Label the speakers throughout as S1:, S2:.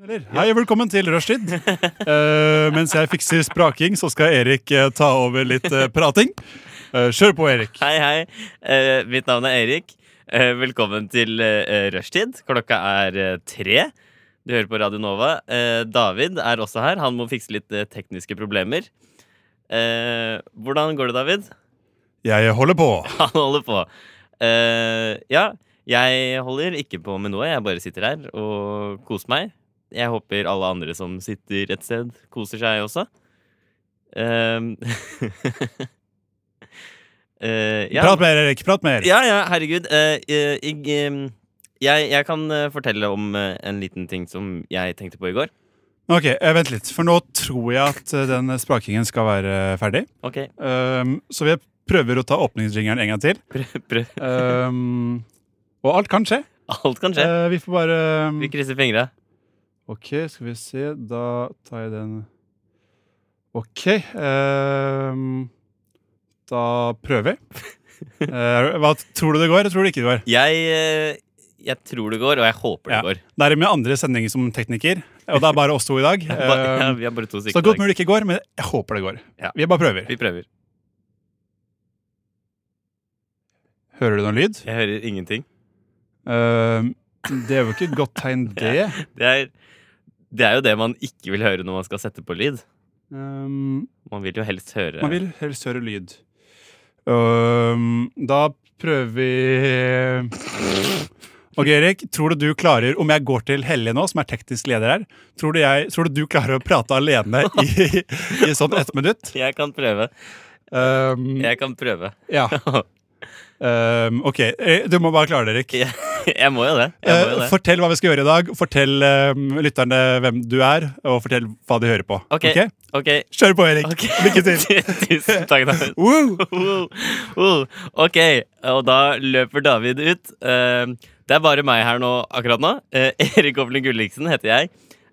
S1: Eller, Hei og velkommen til Rushtid. Eh, mens jeg fikser spraking, så skal Erik eh, ta over litt eh, prating. Eh, kjør på, Erik.
S2: Hei, hei. Eh, mitt navn er Erik. Eh, velkommen til uh, rushtid. Klokka er eh, tre. Du hører på Radio Nova. Eh, David er også her. Han må fikse litt eh, tekniske problemer. Eh, hvordan går det, David?
S1: Jeg holder på.
S2: Han holder på. Eh, ja, jeg holder ikke på med noe. Jeg bare sitter her og koser meg. Jeg håper alle andre som sitter et sted, koser seg også. Eh, eh, ja.
S1: Prat mer, Erik. Prat mer.
S2: Ja, ja, herregud. Eh, eh, jeg, eh, jeg, jeg kan eh, fortelle om eh, en liten ting som jeg tenkte på i går.
S1: Ok, eh, Vent litt, for nå tror jeg at eh, den sprakingen skal være eh, ferdig.
S2: Ok,
S1: Ehm, så vi prøver å ta åpningsringeren en gang til.
S2: prøv, prøv.
S1: Ehm, og alt kan skje.
S2: Alt kan skje.
S1: Eh, vi får bare
S2: Vi krysser fingra.
S1: Ok, skal vi se. Da tar jeg den Ok. ehm, da prøver vi. Eh, hva tror du det går? Jeg tror det ikke det går.
S2: Jeg, eh, jeg tror det går, og jeg håper det
S1: Ja.
S2: går.
S1: Det er med andre sendinger som tekniker, og det er bare oss to i dag.
S2: Bare, ja,
S1: Ehm,
S2: vi er bare to
S1: så
S2: stykker. i
S1: godt
S2: dag.
S1: mulig det ikke går, men jeg håper det går.
S2: Ja.
S1: Vi bare prøver.
S2: Vi prøver.
S1: Hører du noen lyd?
S2: Jeg hører ingenting.
S1: Ehm, det er jo ikke et godt tegn, det.
S2: Det er, det er jo det man ikke vil høre når man skal sette på lyd.
S1: Ehm,
S2: Man vil jo helst høre
S1: Man vil helst høre lyd. Øhm, da prøver vi Ok, Erik. Tror du du klarer, om jeg går til Hellige nå, som er teknisk leder her, tror du, jeg, tror du du klarer å prate alene i, i sånn ett minutt?
S2: Jeg kan prøve.
S1: Øhm,
S2: Jeg kan prøve.
S1: ja. Øhm, ok, Eh, du må bare klare det, Erik.
S2: Jeg, jeg må jo det. Jeg må jo
S1: Eh,
S2: det.
S1: fortell hva vi skal gjøre i dag. Fortell øhm, lytterne hvem du er, og fortell hva de hører på.
S2: Ok.
S1: Ok?
S2: OK.
S1: Kjør på, Erik.
S2: ok.
S1: Lykke til.
S2: Tusen takk, David.
S1: Woo!
S2: Oh, oh, ok, og da løper David ut. Eh, det er bare meg her nå akkurat nå. Eh, Erik Hovland Gulliksen heter jeg.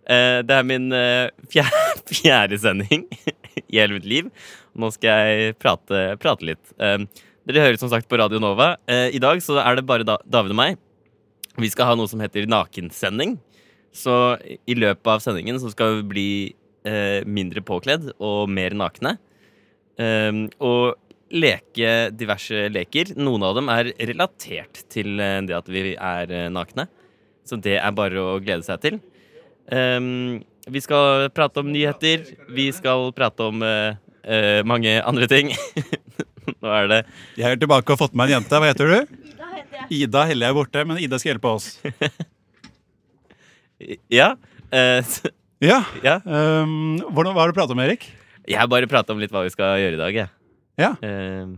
S2: Eh, det er min eh, fjerde, fjerde sending i hele mitt liv. Nå skal jeg prate, prate litt. Eh, dere hører som sagt på Radio Nova. Eh, I dag så er det bare da David og meg. Vi skal ha noe som heter nakensending. Så i løpet av sendingen så skal vi bli eh, mindre påkledd og mer nakne. Ehm, og leke diverse leker. Noen av dem er relatert til eh, det at vi er eh, nakne. Så det er bare å glede seg til. Ehm, vi skal prate om nyheter. Vi skal prate om eh, eh, mange andre ting. Nå er det
S1: Jeg er tilbake og har fått med meg en jente. Hva heter du?
S3: Da heter jeg
S1: Ida Helle er borte, men Ida skal hjelpe oss.
S2: Ja. eh, s-
S1: Ja,
S2: ja.
S1: ehm, hvordan, Hva har du pratet om, Erik?
S2: Jeg bare prata om litt hva vi skal gjøre i dag, jeg.
S1: Ja.
S2: Ehm,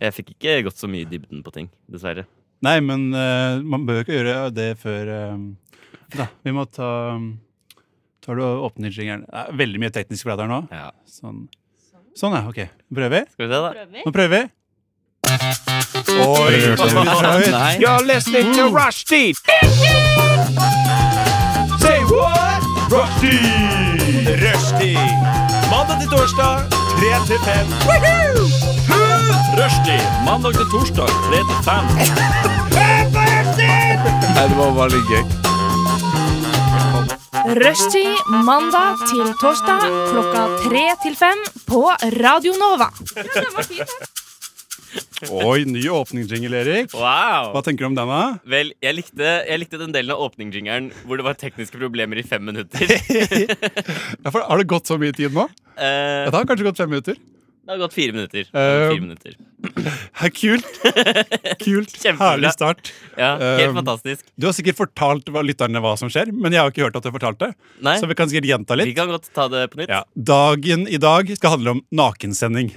S2: jeg fikk ikke gått så mye i dybden på ting, dessverre.
S1: Nei, men eh, man bør ikke gjøre det før ehm, Da, vi må ta ehm, Tar du åpningsringeren? Det er Veldig mye teknisk prat her nå.
S2: Ja.
S1: Sånn. sånn, ja. Ok. Prøver vi?
S2: Skal vi se, da.
S3: prøver.
S1: Nå prøver vi. Oi!
S2: Nei.
S4: You're listening to Rushdie. Say what? Rushdie. Rushdie. Mandag til torsdag, 3 til 5. Rushdie. Mandag til torsdag, 3 til 5. Nei, det var veldig gøy.
S5: Rushtid mandag til torsdag klokka tre til fem på Radio Nova.
S1: Oi, ny åpningsjingle, Erik.
S2: Wow!
S1: Hva tenker du om den, da?
S2: Vel, jeg likte, jeg likte den delen av åpningjingeren hvor det var tekniske problemer i fem minutter.
S1: Ja, for Har det gått så mye tid nå?
S2: Eh,
S1: Ja, Det har kanskje gått fem minutter.
S2: det har gått fire minutter. Det har gått
S1: Eh,
S2: Fire minutter.
S1: Ja, kult. kult.
S2: Kjempebra.
S1: Herlig start.
S2: Ja,
S1: eh,
S2: helt fantastisk.
S1: Du har sikkert fortalt hva- lytterne hva som skjer, men jeg har ikke hørt at du fortalte det.
S2: Nei,
S1: Så vi kan sikkert gjenta
S2: vi
S1: litt.
S2: kan godt ta det på nytt.
S1: Ja. Dagen i dag skal handle om nakensending.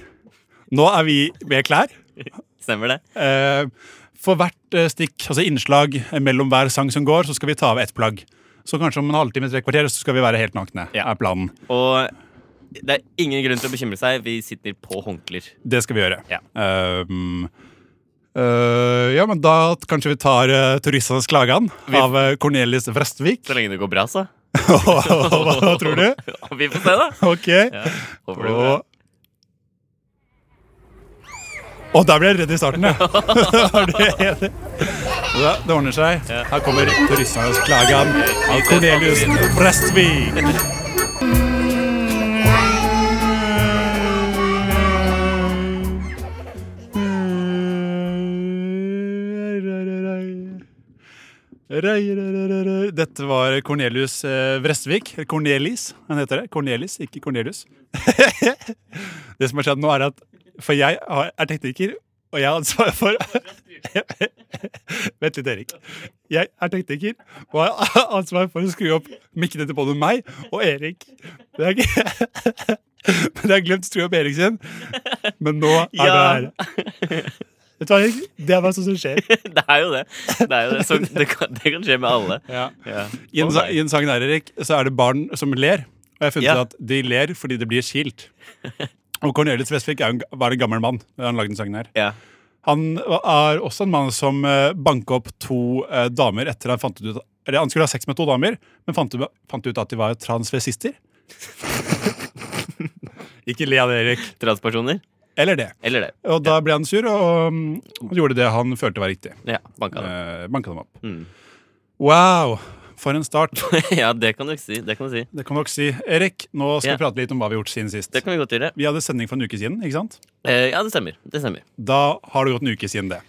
S1: Nå er vi med klær.
S2: Stemmer det?
S1: Eh, For hvert eh, stikk, altså innslag eh, mellom hver sang som går, så skal vi ta av ett plagg. Så kanskje om en halvtime, tre kvarter, så skal vi være helt nakne.
S2: Ja.
S1: er planen.
S2: Og det er ingen grunn til å bekymre seg. Vi sitter på håndklær.
S1: Det skal vi gjøre.
S2: Ja.
S1: Ehm, eh, ja, men da t- kanskje vi tar eh, 'Turistenes klagan'
S2: Vi-
S1: av eh, Cornelis Vrestvik.
S2: Så lenge det går bra, så.
S1: hva, hva tror du?
S2: vi får se, da.
S1: Ok.
S2: Ja, håper det går bra.
S1: Og Å, der ble jeg redd i starten, ja. Er du enig? Ja, det ordner seg.
S2: Ja.
S1: Her kommer turistklagen av Cornelius Prestvik. Dette var Cornelius eh, Vrestvik. Cornelis, han heter det. Cornelis, ikke Cornelius. det som har skjedd nå, er at For jeg har- er tekniker, og jeg har ansvaret for Vent litt, Erik. Jeg er tekniker og har ansvar for å skru opp mikkene til både meg og Erik. Men jeg, men jeg har glemt å skru opp Erik sin. Men nå er det her. Vet du hva, Erik? Det er hva som skjer.
S2: Det er jo det. Det, er jo det. Så det, kan, det kan skje med alle.
S1: Ja.
S2: Ja.
S1: I en, sa- I en sang der, Erik, så er det barn som ler. Og jeg har funnet
S2: Ja.
S1: ut at de ler fordi det blir skilt. Og Cornelius Westvik er jo en, g- var en gammel mann da han lagde den sangen her.
S2: Ja.
S1: Han var- er også en mann som eh, banka opp to eh, damer etter han fant ut eller han skulle ha sex med to damer, men fant, ut- fant ut at de var transvestister. Ikke le av det, Erik.
S2: Transpersoner.
S1: Eller det.
S2: Eller det.
S1: Og da ble han sur og mm, han gjorde det han følte var riktig.
S2: Ja, banka det.
S1: Eh, banka dem opp.
S2: Mm.
S1: Wow, for en start.
S2: Ja, det kan du ikke si. Det kan du si.
S1: Det kan dere si. Erik, nå skal
S2: Ja.
S1: vi prate litt om hva vi har gjort siden sist.
S2: Det kan vi godt gjøre.
S1: Vi hadde sending for en uke siden, ikke sant?
S2: Eh, ja, det stemmer. Det stemmer
S1: Da har det gått en uke siden det.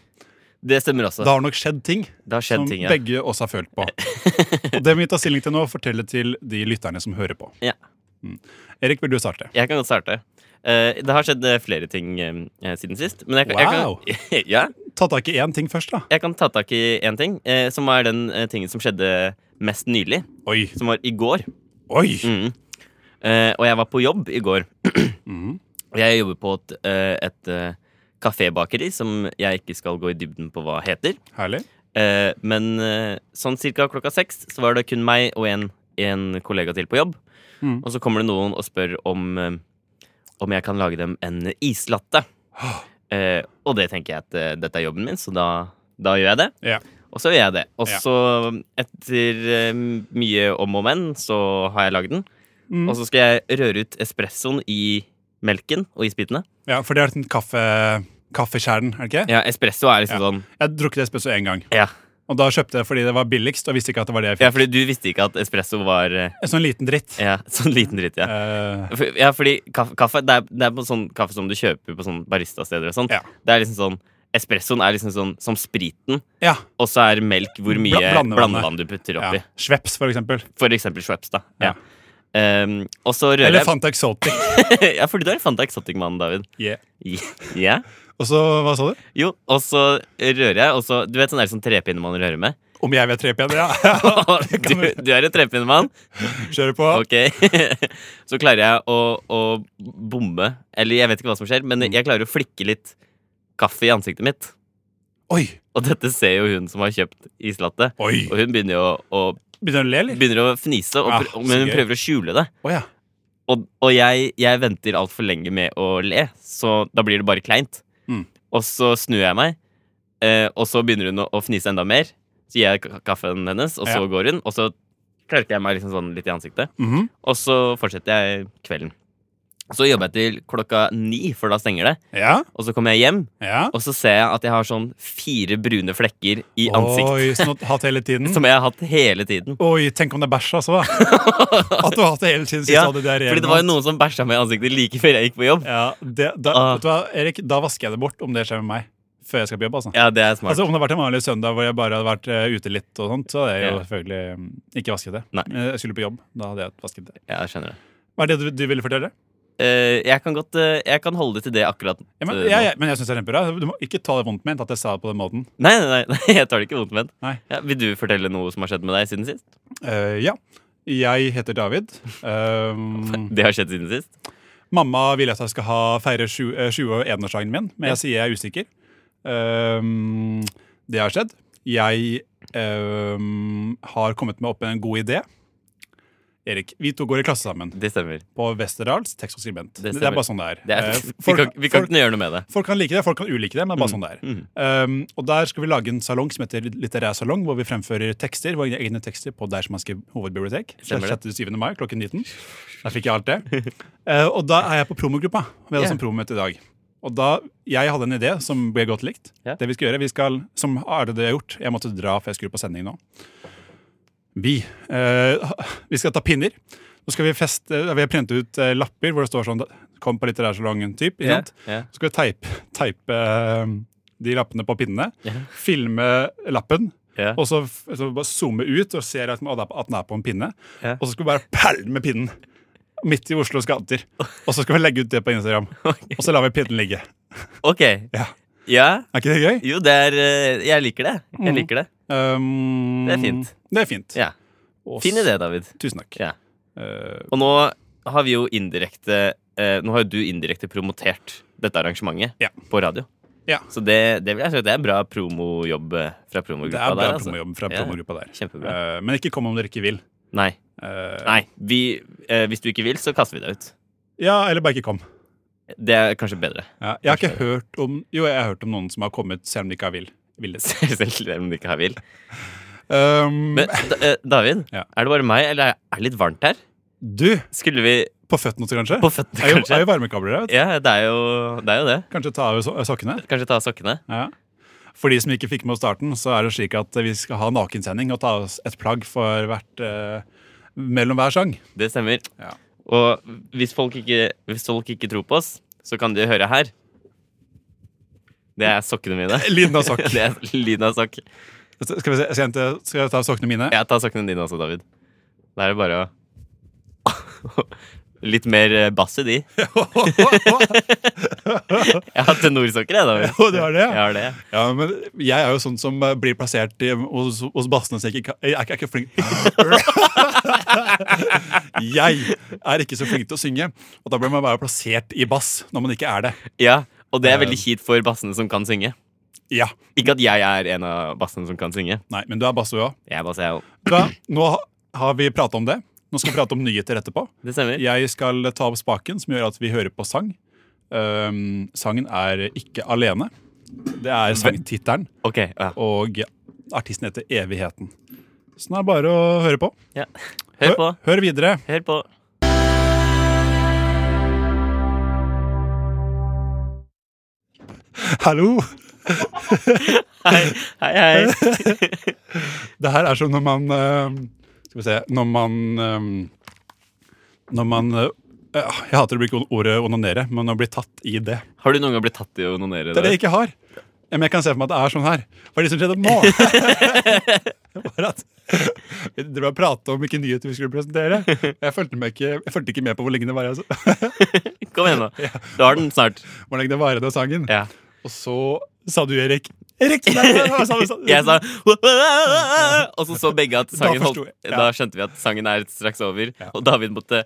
S2: Det stemmer også.
S1: Da har det nok skjedd ting
S2: Det har skjedd
S1: som
S2: ting, ja.
S1: begge oss har følt på. Og det må vi ta stilling til nå og fortelle til de lytterne som hører på.
S2: Ja.
S1: Mm. Erik, vil du starte?
S2: Jeg kan godt starte. Eh, det har skjedd eh, flere ting eh, siden sist. Men jeg, kan-
S1: Wow.
S2: jeg kan Ja,
S1: Ta tak i én ting først, da.
S2: jeg kan ta tak i én ting, eh, som er den eh, tingen som skjedde mest nylig.
S1: Oi,
S2: Som var i går.
S1: oi!
S2: Mm. Eh, og jeg var på jobb i går.
S1: Mhm.
S2: Og Jeg jobber på et, eh, et eh, kafébakeri som jeg ikke skal gå i dybden på hva heter.
S1: Herlig.
S2: Eh, men eh, sånn cirka klokka seks så var det kun meg og en, en kollega til på jobb.
S1: Mm.
S2: Og så kommer det noen og spør om, eh, om jeg kan lage dem en islatte. Eh, og det tenker jeg at eh, dette er jobben min, så da, da gjør jeg det.
S1: Ja.
S2: Og så gjør jeg det. Og
S1: Ja.
S2: så, etter eh, mye om og men, så har jeg lagd den.
S1: Mm.
S2: Og så skal jeg røre ut espressoen i melken og isbitene.
S1: Ja, for det er den kaffe, kaffekjernen, er det ikke?
S2: Ja, espresso er liksom
S1: Ja.
S2: sånn
S1: Jeg har drukket espresso én gang,
S2: ja.
S1: og da kjøpte jeg fordi det var billigst. og visste ikke at det var det jeg
S2: ja,
S1: fikk.
S2: fordi du visste ikke at espresso var eh,
S1: En sånn liten dritt.
S2: ja, sånn liten dritt, ja.
S1: Eh,
S2: For- Ja, fordi kaffe, kaffe det, er, det er på sånn kaffe som du kjøper på sånn baristasteder og sånn.
S1: Ja.
S2: Det er liksom sånn Espressoen er liksom sånn som spriten,
S1: ja.
S2: og så er melk hvor mye
S1: Bla- blandevannet.
S2: blandevann du putter
S1: ja.
S2: oppi.
S1: Schweppes, for eksempel.
S2: For eksempel Schweppes, da.
S1: Ja.
S2: Ja. Ehm, og så rører
S1: Eller
S2: jeg
S1: Fanta Exotic.
S2: Ja, fordi du er en Fanta Exotic-mann, David.
S1: Yeah.
S2: Ja.
S1: Og så, hva sa du?
S2: Jo, og så rører jeg, og så Du vet sånn er det sånn trepinne man rører med?
S1: Om jeg vet trepinne? Ja.
S2: du, du er en trepinnemann,
S1: Kjører på.
S2: ok. Så klarer jeg å, å bomme, eller jeg vet ikke hva som skjer, men
S1: Mm.
S2: jeg klarer å flikke litt kaffe i ansiktet mitt.
S1: Oi!
S2: Og dette ser jo hun som har kjøpt islatte.
S1: Oi!
S2: Og hun begynner jo å, å,
S1: Begynner du å le, eller?
S2: begynner å fnise, og,
S1: Ah,
S2: prø-
S1: så
S2: men hun
S1: gøy.
S2: prøver å skjule det.
S1: Å ja.
S2: Og, og jeg, jeg venter altfor lenge med å le, så da blir det bare kleint.
S1: Mm.
S2: Og så snur jeg meg, eh, og så begynner hun å, å fnise enda mer. Så gir jeg ka- kaffen hennes, og så
S1: Ja.
S2: går hun. Og så klarker jeg meg liksom sånn litt i ansiktet.
S1: Mhm.
S2: Og så fortsetter jeg kvelden. Så jobber jeg til klokka ni, for da stenger det.
S1: Ja.
S2: Og så kommer jeg hjem,
S1: ja.
S2: og så ser jeg at jeg har sånn fire brune flekker i ansiktet.
S1: Oi, sånn at hatt hele tiden.
S2: Som jeg har hatt hele tiden.
S1: Oi, tenk om det er bæsj, altså. da. At du har hatt det hele tiden siden
S2: Ja,
S1: du hadde diaré.
S2: Fordi det var jo noen som bæsja meg i ansiktet like før jeg gikk på jobb.
S1: ja, det, da,
S2: Ah.
S1: vet du hva, Erik, da vasker jeg det bort om det skjer med meg. Før jeg skal på jobb, altså.
S2: Ja, det er smart.
S1: Altså, Om det har vært en vanlig søndag hvor jeg bare har vært eh, ute litt, og sånt, så hadde jeg jo
S2: Ja.
S1: selvfølgelig mm, ikke vasket det.
S2: Nei.
S1: Men Jeg skulle på jobb, da hadde jeg vasket det.
S2: Ja, jeg skjønner det.
S1: Hva er det du, du ville fortelle?
S2: Eh, jeg kan godt eh, Jeg kan holde til det akkurat
S1: Ja, men
S2: eh, nå.
S1: jeg, jeg, men jeg syns det er kjempebra. Du må ikke ta det vondt ment at jeg sa det på den måten.
S2: Nei, nei, nei, nei, jeg tar det ikke vondt ment.
S1: Nei.
S2: Ja, vil du fortelle noe som har skjedd med deg siden sist?
S1: Eh, ja. Jeg heter David. Ehm,
S2: Det har skjedd siden sist?
S1: mamma vil at jeg skal ha feire eh, 21-årsdagen min, men jeg sier jeg er usikker. Ehm, det har skjedd. Jeg ehm, har kommet meg opp med en god idé. Erik, vi to går i klasse sammen
S2: Det stemmer.
S1: på Westerdals tekst og skribent.
S2: Det
S1: Det,
S2: stemmer.
S1: er bare sånn det er.
S2: Det er,
S1: Eh,
S2: vi kan,
S1: folk-
S2: vi kan
S1: folk-
S2: ikke gjøre noe med det.
S1: Folk kan like det, folk kan ulike det, men bare sånn det er.
S2: Mm.
S1: Um, og der skal vi lage en salong som heter Litterær salong, hvor vi fremfører tekster, våre egne tekster på Deichmanske hovedbibliotek.
S2: Stemmer det.
S1: 6.-7. mai klokken 19. Der fikk jeg alt det. Eh, og Ehm, da er jeg på promogruppa. Vi hadde
S2: Ja.
S1: sånn promomøte i dag. Og da, Jeg hadde en idé som ble godt likt.
S2: Ja.
S1: Det Vi skal gjøre, vi skal, som Arne det har gjort Jeg måtte dra, for jeg skulle på sending nå. Vi eh, Vi skal ta pinner. Så skal vi feste, vi har printet ut eh, lapper hvor det står sånn Kom på litterærsalongen, typ. Ikke sant?
S2: ja.
S1: Så skal vi teipe, teipe eh, de lappene på pinnene. Filme lappen.
S2: Ja.
S1: Og så, f- så bare zoome ut og ser at, å, det er på- at den er på en pinne.
S2: Ja.
S1: Og så skal vi bare pælme pinnen midt i Oslos gater. Og så skal vi legge ut det på Instagram. Og så lar vi pinnen ligge.
S2: Ok.
S1: Ja.
S2: Ja.
S1: Er ikke det gøy?
S2: Jo, det er eh, Jeg liker det.
S1: Mm.
S2: Jeg liker det.
S1: Um,
S2: Det er fint.
S1: Det er fint.
S2: Ja.
S1: Og
S2: Fin
S1: s-
S2: idé, David.
S1: Tusen takk.
S2: Ja.
S1: Eh,
S2: Og nå har vi jo indirekte eh, Nå har jo du indirekte promotert dette arrangementet
S1: Ja.
S2: på radio.
S1: Ja.
S2: Så det, det vil jeg si at det er en bra promojobb eh, fra
S1: det
S2: promogruppa
S1: er bra
S2: der. altså.
S1: promojobb fra
S2: Ja,
S1: promogruppa der.
S2: kjempebra.
S1: Eh, men ikke kom om dere ikke vil.
S2: Nei.
S1: Eh,
S2: Nei vi, eh, hvis du ikke vil, så kaster vi deg ut.
S1: ja, eller bare ikke kom.
S2: Det er kanskje bedre.
S1: Ja, jeg har ikke hørt om Jo, jeg har hørt om noen som har kommet selv om de ikke har vil. ville.
S2: Selv om du ikke har vil.
S1: Um,
S2: Men da, eh, David,
S1: Ja.
S2: er det bare meg, eller er det litt varmt her?
S1: du,
S2: Skulle vi
S1: på føttene også, kanskje?
S2: På føttene,
S1: Er jo-
S2: kanskje?
S1: Er jo varmekabler her. vet du.
S2: Ja, det er jo det. Er jo det.
S1: Kanskje ta av so sokkene?
S2: Kanskje ta av sokkene.
S1: Ja. For de som ikke fikk med oss starten, så er det slik at vi skal ha nakensending og ta oss et plagg for hvert eh, mellom hver sang.
S2: Det stemmer.
S1: Ja.
S2: Og hvis folk, ikke, hvis folk ikke tror på oss, så kan de høre her. Det er sokkene mine.
S1: Lyden av sokk.
S2: det er lyden av sokk.
S1: Skal, vi se, skal, jeg, hente- skal jeg ta sokkene mine?
S2: Jeg tar sokkene dine også, David. Da er det bare å Litt mer eh, bass i de. Jeg har tenorsokker, jeg, David.
S1: Jo, du har det, ja.
S2: Jeg har det.
S1: Ja, men jeg er jo sånn som eh, blir plassert i, hos, hos bassene, så jeg, ikke, kan- jeg, er ikke- jeg er ikke flink Jeg er ikke så flink til å synge, og da blir man bare plassert i bass når man ikke er det.
S2: Ja, Og
S1: Eh.
S2: det er veldig kjipt for bassene som kan synge.
S1: Ja,
S2: Ikke at jeg er en av bassene som kan synge.
S1: nei, Men du er bass, du òg.
S2: Jeg bare sier jo.
S1: Nå ha- har vi prata om det. Nå skal vi prate om nyheter etterpå.
S2: Det stemmer.
S1: Jeg skal ta opp spaken, som gjør at vi hører på sang. Ehm, sangen er Ikke alene. Det er sangtittelen,
S2: Ok, ja.
S1: og artisten heter Evigheten. Så nå er det bare å høre på.
S2: ja. Hør på.
S1: Hør videre.
S2: Hør på.
S1: Hallo!
S2: Hei, hei. hei.
S1: Det her er som når man eh, Skal vi se Når man eh, Når man eh, ja, Jeg hater å bruke o- ordet onanere, men å bli tatt i det.
S2: Har du noen gang blitt tatt i å
S1: Det er
S2: onanere?
S1: det
S2: David?
S1: jeg ikke har. Ja, Men jeg kan se for meg at det er sånn her. Hva er det som skjedde nå? Var at vi drev og pratet om hvilke nyheter vi skulle presentere. Jeg fulgte, meg ikke, jeg fulgte ikke med på hvor lenge det var altså.
S2: Kom igjen, nå. Du har den snart.
S1: Hvor lenge det var den sangen.
S2: Ja.
S1: Og så sa du, Erik Erik! Nei, nei, nei, sa- sa-
S2: Jeg sa Og så så begge at sangen
S1: Da
S2: holdt
S1: forsto jeg, ja.
S2: Da skjønte vi at sangen er straks over, og David måtte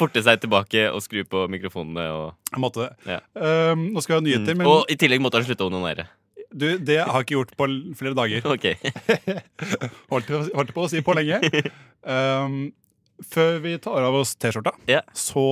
S2: forte seg tilbake og skru på mikrofonene. Og,
S1: Jeg måtte det.
S2: Ja.
S1: Ehm, nå skal vi ha nyheter, men
S2: Mm, og i tillegg måtte han slutte å onanere.
S1: du, det har jeg ikke gjort på l- flere dager.
S2: Ok.
S1: holdt, holdt på å si på lenge. Um, før vi tar av oss T-skjorta,
S2: Ja.
S1: så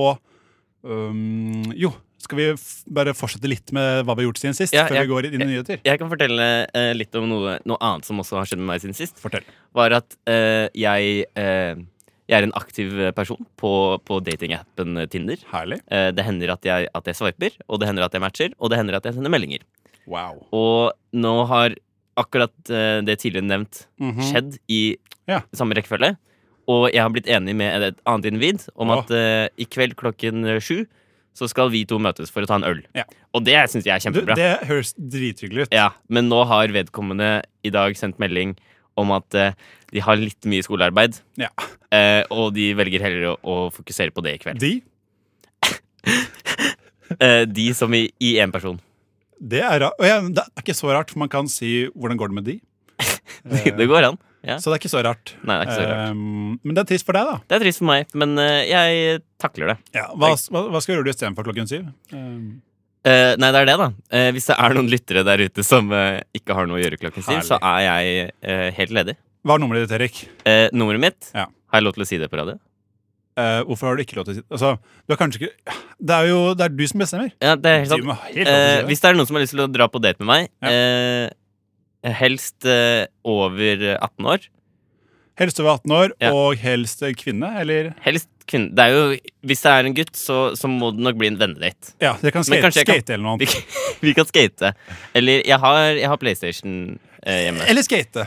S1: um, Jo, skal vi f bare fortsette litt med hva vi har gjort siden sist?
S2: Ja,
S1: før
S2: ja.
S1: vi går inn i nyheter?
S2: Jeg kan fortelle eh, litt om noe, noe annet som også har skjedd med meg siden sist.
S1: Fortell.
S2: Var at eh, jeg, eh, jeg er en aktiv person på, på datingappen Tinder.
S1: Herlig.
S2: Eh, det hender at jeg, at jeg swiper, og det hender at jeg matcher, og det hender at jeg sender meldinger.
S1: Wow.
S2: Og nå har akkurat eh, det tidligere nevnt skjedd i
S1: Mhm. Ja.
S2: samme rekkefølge. Og jeg har blitt enig med et annet individ om
S1: Ja.
S2: at eh, i kveld klokken eh, sju så skal vi to møtes for å ta en øl.
S1: Ja.
S2: Og det syns jeg er
S1: Du,
S2: kjempebra.
S1: det høres drithyggelig ut.
S2: Ja, Men nå har vedkommende i dag sendt melding om at eh, de har litt mye skolearbeid,
S1: Ja.
S2: eh, og de velger heller å, å fokusere på det i kveld.
S1: De,
S2: Eh, de som i én person.
S1: det er rart. Ja, det er ikke så rart, for man kan si 'hvordan går det med de'?
S2: Det går an. Ja.
S1: Eh. Så det er ikke så rart.
S2: Nei, det er ikke så rart.
S1: Um, men det er trist for deg, da.
S2: Det er trist for meg, men eh, jeg takler det.
S1: Ja, hva, hva, hva skal du gjøre istedenfor klokken syv? Um,
S2: Eh, nei, det er det, da. Eh, hvis det er noen lyttere der ute som eh, ikke har noe å gjøre klokken syv,
S1: Herlig.
S2: så er jeg eh, helt ledig.
S1: hva er nummeret ditt, Erik?
S2: Eh, nummeret mitt
S1: Ja.
S2: Har jeg lov til å si det på radio?
S1: Eh, hvorfor har du ikke lov til å si altså, du har kanskje ikke, Det er jo det er du som bestemmer.
S2: Ja, det er helt
S1: Du
S2: sant.
S1: må ha helt lov til å si
S2: Eh,
S1: det.
S2: hvis det er noen som har lyst til å dra på date med meg,
S1: Ja.
S2: eh, helst eh, over 18 år.
S1: Helst over 18 år,
S2: Ja.
S1: og helst kvinne, eller
S2: Helst kvinne Det er jo, Hvis det er en gutt, så, så må det nok bli en vennedate.
S1: Ja, dere kan
S2: Men
S1: skate,
S2: kanskje jeg kan-
S1: skate eller noe
S2: Vi,
S1: annet.
S2: kan- vi kan skate. Eller jeg har, jeg har PlayStation eh, hjemme.
S1: Eller skate.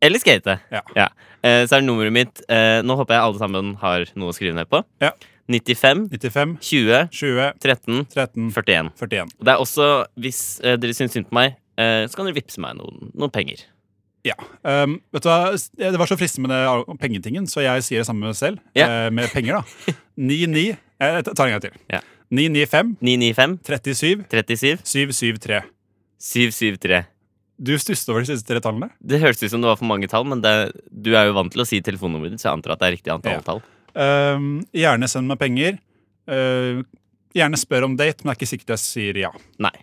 S2: Eller skate.
S1: Ja.
S2: Eh, så er det nummeret mitt eh, Nå håper jeg alle sammen har noe å skrive ned på.
S1: Ja.
S2: 95
S1: 95,
S2: 20
S1: 20,
S2: 13
S1: 13,
S2: 41.
S1: 41.
S2: Og det er også, hvis eh, dere syns synd på meg, eh, så kan dere vippse meg noen, noen penger.
S1: Ja. Um, vet du hva, s- det var så fristende med det pengetingen, så jeg sier det samme selv.
S2: Ja.
S1: eh, med penger, da. 99 Jeg tar en gang til.
S2: Ja.
S1: 995
S2: 995
S1: 37
S2: 37
S1: 773.
S2: 773.
S1: Du stusset over de siste tre tallene.
S2: Det hørtes ut som det var for mange tall, men det, du er jo vant til å si telefonnummeret ditt, så jeg antar at det er riktig antall
S1: Ja.
S2: tall.
S1: Um, gjerne send meg penger. Uh, gjerne spør om date, men det er ikke sikkert jeg sier ja.
S2: Nei.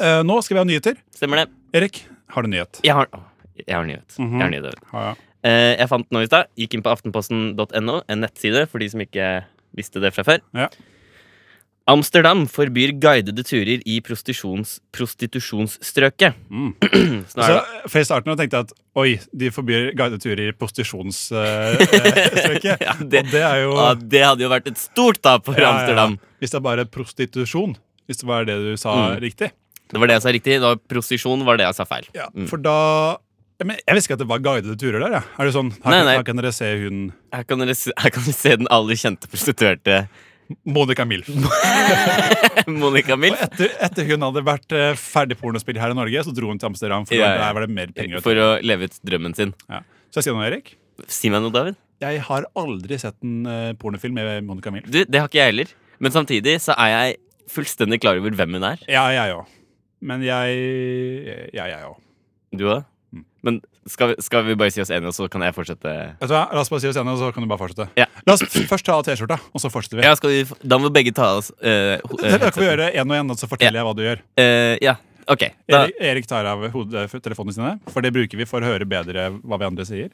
S1: Uh, nå skal vi ha nyheter.
S2: Stemmer det.
S1: Erik, har du nyhet?
S2: Jeg har, åh, jeg har nyhet.
S1: Mhm.
S2: Jeg har nyhet.
S1: Ja, ja.
S2: Eh, jeg fant den nå i stad. Gikk inn på aftenposten.no, en nettside for de som ikke visste det fra før.
S1: Ja.
S2: Amsterdam forbyr guidede turer i prostitusjons, prostitusjonsstrøket.
S1: Mm.
S2: Så nå er det
S1: Så, for I starten tenkte jeg at oi, de forbyr guideturer i prostitusjonsstrøket.
S2: Ja, det-
S1: Og det er jo
S2: Ja, det hadde jo vært et stort tap for
S1: Ja, ja, ja.
S2: Amsterdam.
S1: Hvis det er bare prostitusjon. Hvis det var det du sa
S2: Mm.
S1: riktig.
S2: Det var det jeg sa riktig. Det var prosesjon var det jeg sa feil.
S1: Ja,
S2: Mm.
S1: For da ja, men Jeg visste ikke at det var guidede turer der. Ja. Er det sånn, her,
S2: Nei,
S1: kan-
S2: nei.
S1: her kan dere se hun
S2: Her kan dere se, her kan dere se den aller kjente prostituerte
S1: Monica Milf.
S2: Monica
S1: Og
S2: Milf.
S1: etter, etter hun hadde vært eh, ferdig pornospill her i Norge, så dro hun til Amsterdam. For
S2: Ja,
S1: der
S2: ja.
S1: var det mer penger å
S2: For å leve ut drømmen sin.
S1: Ja. Så jeg sier noe, Erik.
S2: Si meg noe, David.
S1: Jeg har aldri sett en eh, pornofilm med Monica Milf.
S2: Du, Det har ikke jeg heller. Men samtidig så er jeg fullstendig klar over hvem hun er.
S1: Ja, jeg òg. Men jeg Ja, jeg òg.
S2: Du òg. Men skal vi, skal vi bare si oss enige, og så kan jeg fortsette?
S1: Vet du hva, La oss bare si oss enige, og så kan du bare fortsette.
S2: Ja.
S1: La oss f- først ta av T-skjorta, og så fortsetter vi.
S2: Ja, skal vi, f- da må begge ta oss eh, ho- eh,
S1: Det kan vi gjøre én og én, og så forteller jeg hva du gjør.
S2: Eh, ja, OK. Da,
S1: Erik, Erik tar av hodetelefonene sine, for det bruker vi for å høre bedre hva vi andre sier.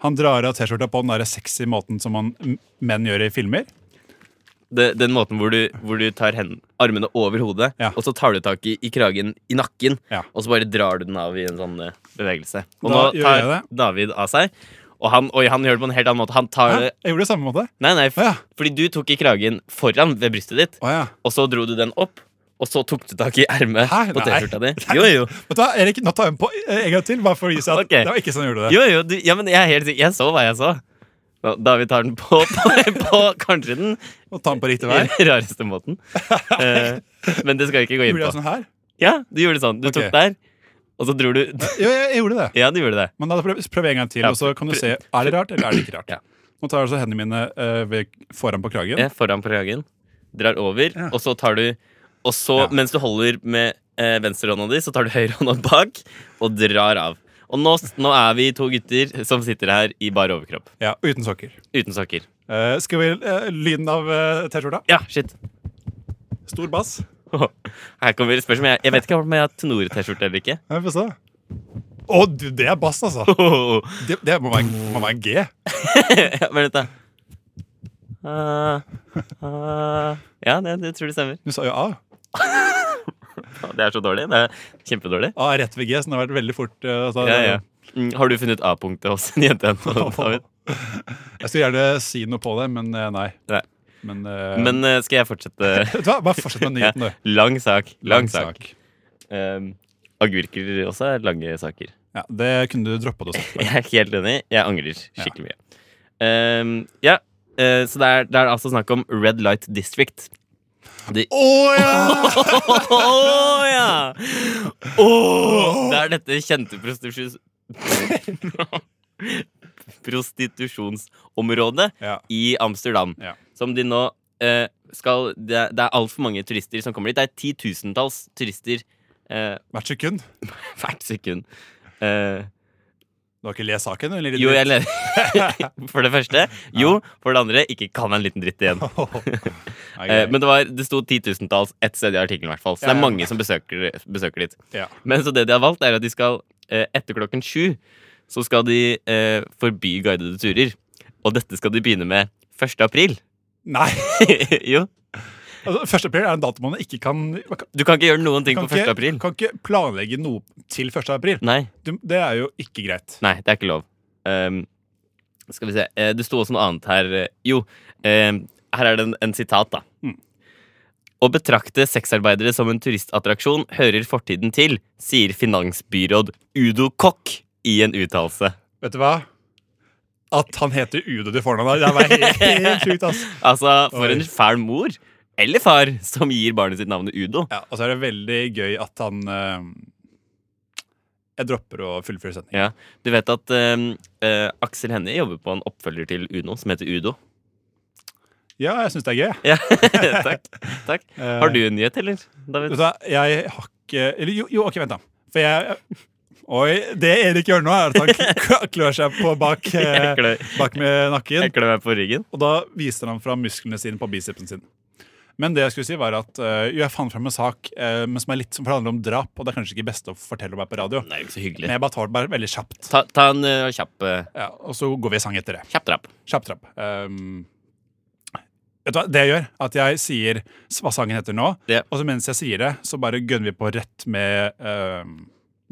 S1: Han drar av T-skjorta på den der sexy måten som man, m- menn gjør i filmer.
S2: det, den måten hvor du, hvor du tar hen, armene over hodet,
S1: Ja.
S2: og så tar du tak i, i kragen i nakken,
S1: Ja.
S2: og så bare drar du den av i en sånn eh, bevegelse. Og
S1: Da
S2: nå
S1: gjør
S2: tar
S1: jeg
S2: David av seg, og han, oi, han gjør det på en helt annen måte. Han tar
S1: Hæ?
S2: det
S1: Jeg gjorde det samme måte.
S2: Nei, nei, f
S1: Å ja.
S2: fordi du tok i kragen foran ved brystet ditt,
S1: Å, ja.
S2: og så dro du den opp, og så tok du tak i ermet
S1: Hæ?
S2: på
S1: Nei.
S2: T-skjorta di. Jo, jo.
S1: Vet du hva, Erik, nå tar jeg den på eh, en gang til, bare for å vise at
S2: Ok.
S1: det var ikke sånn jeg gjorde det.
S2: jo, jo du, ja, men jeg er helt sikker. Jeg så hva jeg så. Nå, David tar den på, på, på kanskje den
S1: Nå tar den på riktig vei.
S2: rareste måten. Eh, men det skal vi ikke gå inn
S1: Gjorde
S2: på.
S1: jeg sånn her?
S2: Ja, du gjorde sånn. Du
S1: Ok.
S2: tok der, og så dro du
S1: Jo, jeg, jeg gjorde det.
S2: Ja, du gjorde det.
S1: Men da prøv, prøv en gang til,
S2: Ja,
S1: og så kan du
S2: prøv-
S1: se er det rart eller er det ikke rart.
S2: Ja.
S1: Nå tar jeg altså hendene mine eh, ved, foran på kragen.
S2: Ja, foran på kragen. Drar over, og så tar du Og så,
S1: Ja.
S2: mens du holder med eh, venstrehånda di, så tar du høyrehånda bak og drar av. Og nå, s- nå er vi to gutter som sitter her i bar overkropp.
S1: Ja, Uten sokker.
S2: Uten sokker.
S1: Eh, skal vi eh, lyden av eh, T-skjorta?
S2: Ja, shit.
S1: Stor bass.
S2: Her kommer spørsmålet. Jeg, jeg vet ikke om jeg har tenor-T-skjorte eller ikke.
S1: Ja, Få se. Å, du, det er bass, altså. Det, det må, være, må være en G.
S2: Ja, Men vent, da. Ah, ah. ja, det, det tror jeg stemmer.
S1: Du sa jo A.
S2: Å, Det er så dårlig. Det er kjempedårlig.
S1: A er rett ved G, så det har vært veldig fort. eh, altså,
S2: Ja, ja. Mm, Har du funnet A-punktet hos en jente ennå, David?
S1: Jeg skulle gjerne si noe på det, men eh, nei.
S2: Nei.
S1: Men, eh,
S2: Men eh, skal jeg fortsette?
S1: Vet du hva, bare fortsett med nyheten, du.
S2: Lang sak. Lang sak. Um, agurker også er lange saker.
S1: Ja, det kunne du droppa. det også.
S2: Jeg er helt enig. Jeg angrer skikkelig mye. Um, ja, eh, så det er, det er altså snakk om Red Light District. Det
S1: Å ja!
S2: Å ja! Åh, det er dette kjente prostitusjons... prostitusjonsområdet
S1: ja.
S2: i Amsterdam.
S1: Ja.
S2: Som de nå eh, skal Det er, det er altfor mange turister som kommer dit. Det er titusentalls turister eh,
S1: Hvert sekund.
S2: hvert sekund. Eh,
S1: Du har ikke lest saken? Eller?
S2: jo, jeg leder For det første. Jo, for det andre. Ikke kall meg en liten dritt igjen.
S1: Nei,
S2: Eh,
S1: greit.
S2: men det, var, det sto titusentalls ett sted i artikkelen, i hvert fall. Så det
S1: Ja, ja.
S2: er mange som besøker, besøker dit.
S1: ja.
S2: Men så det de har valgt, er at de skal eh, etter klokken sju så skal de eh, forby guidede turer. Og dette skal de begynne med 1. april.
S1: Nei.
S2: jo.
S1: Altså, første april er en dato man ikke kan man kan-
S2: Du kan ikke gjøre noen ting
S1: kan
S2: på 1.
S1: ikke-
S2: april.
S1: Kan ikke planlegge noe til 1. april.
S2: Nei,
S1: Du, det er jo ikke greit.
S2: nei, det er ikke lov. Um, Skal vi se. eh, Det sto også noe annet her. eh, Jo, eh, her er det en, en sitat, da.
S1: Hmm.
S2: Å betrakte sexarbeidere som en turistattraksjon hører fortiden til, sier finansbyråd Udo Kokk i en uttalelse.
S1: Vet du hva? At han heter Udo til fornavn, det var helt, helt sjukt, ass.
S2: Altså, for
S1: Oi.
S2: en fæl mor eller far som gir barnet sitt navnet Udo.
S1: Ja, og så er det veldig gøy at han eh, Jeg dropper å fullføre setningen.
S2: Ja. Du vet at eh, eh, Aksel Hennie jobber på en oppfølger til Uno som heter Udo.
S1: Ja, jeg syns det er gøy. jeg.
S2: Ja, takk, takk.
S1: Eh,
S2: Har du en nyhet, eller?
S1: Vet
S2: David?
S1: du hva, jeg har ikke Eller jo, jo, ok, vent, da. For jeg Oi, det Erik gjør nå, er at han kl- klør seg på bak, eh,
S2: Jeg klør,
S1: bak med nakken.
S2: jeg klør meg på ryggen.
S1: Og da viser han fram musklene sine på bicepsen sin. Men det jeg skulle si var at eh, jo, jeg fant fram en sak eh, men som er litt som handler om drap. Og det er kanskje ikke best å fortelle om her på radio.
S2: Det er jo ikke så
S1: Men
S2: hyggelig.
S1: jeg bare tar det bare veldig kjapt.
S2: Ta, ta en eh, kjapp, eh,
S1: Ja, og så går vi i sang etter det.
S2: kjapp trapp.
S1: Kjapp trapp. Um, vet du hva det jeg gjør? At jeg sier s- hva sangen heter nå,
S2: Ja.
S1: og så mens jeg sier det, så bare gønner vi på rett med, um,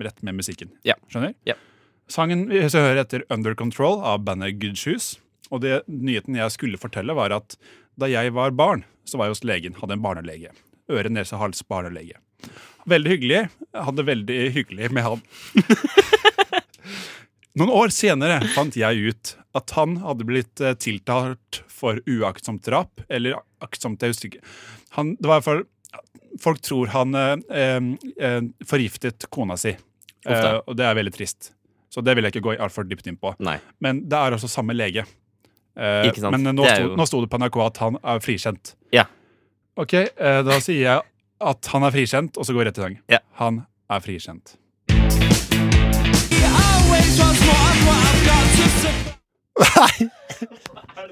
S1: rett med musikken.
S2: Ja.
S1: Skjønner?
S2: Ja.
S1: Sangen vi så hører etter Under Control av bandet Good Shoes. Og det nyheten jeg skulle fortelle, var at da jeg var barn, så var jeg hos legen. Hadde en barnelege. Øre, nese, hals, barnelege. Veldig hyggelig. Jeg Hadde veldig hyggelig med han. Noen år senere fant jeg ut at han hadde blitt eh, tiltalt for uaktsomt drap. Eller aktsomt, jeg husker ikke. Han, det var i hvert fall Folk tror han eh, eh, eh, forgiftet kona si. Eh, og det er veldig trist. Så det vil jeg ikke gå altfor dypt inn på.
S2: Nei.
S1: Men det er altså samme lege. Eh,
S2: Ikke sant?
S1: Men nå
S2: Det er
S1: sto,
S2: jo-
S1: nå sto det på NRK at han er frikjent.
S2: Ja.
S1: Ok, eh, da sier jeg at han er frikjent, og så går jeg rett i sang.
S2: Ja.
S1: Han er frikjent. Nei!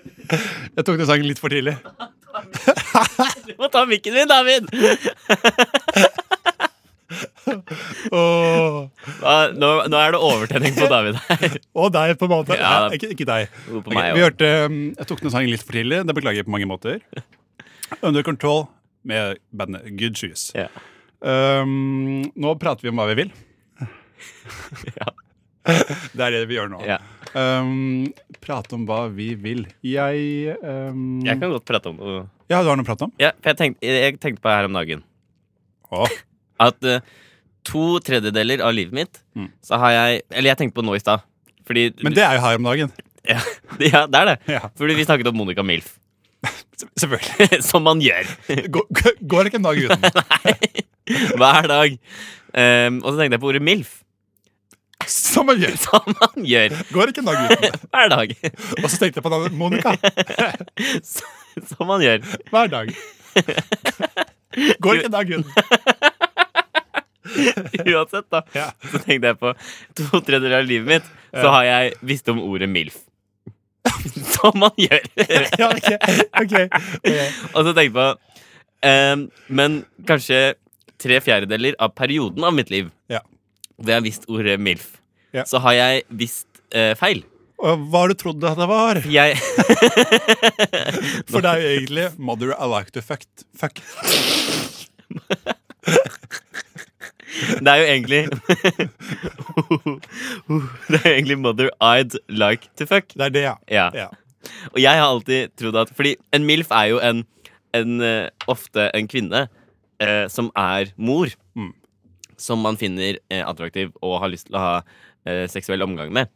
S1: Jeg tok den sangen litt for tidlig.
S2: Du må ta mikken min, David!
S1: Åh.
S2: Ah, Nå, nå er det overtenning på David her.
S1: Og deg, på en måte.
S2: Ja.
S1: Nei, ikke, ikke deg.
S2: Jo, på
S1: Ok,
S2: meg
S1: vi
S2: også.
S1: hørte um, Jeg tok den sangen litt for tidlig. Det beklager jeg på mange måter. Under Control med bandet Good Shoes.
S2: Ja.
S1: Um, nå prater vi om hva vi vil.
S2: Ja.
S1: Det er det vi gjør nå.
S2: Ja.
S1: Um, prate om hva vi vil. Jeg um,
S2: Jeg ehm, kan godt prate om noe.
S1: Ja, du har noe å prate om?
S2: Ja, for jeg tenkte, jeg tenkte på her om dagen
S1: Åh,
S2: at eh, to tredjedeler av livet mitt,
S1: Mm.
S2: så har jeg Eller jeg tenkte på nå i stad. Fordi
S1: men det er jo her om dagen.
S2: ja, ja, det er det.
S1: Ja,
S2: Fordi vi snakket om Monica Milf.
S1: se- selvfølgelig.
S2: Som man gjør
S1: Går, går ikke en dag uten.
S2: hver dag. Ehm, og så tenkte jeg på ordet MILF.
S1: Som man gjør.
S2: Som man gjør
S1: Går ikke en dag uten.
S2: hver dag.
S1: Og så tenkte jeg på navnet Monica.
S2: Som man gjør.
S1: Hver dag. Går ikke en dag uten.
S2: Uansett, da.
S1: Ja.
S2: Så tenkte jeg på to tredjedeler av livet mitt, så har jeg visst om ordet MILF. Som man gjør.
S1: Ja, ok, ok. Ok.
S2: og så tenkte jeg på ehm, Men kanskje tre fjerdedeler av perioden av mitt liv
S1: Ja.
S2: hvor jeg har visst ordet MILF,
S1: Ja.
S2: så har jeg visst eh, feil.
S1: Og hva har du trodd at det var?
S2: Jeg
S1: For det er jo egentlig Mother I like to fuck. fuck.
S2: Det er jo egentlig Det er jo egentlig Mother I'd like to fuck.
S1: Det er det, ja.
S2: Ja.
S1: ja.
S2: Og jeg har alltid trodd at Fordi en MILF er jo en, en eh, ofte en kvinne eh, som er mor.
S1: Mm.
S2: Som man finner eh, attraktiv og har lyst til å ha eh, seksuell omgang med.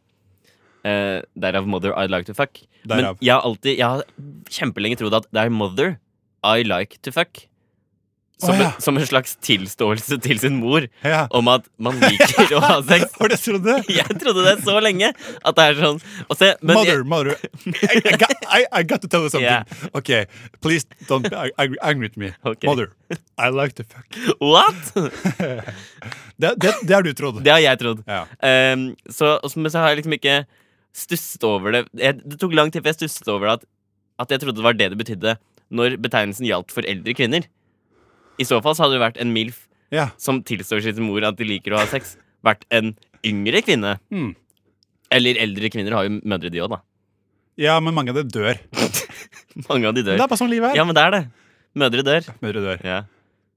S2: Eh, derav Mother I'd like to fuck.
S1: Derav.
S2: Men jeg har alltid Jeg har kjempelenge trodd at det er Mother I like to fuck.
S1: Å,
S2: Som,
S1: ja.
S2: en, som en slags tilståelse til sin mor
S1: ja.
S2: om at man liker å ha sex.
S1: Har du trodd det?
S2: Jeg trodde det så lenge at det er sånn og se, men
S1: Mother,
S2: jeg,
S1: mother. I, I, got, I, I got to tell you something.
S2: Yeah.
S1: Okay, please don't be ang- angry with me.
S2: Okay.
S1: Mother, I like to fuck.
S2: What?!
S1: Det, det, det har du trodd.
S2: Det har jeg trodd.
S1: Ja.
S2: Ehm, så, og så- men så har jeg liksom ikke stusset over det. Jeg, det tok lang tid før jeg stusset over det at, at jeg trodde det var det det betydde når betegnelsen gjaldt for eldre kvinner. I så fall så hadde det vært en MILF
S1: ja.
S2: som tilstår sin mor at de liker å ha sex, vært en yngre kvinne.
S1: Mm.
S2: Eller eldre kvinner har jo mødre, de òg, da.
S1: ja, men mange av dem dør.
S2: Mange av de
S1: Det
S2: dør.
S1: er bare sånn livet
S2: Ja,
S1: er.
S2: men det er det. Mødre dør.
S1: Mødre dør.
S2: Ja.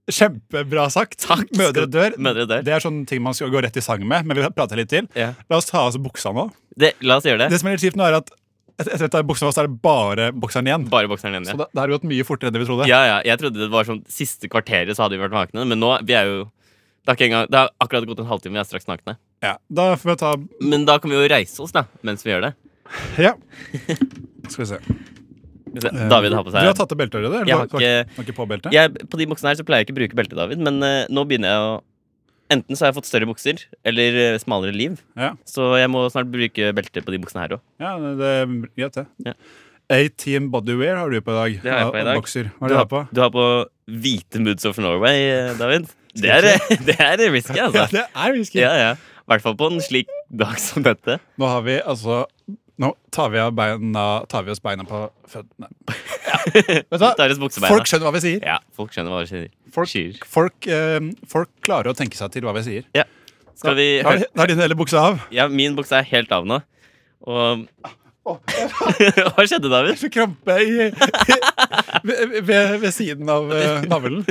S1: Kjempebra sagt.
S2: Takk skal-
S1: Mødre dør.
S2: Mødre dør.
S1: Det er sånne ting man skal gå rett i sang med, men vi prater litt til.
S2: Ja.
S1: La oss ta av oss buksa nå.
S2: Det, la oss gjøre det.
S1: Det som er litt kjipt nå, er at et- Etter dette bokstavast er det bare bokseren igjen.
S2: Bare bokseren igjen.
S1: Så
S2: Ja.
S1: det, det har gått mye fortere enn det vi trodde.
S2: ja, ja. Jeg trodde det var sånn siste kvarteret, så hadde vi vært nakne. Men nå vi er jo det har, ikke engang, det har akkurat gått en halvtime, vi er straks nakne.
S1: Ja, Da får vi ta
S2: Men da kan vi jo reise oss da, mens vi gjør det.
S1: Ja. Skal vi se.
S2: Skal vi se, David har på seg
S1: Eh, Du har tatt av beltet allerede? eller?
S2: Jeg har
S1: Du
S2: ikke-
S1: du har ikke på beltet?
S2: jeg, På de buksene her så pleier jeg ikke å bruke belte, David, men eh, nå begynner jeg å Enten så har jeg fått større bukser eller eh, smalere liv,
S1: Ja.
S2: så jeg må snart bruke belte på de buksene her òg.
S1: Ja, det det er greit, det.
S2: Ja.
S1: A-Team Bodywear har du på i dag.
S2: Det har jeg på i dag.
S1: Bokser. Hva har du her på?
S2: Du har på hvite Moods of Norway, eh, David. Det er, eh, det er risky, altså.
S1: det er whisky.
S2: Ja, ja. I hvert fall på en slik dag som dette.
S1: Nå har vi altså Nå tar vi, av beina, tar vi oss beina på føttene. Ja. Vet du hva?
S2: Tar oss buksebeina.
S1: Folk skjønner hva vi sier.
S2: Ja, folk skjønner hva det sier.
S1: Folk,
S2: Sier.
S1: folk, eh, folk klarer å tenke seg til hva vi sier.
S2: Ja. Skal vi
S1: Da er- da er din hele buksa av.
S2: Ja, min bukse er helt av nå. Og Hva skjedde, David?
S1: Så krampe i, ved, ved, ved siden av eh, navlen.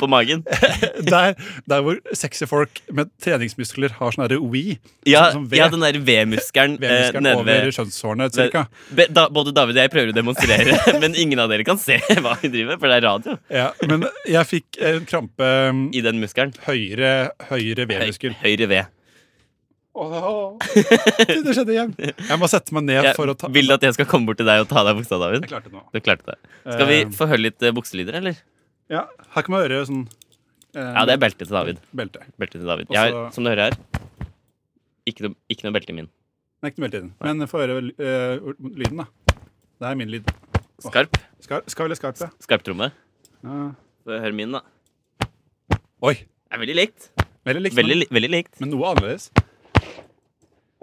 S2: På magen?
S1: Der, der hvor sexy folk med treningsmuskler har sånn derre we.
S2: Ja,
S1: sånn, sånn
S2: ja den der V-muskelen eh,
S1: V-muskelen
S2: nede
S1: over
S2: ved
S1: kjønnshårene.
S2: Ve-
S1: Cirka.
S2: Be, da, både David og jeg prøver å demonstrere, men ingen av dere kan se hva vi driver med, for det er radio
S1: Ja, men jeg fikk en krampe um,
S2: i den muskelen.
S1: høyre, høyre
S2: Høy,
S1: V-muskel.
S2: høyre ved.
S1: Åh, Det skjedde igjen. Jeg må sette meg ned for å ta
S2: Jeg vil at jeg skal komme bort til deg og ta av deg buksa, David.
S1: Jeg klarte det nå.
S2: Du klarte det. Skal vi
S1: Eh,
S2: få høre litt eh, bukselyder, eller?
S1: Ja, her kan man høre sånn eh,
S2: Ja, det er beltet til David.
S1: belte.
S2: Beltet til David. Jeg har,
S1: Også-
S2: som du hører her, ikke noe, ikke noe belte i min.
S1: Nei, ikke noe belte i den. Men få høre eh, lyden, da. Det er min lyd.
S2: Skarp.
S1: Skar, skal eller skarp, ja.
S2: Skarptromme.
S1: Ja.
S2: Få høre min, da.
S1: Oi.
S2: Det er veldig likt.
S1: Veldig likt,
S2: Veldig, li- veldig likt.
S1: men noe annerledes.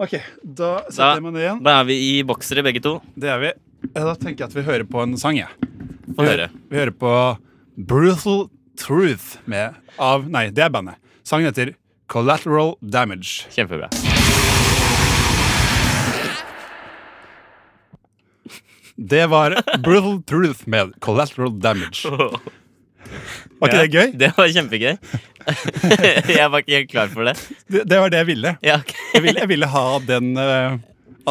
S1: OK, da
S2: Da-
S1: setter jeg meg ned igjen.
S2: Da er vi i boksere, begge to.
S1: Det er vi. Eh, Da tenker jeg at vi hører på en sang, jeg.
S2: Få høre.
S1: Vi hører på Brutal Truth med av Nei, det er bandet. Sangen heter Collateral Damage.
S2: Kjempebra.
S1: Det var Brutal Truth med Collateral Damage. Var ikke det gøy?
S2: Det var kjempegøy. jeg var ikke helt klar for det.
S1: Det, det var det jeg ville.
S2: Ja, ok.
S1: Jeg ville, jeg ville ha den eh,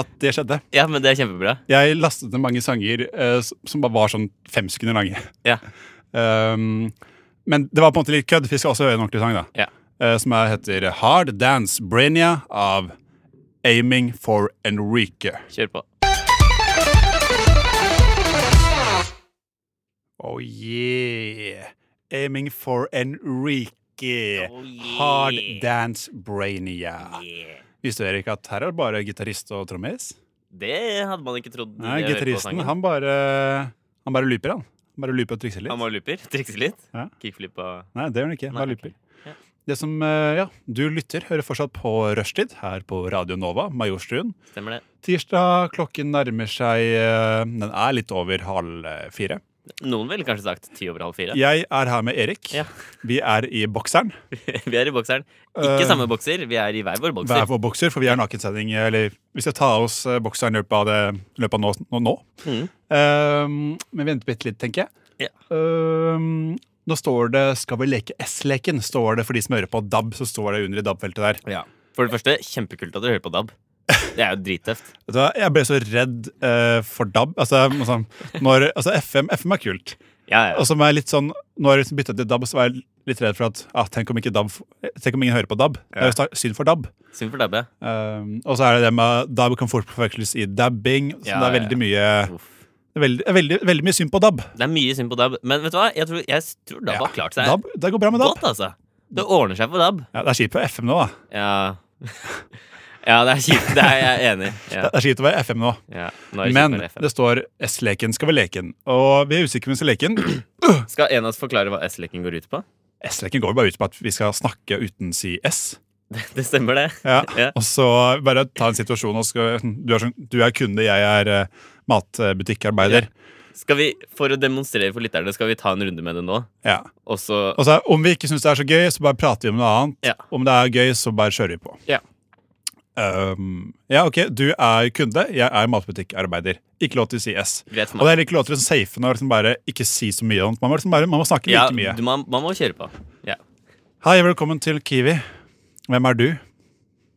S1: At det skjedde.
S2: ja, men det er kjempebra.
S1: Jeg lastet ned mange sanger eh, s- som bare var sånn fem sekunder lange.
S2: Ja,
S1: Um, men det var på en måte litt kødd. Vi skal også høre en ordentlig sang, da.
S2: ja.
S1: eh, som er, heter Hard Dance Brenia av Aiming for Enrique.
S2: Kjør på.
S1: Oh yeah. Aiming for Enrique.
S2: Oh, yeah.
S1: Hard Dance Brainia. Visste dere ikke at her er det bare gitarist og trommis?
S2: Det hadde man ikke trodd.
S1: Nei,
S2: jeg hørte på
S1: gitaristen
S2: sangen.
S1: han bare Han bare looper, han. Han bare looper og trikser litt.
S2: Han bare looper. Trikser litt.
S1: Ja.
S2: Kickflip og
S1: Nei, det gjør han ikke. Han
S2: Nei,
S1: bare
S2: ok.
S1: looper.
S2: Ja.
S1: Det som, eh, ja, Du lytter, hører fortsatt på Rushtid her på Radio Nova, Majorstuen.
S2: Stemmer det.
S1: Tirsdag klokken nærmer seg eh, Den er litt over halv eh, fire.
S2: Noen ville kanskje sagt ti over halv fire.
S1: Jeg er her med Erik.
S2: Ja.
S1: Vi er i bokseren.
S2: vi er i bokseren. Ikke
S1: Eh.
S2: samme bokser, vi er i hver vår
S1: hver
S2: bokser.
S1: vår bokser, for vi har nakensending. eh, Eller vi skal ta av oss eh, bokseren i løpet av, det, i løpet av nå. nå, nå.
S2: Mhm.
S1: Ehm, men vente bitte litt, tenker jeg.
S2: Ja.
S1: Ehm, nå står det 'Skal vi leke S-leken'? Står det for de som hører på DAB, så står det under i DAB-feltet der.
S2: Ja. For det første, kjempekult at du hører på DAB. Det er jo drittøft.
S1: Vet du hva, Jeg ble så redd eh, for DAB. Altså, jeg må sånn, når, altså FM, FM er kult.
S2: Ja, ja.
S1: Og så må jeg litt sånn, når jeg liksom bytta til DAB, så var jeg litt redd for at ah, tenk, om ikke DAB, tenk om ingen hører på DAB. Det er jo sta- synd for DAB.
S2: Synd for DAB, ja.
S1: Um, og så er det det med DAB kan fort forveksles i dabbing. Så
S2: Ja,
S1: det er
S2: ja,
S1: veldig mye
S2: Uff.
S1: veldig, veldig, veldig mye synd på DAB.
S2: Det er mye synd på DAB, men vet du hva? Jeg tror, jeg tror DAB har klart seg
S1: DAB, det går bra med DAB.
S2: godt, altså. Det ordner seg for DAB.
S1: Ja, det er kjipt å være FM nå, da.
S2: Ja. ja, det er kjipt. Det er jeg enig i. Ja.
S1: Det er kjipt å være FM nå.
S2: Ja. Nå er det
S1: Men
S2: kjipt med FM.
S1: det står 'S-leken skal vi leken'. Og vi er usikre på om vi skal leke den.
S2: Skal en av oss forklare hva S-leken går ut på?
S1: S-leken går jo bare ut på at vi skal snakke uten si S.
S2: Det stemmer, det.
S1: Ja.
S2: Ja.
S1: Og så bare ta en situasjon og skal, du, er sånn, du er kunde, jeg er eh, matbutikkarbeidere.
S2: Skal vi, For å demonstrere for lytterne, skal vi ta en runde med det nå?
S1: Ja.
S2: Og så
S1: Og så om vi ikke syns det er så gøy, så bare prater vi om noe annet.
S2: Ja.
S1: Om det er gøy, så bare kjører vi på.
S2: Ja.
S1: Um, ja, ok, du er kunde, jeg er matbutikkarbeider. Ikke lov til å si S.
S2: Greit for
S1: Og det
S2: meg.
S1: er ikke lov til å safe når liksom bare ikke si så mye om det. Man må, liksom bare, man må snakke
S2: Ja,
S1: like mye.
S2: du, man, man må kjøre på. Ja.
S1: Hei, velkommen til Kiwi. Hvem er du?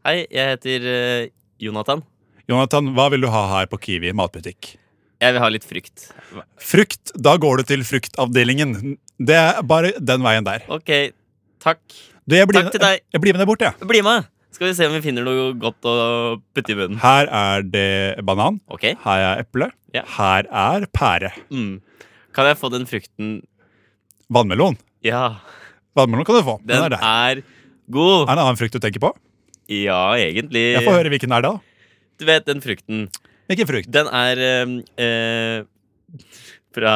S2: Hei, jeg heter eh, Jonathan.
S1: Jonathan, hva vil du ha her på Kiwi matbutikk?
S2: Jeg vil ha litt frukt.
S1: Frukt. Da går du til fruktavdelingen. Det er bare den veien der.
S2: Ok, takk.
S1: Du, jeg blir,
S2: Takk til deg.
S1: Jeg blir med deg bort, jeg.
S2: Bli med! Skal vi se om vi finner noe godt å putte i munnen.
S1: Her er det banan.
S2: Ok.
S1: Her er eple.
S2: Ja.
S1: Her er pære.
S2: Mm. Kan jeg få den frukten
S1: Vannmelon.
S2: Ja,
S1: Vannmelon kan du få. Den
S2: den
S1: er der.
S2: er god.
S1: Er det en annen frukt du tenker på?
S2: Ja, egentlig.
S1: Jeg får høre hvilken er det, da.
S2: Du vet den frukten.
S1: Hvilken frukt?
S2: Den er eh, eh, fra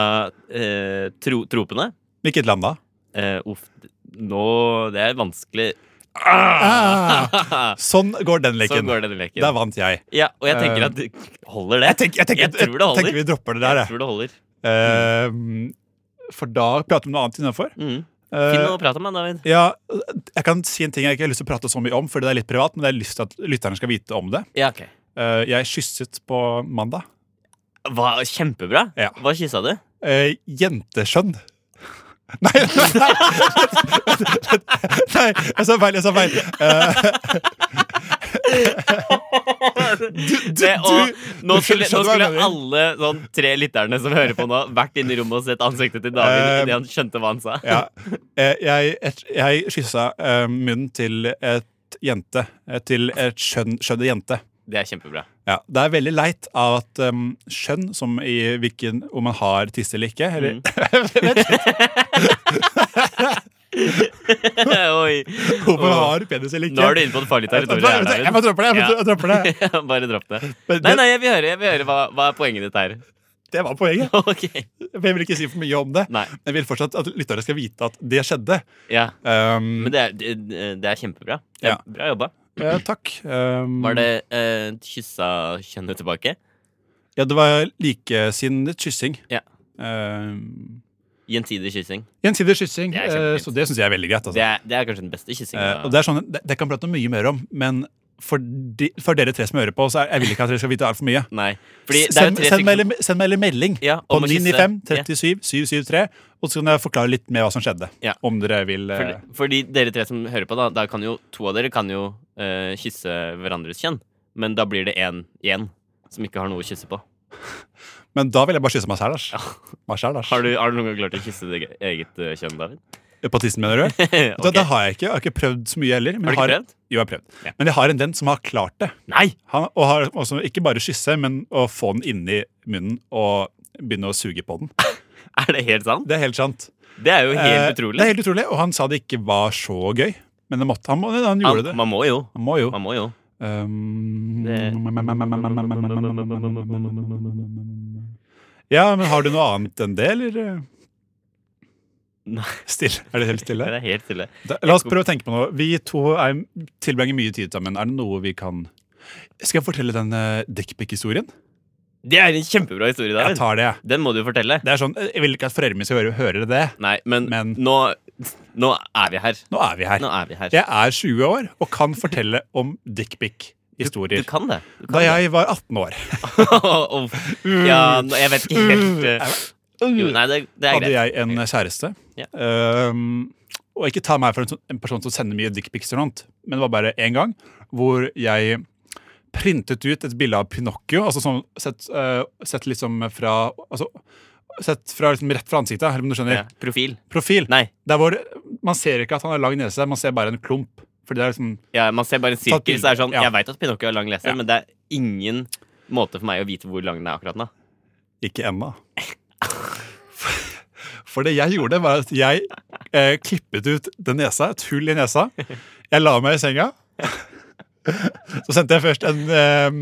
S2: eh, tro, tropene.
S1: Hvilket land, da?
S2: Eh, uff, nå Det er vanskelig.
S1: Ah! Sånn går den
S2: Så
S1: leken.
S2: går denne leken.
S1: Der vant jeg.
S2: Ja, og jeg tenker
S1: Eh,
S2: at det holder det.
S1: Jeg tenker, jeg tenker,
S2: Jeg tror det holder.
S1: tenker vi dropper det der,
S2: Jeg
S1: jeg.
S2: tror det holder.
S1: Eh, for da prater vi om noe annet innafor.
S2: Mm.
S1: Eh,
S2: Finn noe å prate om, da, David.
S1: ja, jeg kan si en ting jeg ikke har lyst til å prate så mye om, fordi det er litt privat, men jeg har lyst til at lytterne skal vite om det.
S2: Ja, ok
S1: Eh, jeg kysset på mandag.
S2: Hva, Kjempebra.
S1: Ja.
S2: Hva kyssa du?
S1: Eh, jenteskjønn. Nei, nei, nei, nei, jeg sa feil. Jeg sa feil. Eh,
S2: Det, og, nå
S1: du skjønner hva
S2: skulle, nå
S1: jeg
S2: skulle
S1: mener.
S2: alle sånn, tre lytterne som hører på nå, vært inne i rommet og sett ansiktet til David
S1: Eh,
S2: idet han skjønte hva han sa.
S1: ja. Eh, jeg et, jeg kyssa eh, munnen til et jente. eh, Til et skjønn, skjønne jente.
S2: Det er kjempebra.
S1: Ja, Det er veldig leit av at um, skjønn, som i hvilken om man har tiss eller ikke eller,
S2: Mm. Oi.
S1: Om man
S2: Åh.
S1: har penis eller ikke
S2: Nå er du inne på det farlige
S1: Jeg dropper det,
S2: territoriet
S1: jeg
S2: her,
S1: bare dropper det. jeg
S2: Ja.
S1: bare dropper det.
S2: David. Bare dropp det.
S1: Men
S2: Nei,
S1: det-
S2: nei, jeg vil høre, jeg vil høre hva, hva er poenget ditt her.
S1: Det var poenget.
S2: Ok.
S1: Jeg vil ikke si for mye om det.
S2: Nei.
S1: Jeg vil fortsatt at lyttere skal vite at det skjedde.
S2: Ja.
S1: Um,
S2: Men det er, det, det er kjempebra. Det
S1: Ja.
S2: er Bra jobba.
S1: ja, takk. Um,
S2: Var det eh, kyssa kjønnet tilbake?
S1: Ja, det var likesinnet kyssing.
S2: Ja.
S1: Um,
S2: Gjensidig kyssing.
S1: Gjensidig kyssing.
S2: Det er
S1: eh,
S2: kjempefint.
S1: så det syns jeg er veldig greit.
S2: Det
S1: Altså.
S2: er, det er kanskje den beste kyssingen.
S1: Eh, og det, er sånn, det, det kan prate mye mer om, men for, de, for dere tre som hører på, så er, jeg vil ikke at dere skal vite altfor mye.
S2: Nei. Fordi det er jo
S1: send,
S2: tre
S1: send, meg,
S2: stykker som-
S1: eller- send meg eller melding
S2: Ja,
S1: på
S2: om å kysse.
S1: 995 37 773, og så kan jeg forklare litt mer hva som skjedde.
S2: Ja.
S1: Om dere vil eh,
S2: Fordi, fordi dere tre som hører på, da, da kan jo to av dere kan jo eh, kysse hverandres kjønn. Men da blir det én igjen som ikke har noe å kysse på.
S1: Men da vil jeg bare kysse meg selv, Lars. Meg selv, Lars.
S2: Har du, har du noen gang klart å kysse ditt eget eh, kjønn, David?
S1: På tissen, mener du?
S2: Ok.
S1: Da, da har jeg ikke. Jeg har ikke prøvd så mye heller. men
S2: Har du
S1: jeg
S2: ikke prøvd?
S1: Jo, jeg har prøvd. Men jeg har en venn som har klart det.
S2: Nei!
S1: Han, og har også ikke bare kysse, men å få den inni munnen og begynne å suge på den.
S2: Er det helt sant?
S1: Det er helt sant.
S2: Det er jo helt
S1: Eh, Det
S2: utrolig.
S1: er helt utrolig, Og han sa det ikke var så gøy, men det måtte, han, må- han gjorde
S2: Man,
S1: det.
S2: man må jo.
S1: Han må jo.
S2: Man må jo.
S1: Um,
S2: Det-
S1: Ja, men har du noe annet enn det, eller?
S2: Nei.
S1: Stille. Er det helt
S2: Det
S1: stille?
S2: er helt stille.
S1: Da, la oss prøve å tenke på noe. Vi to er, tilbringer mye tid sammen. Er det noe vi kan Skal jeg fortelle den uh, dickpic-historien?
S2: Det er en kjempebra historie,
S1: Jeg
S2: David.
S1: tar det, jeg.
S2: Den må du jo fortelle.
S1: Det er sånn, Jeg vil ikke at foreldrene mine skal høre, høre det.
S2: Nei, men,
S1: Men-
S2: Nå, nå er vi her.
S1: Nå er vi her.
S2: Nå er vi her.
S1: Jeg er 20 år og kan fortelle om
S2: Du
S1: dickpic-historier.
S2: kan det. Du kan
S1: Da jeg var 18 år,
S2: Uff. ja, nå- jeg vet ikke helt eh, jo, Nei, det, det er
S1: Mm. hadde
S2: greit.
S1: jeg en kjæreste.
S2: Ja.
S1: Ehm, og ikke ta meg for en, sånn- en person som sender mye dickpics, eller noe annet, men det var bare én gang hvor jeg printet ut et bilde av Pinocchio. altså sånn, Sett, eh, sett liksom fra altså, Sett fra, liksom, rett fra ansiktet, eller om du skjønner.
S2: Ja. Profil.
S1: Profil.
S2: Nei,
S1: Der hvor man ser ikke at han har lang nese, man ser bare en klump. Fordi det er liksom
S2: ja, man ser bare en sirkel.
S1: bilde,
S2: Så er det sånn,
S1: ja.
S2: Jeg veit at Pinocchio har lang leser,
S1: Ja.
S2: men det er ingen måte for meg å vite hvor lang den er akkurat nå.
S1: Ikke ennå. For det jeg gjorde, var at jeg eh, klippet ut den nesa, et hull i nesa. Jeg la meg i senga. Så sendte jeg først en eh,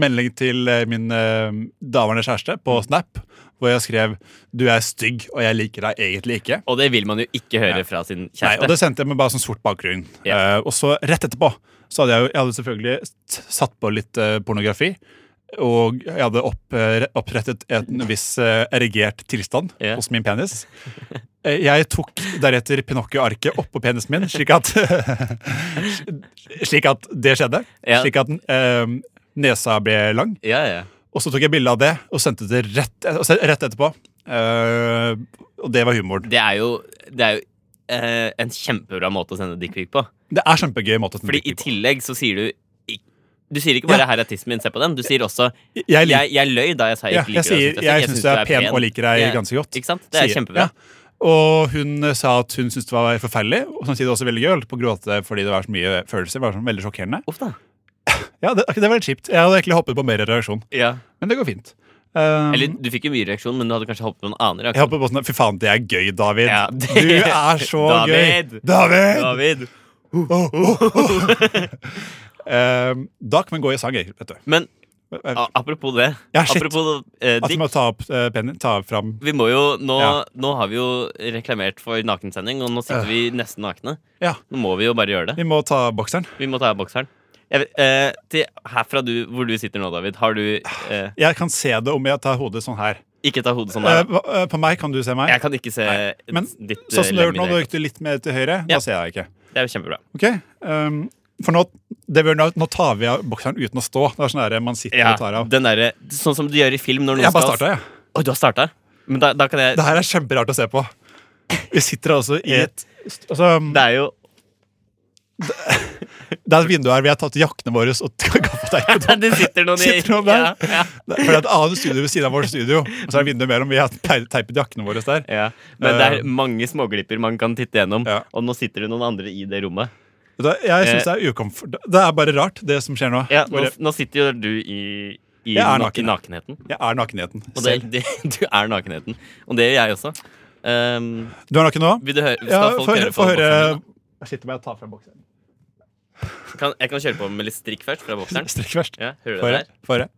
S1: melding til eh, min eh, daværende kjæreste på Snap, hvor jeg skrev 'Du er stygg, og jeg liker deg egentlig ikke'.
S2: Og det vil man jo ikke høre fra sin
S1: Nei, og
S2: kjæreste.
S1: det sendte jeg med bare sånn sort bakgrunn.
S2: Ja.
S1: Eh, og så rett etterpå så hadde jeg, jo- jeg hadde selvfølgelig t- satt på litt eh, pornografi. Og jeg hadde opp, eh, re- opprettet en viss eh, erigert tilstand
S2: Ja.
S1: hos min penis. Eh, Jeg tok deretter Pinocchio-arket oppå penisen min, slik at Slik at det skjedde.
S2: Ja.
S1: Slik at eh, nesa ble lang.
S2: Ja, ja.
S1: Og så tok jeg bilde av det og sendte det rett, et- rett etterpå. Eh, og det var humoren.
S2: Det er jo, det er jo eh, en kjempebra måte å sende dickpic på.
S1: Det er kjempegøy måte å sende
S2: Fordi
S1: dick
S2: i
S1: pic på.
S2: tillegg så sier du ik- Du sier ikke bare
S1: Ja.
S2: 'her er tissen min, se på den'. Du sier også
S1: Jeg liker
S2: jeg, jeg løy da jeg sa jeg
S1: ja,
S2: ikke
S1: jeg
S2: liker deg.
S1: sier,
S2: synes
S1: jeg syns du er pen og liker deg
S2: Ja.
S1: ganske godt.
S2: Ikke sant? Det er
S1: Sier-
S2: kjempebra.
S1: Ja. Og hun eh, sa at hun syntes det var forferdelig, og samtidig også veldig gøy. Holdt på å gråte fordi det var så mye følelser. Det var sånn veldig sjokkerende.
S2: Uff da.
S1: Ja, det, det var litt kjipt. Jeg hadde egentlig hoppet på mer reaksjon,
S2: Ja.
S1: men det går fint. Um,
S2: Eller du fikk jo mye reaksjon, men du hadde kanskje håpet på en annen
S1: jeg
S2: reaksjon.
S1: hoppet på sånn Fy faen, det er gøy, David.
S2: Ja, det-
S1: Du er så
S2: David!
S1: gøy. David!
S2: David.
S1: Oh, oh, oh. Um, da kan vi gå i sang, jeg, vet du.
S2: Men
S1: At
S2: a- apropos det.
S1: Ja, shit.
S2: apropos eh,
S1: vi
S2: dikt.
S1: må ta opp eh, pennen. Ta fram
S2: Vi må jo, nå,
S1: Ja.
S2: nå har vi jo reklamert for nakensending, og nå sitter
S1: Øh.
S2: vi nesten nakne.
S1: Ja,
S2: Nå må vi jo bare gjøre det.
S1: vi må ta bokseren.
S2: Vi må ta av bokseren. Jeg, vet- eh, til herfra du, hvor du sitter nå, David, har du eh,
S1: Jeg kan se det om jeg tar hodet sånn her.
S2: Ikke ta hodet sånn
S1: Eh,
S2: der.
S1: hva- eh, på meg kan du se meg.
S2: Jeg kan ikke se
S1: Nei, men
S2: ditt eh,
S1: Sånn som du har gjort nå,
S2: lemmene.
S1: da gikk du litt mer til høyre.
S2: Ja.
S1: Da ser jeg deg ikke.
S2: Det er jo kjempebra.
S1: Ok, ehm, For nå, det vi gjør nå, nå tar vi av bokseren uten å stå. Det er sånn der, man sitter
S2: Ja,
S1: og tar av.
S2: den derre- sånn som du gjør i film når noen
S1: Jeg bare
S2: skal
S1: starta, jeg.
S2: Oi, du har starta? Men da, da kan jeg
S1: Det her er kjemperart å se på. Vi sitter altså i et altså,
S2: Eh. Det er jo
S1: Det er et vindu her. Vi har tatt jaktene våre og kaffa deg.
S2: Det sitter noen i
S1: Sitter noen der?
S2: Ja,
S1: For det er et annet studio ved siden av vårt studio. Og så er det vindu mellom. Vi har tei- teipet jakkene våre der.
S2: ja, ja. Men det er mange småglipper man kan titte gjennom,
S1: Eh. Ja.
S2: og nå sitter det noen andre i det rommet.
S1: Vet du hva, Jeg synes det er ukomfort... Det er bare rart, det som skjer nå.
S2: Eh. Ja, nå,
S1: Bare-
S2: nå sitter jo du i, i,
S1: Jeg er
S2: na-
S1: naken.
S2: i nakenheten.
S1: Jeg er nakenheten
S2: Og det,
S1: selv.
S2: det, du er nakenheten. Og det gjør jeg også. Ehm,
S1: Du er naken nå?
S2: vil du høre? Skal
S1: Ja,
S2: folk
S1: få
S2: høre
S1: høre,
S2: på
S1: få høre.
S2: bokseren min nå?
S1: Jeg sitter med å ta fra bokseren.
S2: Kan, jeg kan kjøre på med litt strikk først, fra bokseren.
S1: Strikk først.
S2: Ja,
S1: Få
S2: hører du det
S1: høre.
S2: der?
S1: Få høre.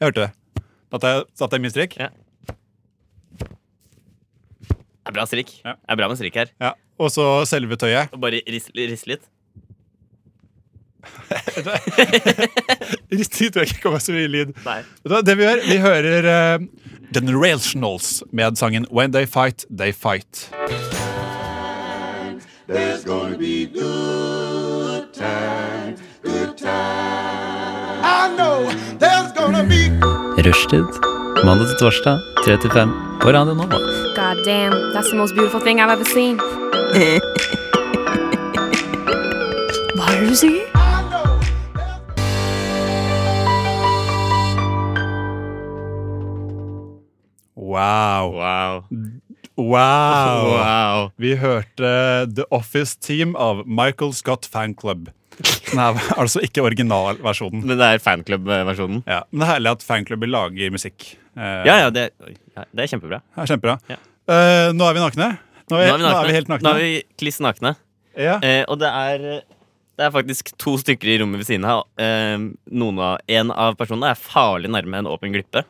S1: Jeg hørte det. Satt jeg, satt jeg min strikk?
S2: Ja. Det er bra strikk.
S1: Ja.
S2: Det er bra med strikk her.
S1: Ja. Og så selve tøyet.
S2: Og bare rist, rist litt.
S1: Riktig tror jeg ikke kommer så mye lyd.
S2: Nei.
S1: Vet du hva, Det vi gjør, vi hører eh, Generationals med sangen When They Fight, They Fight.
S3: I know there's gonna be
S6: Rushtid. Mandag til torsdag, 3 til 5 på Radio Nova.
S5: God damn, that's the most beautiful thing I've ever seen. Hva er det du sier?
S1: Wow.
S2: Wow.
S1: Wow.
S2: Wow.
S1: Vi hørte The Office Team av Michael Scott Fan Club. Den er altså ikke originalversjonen.
S2: Men det er fanklubb-versjonen.
S1: Ja, men det er herlig at fanklubber lager musikk. Eh,
S2: Ja, ja, det, oi, ja, det er kjempebra.
S1: det er Kjempebra.
S2: Ja.
S1: Eh, nå er vi nakne. Nå er,
S2: Nå er vi nakne.
S1: Nå er vi helt nakne.
S2: Nå er vi kliss nakne.
S1: ja.
S2: Eh, og det er, det er faktisk to stykker i rommet ved siden av. Eh, noen av, en av personene er farlig nærme en åpen glippe,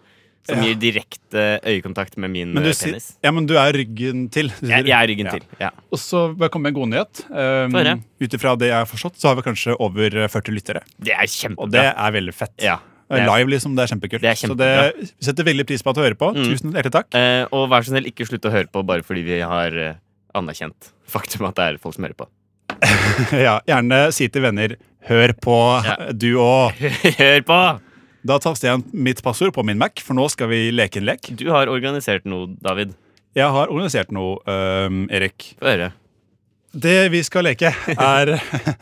S2: som
S1: Ja.
S2: gir direkte øyekontakt med min
S1: men, du,
S2: eh,
S1: si-
S2: penis.
S1: ja, men du er ryggen til. Du
S2: Jeg,
S1: sitter-
S2: jeg er ryggen
S1: Ja.
S2: til. Ja.
S1: Og så vil jeg komme med en god nyhet.
S2: Få høre.
S1: Um, Ut ifra det jeg har forstått, så har vi kanskje over 40 lyttere.
S2: Det er
S1: Og det
S2: kjempebra.
S1: er veldig fett.
S2: Ja, det er-
S1: Live, liksom. Det er kjempekult.
S2: Det er Mm.
S1: så det vi setter veldig pris på at du hører på. Tusen hjertelig takk.
S2: Eh, og vær så snill, ikke slutt å høre på bare fordi vi har eh, anerkjent faktum at det er folk som hører på.
S1: ja, gjerne si til venner Hør på,
S2: Ja.
S1: du òg.
S2: Hør på!
S1: Da taster jeg mitt passord på min Mac, for nå skal vi leke en lek.
S2: Du har organisert noe, David.
S1: Jeg har organisert noe, um, Erik.
S2: Få høre.
S1: Det vi skal leke, er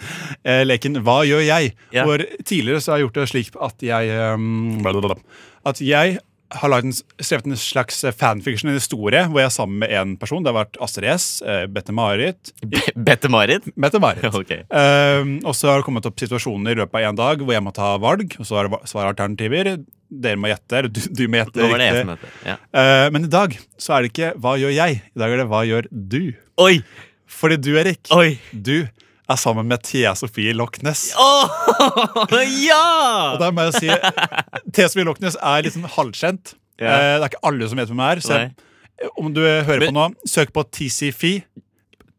S1: eh, leken Hva gjør jeg?
S2: Ja.
S1: Hvor tidligere så har jeg gjort det slik at jeg ehm, blablabla, At jeg har laget en, s- skrevet en slags eh, fanfiction, en historie, hvor jeg er sammen med en person. Det har vært Astrid S, eh, Bette-Marit
S2: Be- Bette-Marit?
S1: Bette-Marit.
S2: Ok.
S1: Ehm, og så har det kommet opp situasjoner i løpet av en dag hvor jeg må ta valg. Og så har det va- svaralternativer. Dere må gjette. eller Du, du må gjette.
S2: Nå var det jeg
S1: riktig.
S2: som het det. Ja.
S1: Eh, men i dag så er det ikke 'hva gjør jeg'? I dag er det 'hva gjør du'?
S2: Oi!
S1: Fordi du, Erik,
S2: Oi!
S1: du er sammen med Thea Sofie Loch Ness.
S2: Åh,
S1: Og
S2: ja!
S1: da må jeg si Thea Sofie Loch Ness er litt sånn halvkjent.
S2: Ja.
S1: Eh, Det er ikke alle som vet hvem hun er. Så jeg, om du hører
S2: Men-
S1: på nå, søk på TCFI.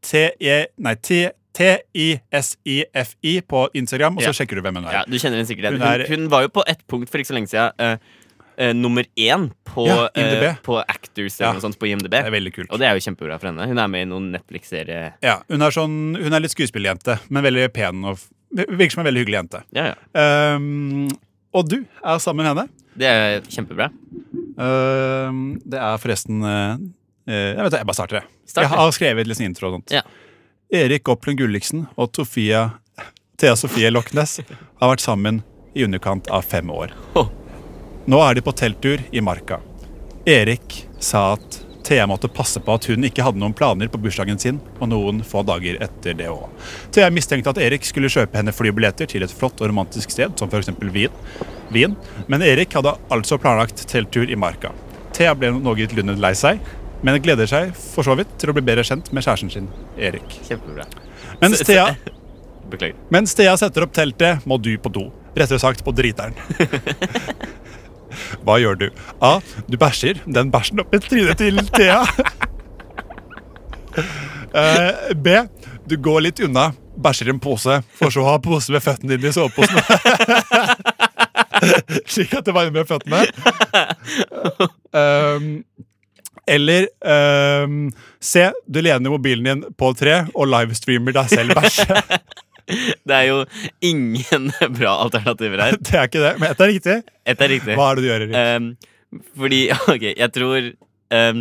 S1: T-E E, Nei, T- T-I-S-I-F-I på Instagram, og så
S2: Ja.
S1: sjekker du hvem hun er.
S2: Ja, Du kjenner henne sikkert igjen.
S1: Hun
S2: Hun,
S1: er-
S2: hun var jo på ett punkt for ikke så lenge siden eh, eh, nummer én på,
S1: Ja, IMDb.
S2: eh, på Actors eller
S1: Ja.
S2: noe sånt på IMDb.
S1: Det er veldig kult.
S2: Og det er jo kjempebra for henne. Hun er med i noen Netflix-serie.
S1: Ja, hun, er sånn, hun er litt skuespillerjente, men veldig pen og f- virker som en veldig hyggelig jente.
S2: Ja, ja.
S1: Ehm, og du er sammen med henne.
S2: Det er kjempebra.
S1: Ehm, det er forresten eh, eh, Jeg vet det, jeg bare starter, jeg.
S2: Start,
S1: jeg har skrevet litt sånn intro og sånt.
S2: Ja.
S1: Erik Opplund Gulliksen og Tofia Thea Sofie Lochnes har vært sammen i underkant av fem år.
S2: Åh.
S1: Nå er de på telttur i Marka. Erik sa at Thea måtte passe på at hun ikke hadde noen planer på bursdagen sin, og noen få dager etter det òg. Thea mistenkte at Erik skulle kjøpe henne flybilletter til et flott og romantisk sted, som f.eks. Wien. Wien. Men Erik hadde altså planlagt telttur i Marka. Thea ble noe lundet lei seg, men gleder seg for så vidt til å bli bedre kjent med kjæresten sin, Erik.
S2: Kjempebra.
S1: Mens
S2: Så- så-
S1: Thea
S2: Beklager.
S1: mens Thea setter opp teltet, må du på do. Rettere sagt på driteren. Hva gjør du? A. Du bæsjer den bæsjen opp i trynet til Thea. Eh, B. Du går litt unna, bæsjer i en pose, for så å ha pose med føttene dine i soveposen. Slik at det varmer føttene. Um, eller um, C. Du lener mobilen din på et tre og livestreamer deg selv bæsje.
S2: Det er jo ingen bra alternativer her.
S1: Det er ikke det, men dette er riktig.
S2: Ett er riktig.
S1: Hva er det du gjør, Erik?
S2: Ehm, fordi, ok, jeg tror ehm,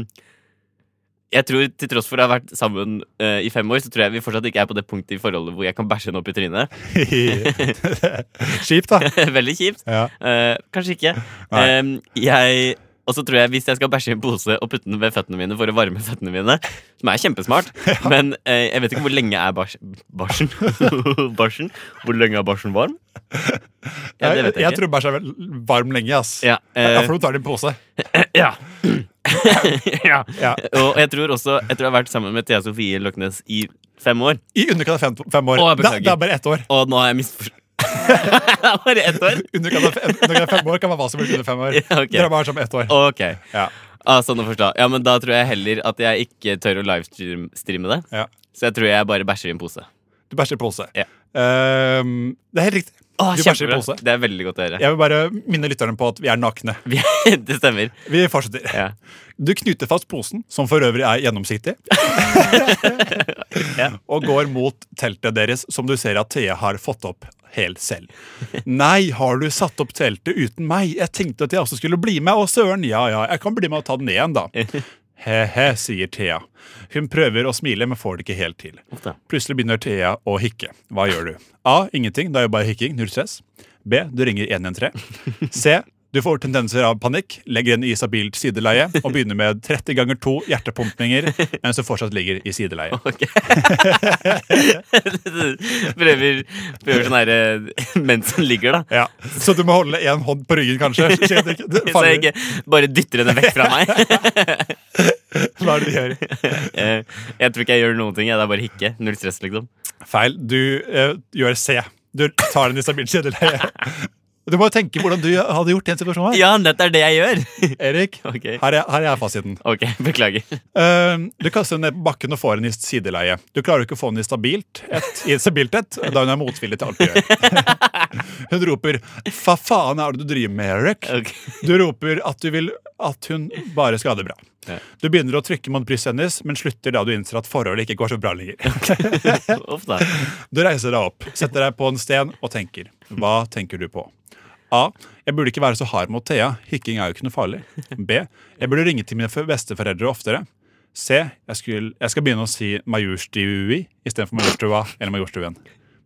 S2: Jeg tror til tross for å ha vært sammen eh, i fem år, så tror jeg vi fortsatt ikke er på det punktet i forholdet hvor jeg kan bæsje henne opp i trynet.
S1: Kjipt, da.
S2: Veldig kjipt.
S1: Ja.
S2: Eh, kanskje ikke.
S1: Nei.
S2: Ehm, jeg og så tror jeg Hvis jeg skal bæsje i en pose og putte den ved føttene mine for å varme føttene mine, som er kjempesmart, men eh, jeg vet ikke hvor lenge er bars barsen. barsen? Hvor lenge er barsen varm? Ja, det
S1: jeg,
S2: vet jeg, ikke.
S1: tror bæsj er vel varm lenge, ass.
S2: Ja, eh,
S1: for du tar det i en pose.
S2: Ja. ja.
S1: Ja.
S2: Og jeg tror også Etter å ha vært sammen med Thea Sofie Løknes i fem år
S1: I underkant av fem, fem år.
S2: Å,
S1: det,
S2: jeg beklager.
S1: det er bare ett år.
S2: Og nå har jeg misforstått Bare ett år?
S1: Underkant av, fem, underkant av fem år kan man hva som helst under fem år.
S2: Ja, ok.
S1: Dere er bare sammen ett år.
S2: Ok.
S1: Ja.
S2: Ah, sånn å forstå. Ja, men da tror jeg heller at jeg ikke tør å livestreame det.
S1: Ja.
S2: Så jeg tror jeg bare bæsjer i en pose.
S1: Du bæsjer i pose.
S2: Ja.
S1: Ehm, det er helt riktig.
S2: Å,
S1: du bæsjer i
S2: kjempebra.
S1: pose.
S2: Det er veldig godt å høre.
S1: Jeg vil bare minne lytterne på at vi er nakne.
S2: Vi, det stemmer.
S1: Vi fortsetter.
S2: Ja.
S1: Du knyter fast posen, som for øvrig er gjennomsiktig, og går mot teltet deres, som du ser at Thea har fått opp helt selv. Nei, har du satt opp teltet uten meg? Jeg tenkte at jeg også skulle bli med, og søren, ja ja, jeg kan bli med og ta den ned igjen, da. He-he, sier Thea. Hun prøver å smile, men får det ikke helt til.
S2: Uff da.
S1: Plutselig begynner Thea å hikke. Hva gjør du? A. Ingenting. Det er jo bare hikking. Null stress. B. Du ringer 113. C. Du får tendenser av panikk, legger henne i stabilt sideleie og begynner med 30 ganger 2 hjertepumpninger mens du fortsatt ligger i sideleie.
S2: Ok. prøver, prøver sånn herre mens den ligger, da.
S1: Ja, Så du må holde én hånd på ryggen, kanskje? Så jeg ikke- det
S2: Så jeg
S1: faller-
S2: ikke bare dytter henne vekk fra meg.
S1: Hva er det du gjør?
S2: Eh, jeg tror ikke jeg gjør noen ting. Jeg, det er bare hikke. Null stress, liksom.
S1: Feil. Du eh, gjør C. Du tar den i stabilt sideleie. Du må jo tenke hvordan du hadde gjort i en situasjon her.
S2: Ja, dette er det jeg gjør!
S1: Erik,
S2: Ok.
S1: her er, her er fasiten.
S2: ok, beklager.
S1: Ehm, Du kaster henne ned på bakken og får henne i sideleie. Du klarer jo ikke å få henne i stabilt et, i et stabilt et, da hun er motvillig til alt du gjør. Hun roper 'hva faen er det du driver med, Eric?'
S2: Ok.
S1: Du roper at du vil at hun bare skal ha det bra.
S2: Ja.
S1: Du begynner å trykke mot brystet hennes, men slutter da du innser at forholdet ikke går så bra lenger.
S2: Uff da.
S1: Du reiser deg opp, setter deg på en sten og tenker. Hva tenker du på? A. Jeg burde ikke være så hard mot Thea. Hikking er jo ikke noe farlig. B. Jeg burde ringe til mine f- besteforeldre oftere. C. Jeg, skulle, jeg skal begynne å si majorstui istedenfor majorstua eller majorstuen.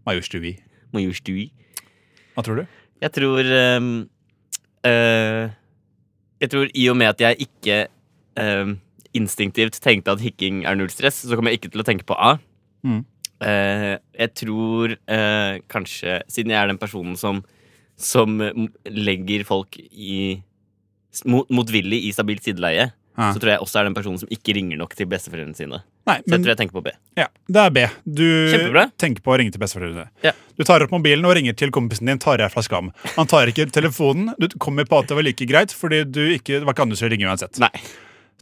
S1: Majorstui.
S2: Må jo stui.
S1: Hva tror du?
S2: Jeg tror ehm, eh, Jeg tror i og med at jeg ikke ehm, instinktivt tenkte at hikking er null stress, så kommer jeg ikke til å tenke på A.
S1: Mm.
S2: Eh, jeg tror eh, kanskje Siden jeg er den personen som, som eh, m- legger folk i s- mot- motvillig i stabilt sideleie,
S1: Ja.
S2: så tror jeg også er den personen som ikke ringer nok til besteforeldrene sine.
S1: Nei,
S2: Så jeg
S1: men
S2: tror jeg tenker på B.
S1: ja, det er B. Du
S2: Kjempebra.
S1: tenker på å ringe til besteforeldrene.
S2: Ja.
S1: Du tar opp mobilen og ringer til kompisen din Tarjei fra Skam. Han tar ikke telefonen. Du kommer på at det var like greit, fordi du ikke, det var ikke andre som ringe uansett.
S2: Nei.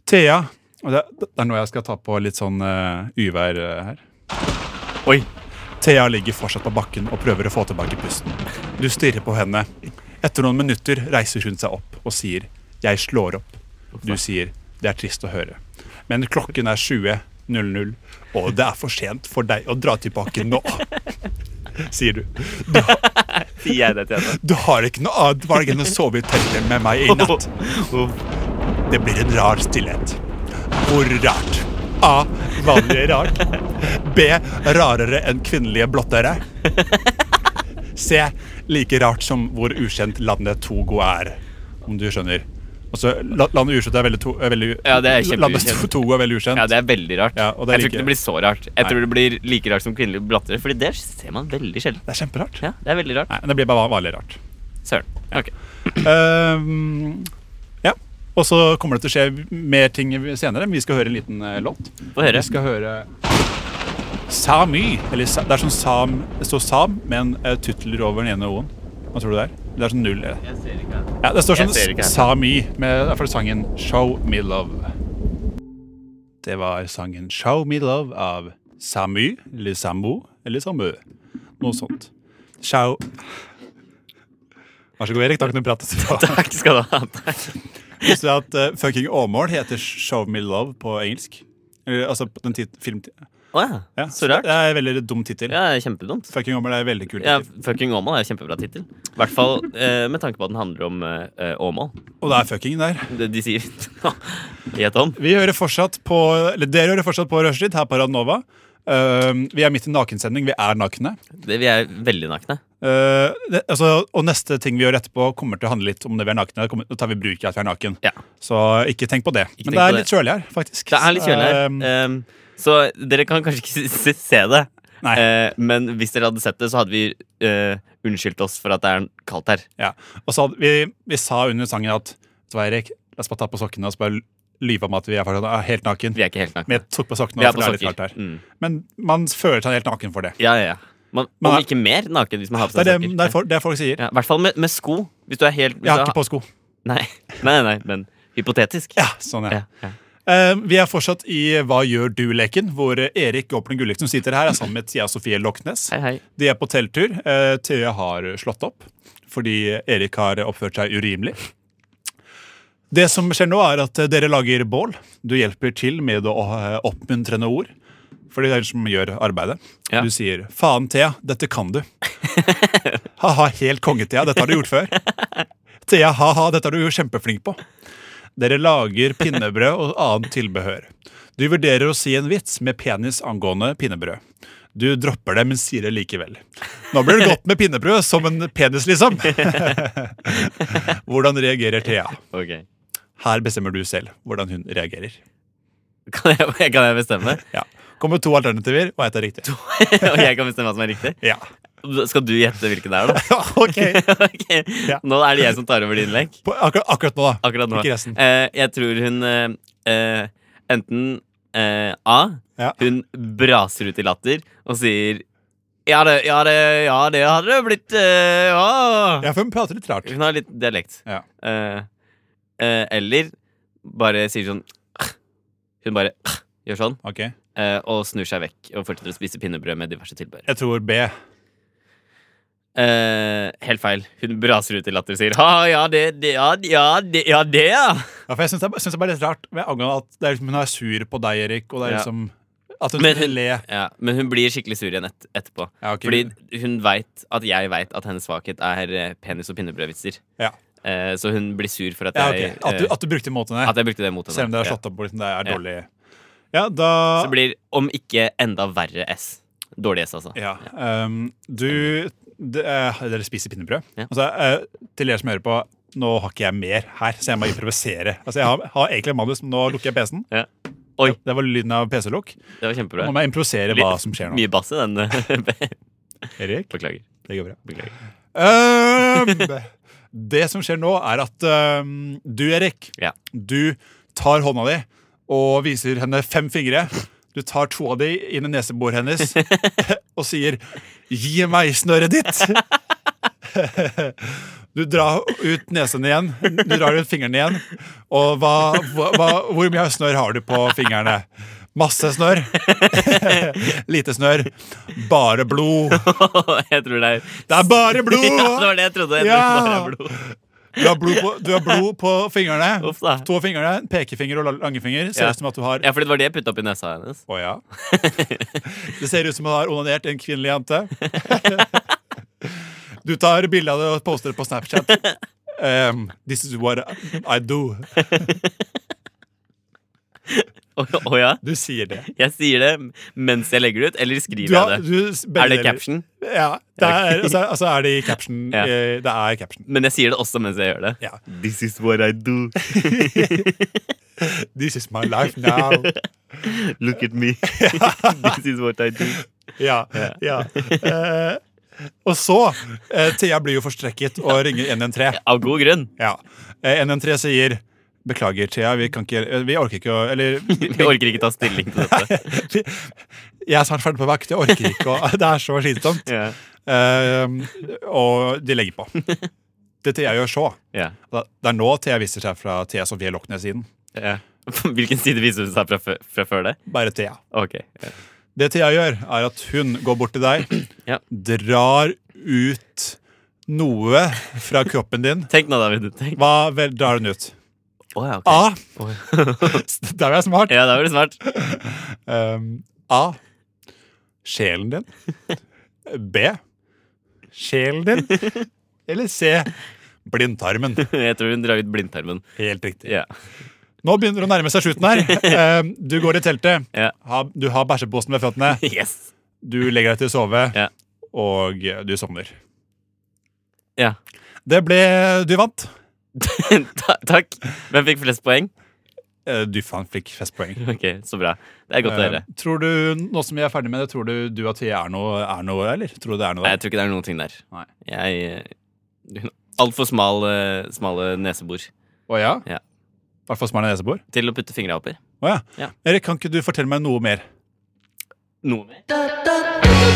S1: Thea og det, det er nå jeg skal ta på litt sånn eh, uvær eh, her.
S2: Oi.
S1: Thea ligger fortsatt på bakken og prøver å få tilbake pusten. Du stirrer på henne. Etter noen minutter reiser hun seg opp og sier 'Jeg slår opp'. Du sier 'Det er trist å høre'. Men klokken er 20.00, og det er for sent for deg å dra tilbake nå. Sier du.
S2: Sier jeg det til henne?
S1: Du har ikke noe annet valg enn å sove i teltet med meg i natt. Det blir en rar stillhet. Hvor rart? A. Vanlig rart. B. Rarere enn kvinnelige blottere. se like rart som hvor ukjent landet Togo er. Om du skjønner. Altså, la- landet ukjent er veldig, to, er veldig
S2: Ja, det er kjempeukjent.
S1: Landet To- Togo er veldig ukjent.
S2: Ja, det er veldig rart.
S1: Ja, og det er
S2: jeg tror ikke
S1: like-
S2: det blir så rart. Jeg
S1: Nei.
S2: tror det blir like rart som kvinnelige blattere, Fordi det ser man veldig sjelden.
S1: Det er kjemperart.
S2: Ja, det er veldig rart.
S1: Nei, men det blir bare vanlig rart.
S2: Søren. Ok.
S1: Ehm, ja. Og så kommer det til å skje mer ting senere. Men vi skal høre en liten eh, låt.
S2: Få høre.
S1: Vi skal høre Samy. Eller sa, det er sånn sam, det står sam, men uh, tutler over den ene o-en. Hva tror du det er? Det er sånn null. eh.
S2: Jeg ser ikke.
S1: Ja, det står
S2: Jeg
S1: sånn
S2: ser ikke.
S1: Samy, med det er fra sangen Show Me Love. Det var sangen Show Me Love av Samy, eller Sambo, eller Samø. Noe sånt. Show Vær så god, Erik. Takk for at du pratet.
S2: Takk skal du ha. Takk.
S1: Visste du at eh, fucking Åmål heter Show Me Love på engelsk? Eller, altså på den tit film...
S2: Å ja.
S1: Ja,
S2: Så rart.
S1: Det er en veldig dum tittel.
S2: Ja, kjempedumt.
S1: Fucking Åmål er en veldig kul
S2: Ja,
S1: tittel.
S2: Fucking Åmål er en kjempebra tittel. I hvert fall eh, med tanke på at den handler om eh, eh, Åmål.
S1: Og det er fucking der.
S2: Det de sier Gjett om.
S1: Vi hører fortsatt på, eller Dere hører fortsatt på Rushtid her på Radnova. Um, vi er midt i nakensending. Vi er nakne.
S2: Det, vi er veldig nakne.
S1: Uh, det, altså, og neste ting vi gjør etterpå, kommer til å handle litt om det vi er nakne. Da kommer- Da tar vi bruk i at vi er naken.
S2: Ja.
S1: Så ikke tenk på det. Men
S2: Ikke tenk
S1: det
S2: på
S1: er
S2: det.
S1: litt kjølig her, faktisk.
S2: Det er litt kjølig her.
S1: Um,
S2: Ehm, så dere kan kanskje ikke se- se det.
S1: Nei.
S2: Eh, men hvis dere hadde sett det, så hadde vi eh, unnskyldt oss for at det er kaldt her.
S1: Ja, og så hadde vi, vi sa under sangen at Vet du hva, Erik, la oss bare ta på sokkene og så bare lyve om at vi er fortsatt ah, helt naken.
S2: Vi er ikke helt nakne.
S1: Vi tok på sokkene,
S2: Vi er
S1: for
S2: på
S1: det er litt kaldt
S2: sokker.
S1: her.
S2: Mm.
S1: Men man føler seg helt naken for det.
S2: Ja, ja, ja. Man,
S1: Man
S2: om
S1: er-
S2: ikke mer naken hvis man har på
S1: Det
S2: seg
S1: er det,
S2: sokker.
S1: det, er for, det er folk sier.
S2: Ja, I hvert fall med, med sko. Hvis du er helt hvis
S1: Jeg har
S2: du
S1: ikke på sko.
S2: Nei, nei, nei, men hypotetisk.
S1: Ja, sånn ja.
S2: Ja, ja.
S1: Eh, vi er fortsatt i Hva gjør du-leken, hvor eh, Erik Goplen Gulliksen sitter her er sammen med Thea Sofie Loknes.
S2: Hei, hei.
S1: De er på telttur. Eh, Thea har slått opp fordi Erik har oppført seg urimelig. Det som skjer nå, er at eh, dere lager bål. Du hjelper til med å eh, oppmuntrende ord. For det er det som gjør arbeidet.
S2: Ja.
S1: Du sier 'faen, Thea, dette kan du'. Ha-ha, helt konge-Thea, dette har du gjort før. Thea, ha-ha, dette er du jo kjempeflink på. Dere lager pinnebrød og annet tilbehør. Du vurderer å si en vits med penis angående pinnebrød. Du dropper det, men sier det likevel. Nå blir det godt med pinnebrød, som en penis, liksom. Hvordan reagerer Thea?
S2: Ok.
S1: Her bestemmer du selv hvordan hun reagerer.
S2: Kan jeg, kan jeg bestemme?
S1: Ja. Kommer to alternativer, og ett er riktig.
S2: Og jeg kan bestemme hva som er riktig?
S1: Ja.
S2: Skal du gjette hvilken det er, da?
S1: ok.
S2: Ok.
S1: Ja.
S2: Nå er det jeg som tar over din lek.
S1: På, akkurat, akkurat nå, da.
S2: Akkurat nå.
S1: Ikke resten.
S2: Eh, jeg tror hun eh, eh, enten eh, A.
S1: Ja.
S2: Hun braser ut i latter og sier Ja, det, ja, det, ja, det hadde det blitt eh, ja.
S1: Ja, for hun prater litt rart.
S2: Hun har litt dialekt.
S1: Ja.
S2: Eh, eh, eller bare sier sånn «Ah». Hun bare «Ah», gjør sånn
S1: Ok.
S2: eh, og snur seg vekk og fortsetter å spise pinnebrød med diverse tilbehør.
S1: Jeg tror B.
S2: Eh, helt feil. Hun braser ut i latter og sier ha, ja, det, det, ja, det- ja, det, ja, det, ja.
S1: Ja, for jeg syns det, er- synes det er bare litt rart med angående at det er, liksom, hun er sur på deg, Erik, og det er
S2: Ja.
S1: liksom At hun
S2: Men
S1: skulle
S2: hun-
S1: le.
S2: ja. Men hun blir skikkelig sur igjen et, etterpå.
S1: Ja, ok.
S2: Fordi hun veit at jeg veit at hennes svakhet er eh, penis- og pinnebrødvitser.
S1: Ja.
S2: Eh, så hun blir sur for at
S1: Ja,
S2: jeg,
S1: ok. at, du,
S2: eh,
S1: at du brukte imot henne.
S2: at jeg brukte det mot henne.
S1: Selv om dere har
S2: Ja.
S1: slått opp og liksom, det er
S2: Ja.
S1: dårlig Ja, da
S2: Så blir om ikke enda verre S. Dårlig S, altså.
S1: ja, ehm, Du det, eh, Dere spiser pinnebrød.
S2: Ja.
S1: Altså, eh, til dere som hører på, nå har ikke jeg mer her, så jeg må improvisere. Altså, Jeg har, har egentlig en manus, men nå lukker jeg PC-en.
S2: Ja. Oi.
S1: Det var lyden av PC-lukk.
S2: Det var
S1: Nå
S2: kjempebra.
S1: må jeg improvisere hva som skjer nå.
S2: Mye bass i den. eh,
S1: Erik,
S2: Beklager.
S1: det går bra.
S2: Beklager.
S1: Ehm, det som skjer nå, er at ehm, du, Erik,
S2: Ja.
S1: du tar hånda di og viser henne fem fingre. Du tar to av de inn i neseboret hennes og sier 'gi meg snøret ditt'. Du drar ut nesen igjen, du drar ut fingrene igjen. Og hva, hva, hva- hvor mye snørr har du på fingrene? Masse snørr. Lite snørr. Bare blod.
S2: jeg tror det er
S1: Det er bare blod!
S2: Ja, det var det jeg trodde. Jeg
S1: Ja.
S2: trodde bare blod.
S1: Du har blod på, du har blod på fingrene.
S2: Uff da.
S1: To av fingrene, pekefinger og la- langfinger. Ser
S2: Ja.
S1: ut som at du har
S2: Ja, for det var det jeg putta opp i nesa hennes.
S1: Å ja. Det ser ut som du har onanert en kvinnelig jente. Du tar bilde av det og poster det på Snapchat. Um, this is what I do.
S2: Å å ja,
S1: Du sier det.
S2: jeg sier det mens jeg legger det ut, eller
S1: Du
S2: skriver
S1: har,
S2: jeg det?
S1: du s-
S2: Er det
S1: benevner-
S2: caption?
S1: Ja, det er, altså, altså er det i caption.
S2: Ja.
S1: eh, Det er i caption.
S2: Men jeg sier det også mens jeg gjør det.
S1: Ja.
S2: This is what I do.
S1: This is my life now.
S2: Look at me. This is what I do.
S1: Ja, ja. Eh, og så eh, Thea blir jo forstrekket og ringer 113.
S2: Av god grunn.
S1: Ja. Eh, 113 sier Beklager, Thea, vi kan ikke eh, Vi orker ikke å Eller vi,
S2: Vi orker ikke ta stilling til dette.
S1: vi, Jeg er snart ferdig på vakt, jeg orker ikke å Det er så slitsomt.
S2: Ja.
S1: Eh, og de legger på. Det Thea gjør så.
S2: Ja.
S1: Da- Det er nå Thea viser seg fra Thea Sofie Lochnes-siden.
S2: Ja. Hvilken side viser det seg fra, fø- fra før det?
S1: Bare Thea.
S2: Ok. Ja.
S1: Det Thea gjør, er at hun går bort til deg,
S2: Ja.
S1: drar ut noe fra kroppen din.
S2: Tenk nå, David. Tenk.
S1: Hva vel, drar hun ut?
S2: Å, ja, ok.
S1: A.
S2: Oi.
S1: Der var jeg smart.
S2: ja, da var det smart.
S1: Um, A. Sjelen din. B. Sjelen din. Eller C. Blindtarmen.
S2: Jeg tror hun drar ut blindtarmen.
S1: Helt riktig.
S2: Ja.
S1: Nå begynner det å nærme seg slutten her. Um, du går i teltet.
S2: Ja.
S1: Ha- Du har bæsjeposen ved føttene.
S2: Yes.
S1: Du legger deg til å sove,
S2: Ja.
S1: og du sovner.
S2: Ja.
S1: Det ble Du vant.
S2: Ta takk. Hvem fikk flest poeng?
S1: Eh, Du faen fikk festpoeng.
S2: Ok, Så bra. Det er godt å
S1: Eh,
S2: høre.
S1: Tror du, nå som vi er ferdig med det, tror du du at vi er noe, er noe eller? Tror du det er noe
S2: Nei,
S1: der?
S2: jeg tror ikke det er noen ting der.
S1: Nei.
S2: Jeg eh, Altfor smal, eh, smale nesebor
S1: Å ja?
S2: Ja.
S1: Hvert fall smarte nesebor?
S2: til å putte fingra oppi.
S1: Å ja.
S2: Ja.
S1: Erik, kan ikke du fortelle meg noe mer?
S2: Noe mer?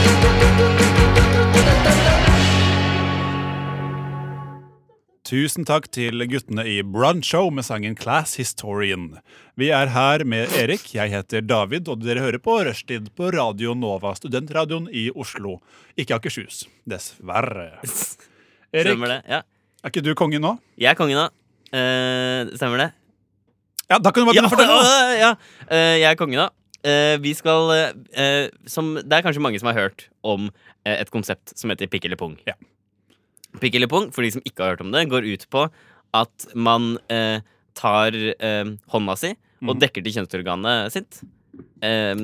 S1: Tusen takk til guttene i Brunch Show med sangen Class Historian. Vi er her med Erik, jeg heter David, og dere hører på Rushtid på Radio Nova, studentradioen i Oslo. Ikke Akershus, dessverre. Erik,
S2: Stemmer det? Ja.
S1: er ikke du kongen nå?
S2: Jeg er kongen nå. Eh, stemmer det?
S1: Ja, da kan du bare
S2: Ja,
S1: begynne å fortelle! nå.
S2: ja, ja. Eh, jeg er kongen nå. Eh, vi skal eh, eh, som, Det er kanskje mange som har hørt om eh, et konsept som heter pikk eller pung.
S1: Ja.
S2: Pikk eller pung, for de som ikke har hørt om det, går ut på at man eh, tar eh, hånda si og
S1: Mm.
S2: dekker til kjønnsorganet sitt. Eh,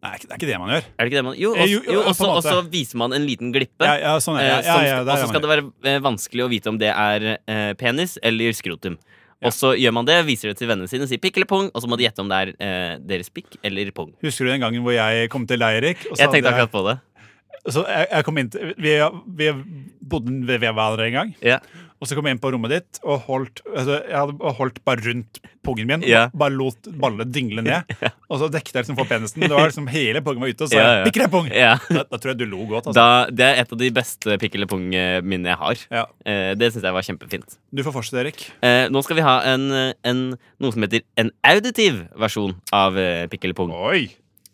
S1: Nei, det er ikke det man gjør.
S2: er det ikke det man Jo,
S1: Eh,
S2: og,
S1: jo,
S2: jo,
S1: jo, på en
S2: også,
S1: måte.
S2: også viser man en liten glippe.
S1: Ja, ja, sånn er det.
S2: Eh,
S1: Ja, ja,
S2: som-
S1: ja, der
S2: og så
S1: er
S2: skal
S1: man
S2: det være eh, vanskelig å vite om det er eh, penis eller skrotum. Og så gjør man det, viser det til vennene sine, sier pikk eller pung, og så må de gjette om det er eh, deres pikk eller pung.
S1: Husker du den gangen hvor jeg kom til deg, Erik? og så
S2: Jeg tenkte
S1: hadde
S2: akkurat på det.
S1: jeg- Så jeg, jeg kom inn til, vi, vi bodde ved ved hverandre en gang.
S2: Ja.
S1: Og så kom jeg inn på rommet ditt og holdt, altså, jeg hadde og holdt bare rundt pungen min.
S2: Ja.
S1: Bare lot ballene dingle ned. Og så dekket jeg liksom for penisen. Det var liksom Hele pungen var ute, og så sa
S2: Ja,
S1: jeg
S2: ja.
S1: 'pikk deg, pung'!
S2: Ja.
S1: Da, da tror jeg du lo godt. Altså.
S2: Da, det er et av de beste pikk eller pung-minnene jeg har.
S1: Ja.
S2: Eh, det syns jeg var kjempefint.
S1: Du får fortsette, Erik.
S2: Eh, nå skal vi ha en, en, noe som heter en auditiv versjon av eh, pikk eller pung.
S1: Oi!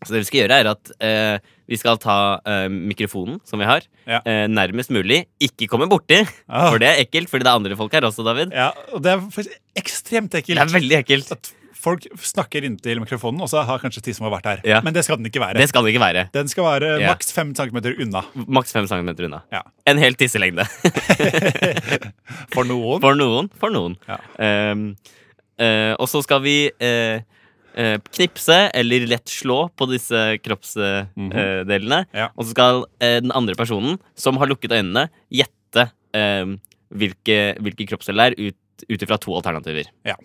S2: Så det vi skal gjøre er at eh, vi skal ta eh, mikrofonen som vi har,
S1: Ja.
S2: eh, nærmest mulig. Ikke komme borti,
S1: Ah.
S2: for det er ekkelt, fordi det er andre folk her også, David.
S1: Ja, og det er faktisk ekstremt
S2: Det er
S1: ekkelt.
S2: veldig ekkelt.
S1: At folk snakker inntil mikrofonen, og så har kanskje tissen vår vært her.
S2: Ja.
S1: Men det skal den ikke være.
S2: Det skal det ikke være.
S1: Den skal være
S2: Ja.
S1: maks fem centimeter unna.
S2: Maks fem centimeter unna.
S1: Ja.
S2: En hel tisselengde.
S1: For noen.
S2: For noen. For noen.
S1: Ja.
S2: Ehm, eh, og så skal vi eh, eh, knipse eller lett slå på disse kroppsdelene.
S1: Mhm. Ja.
S2: Og så skal eh, den andre personen, som har lukket øynene, gjette ehm, hvilke, hvilke kroppsdeler det er, ut, ut ifra to alternativer.
S1: Ja.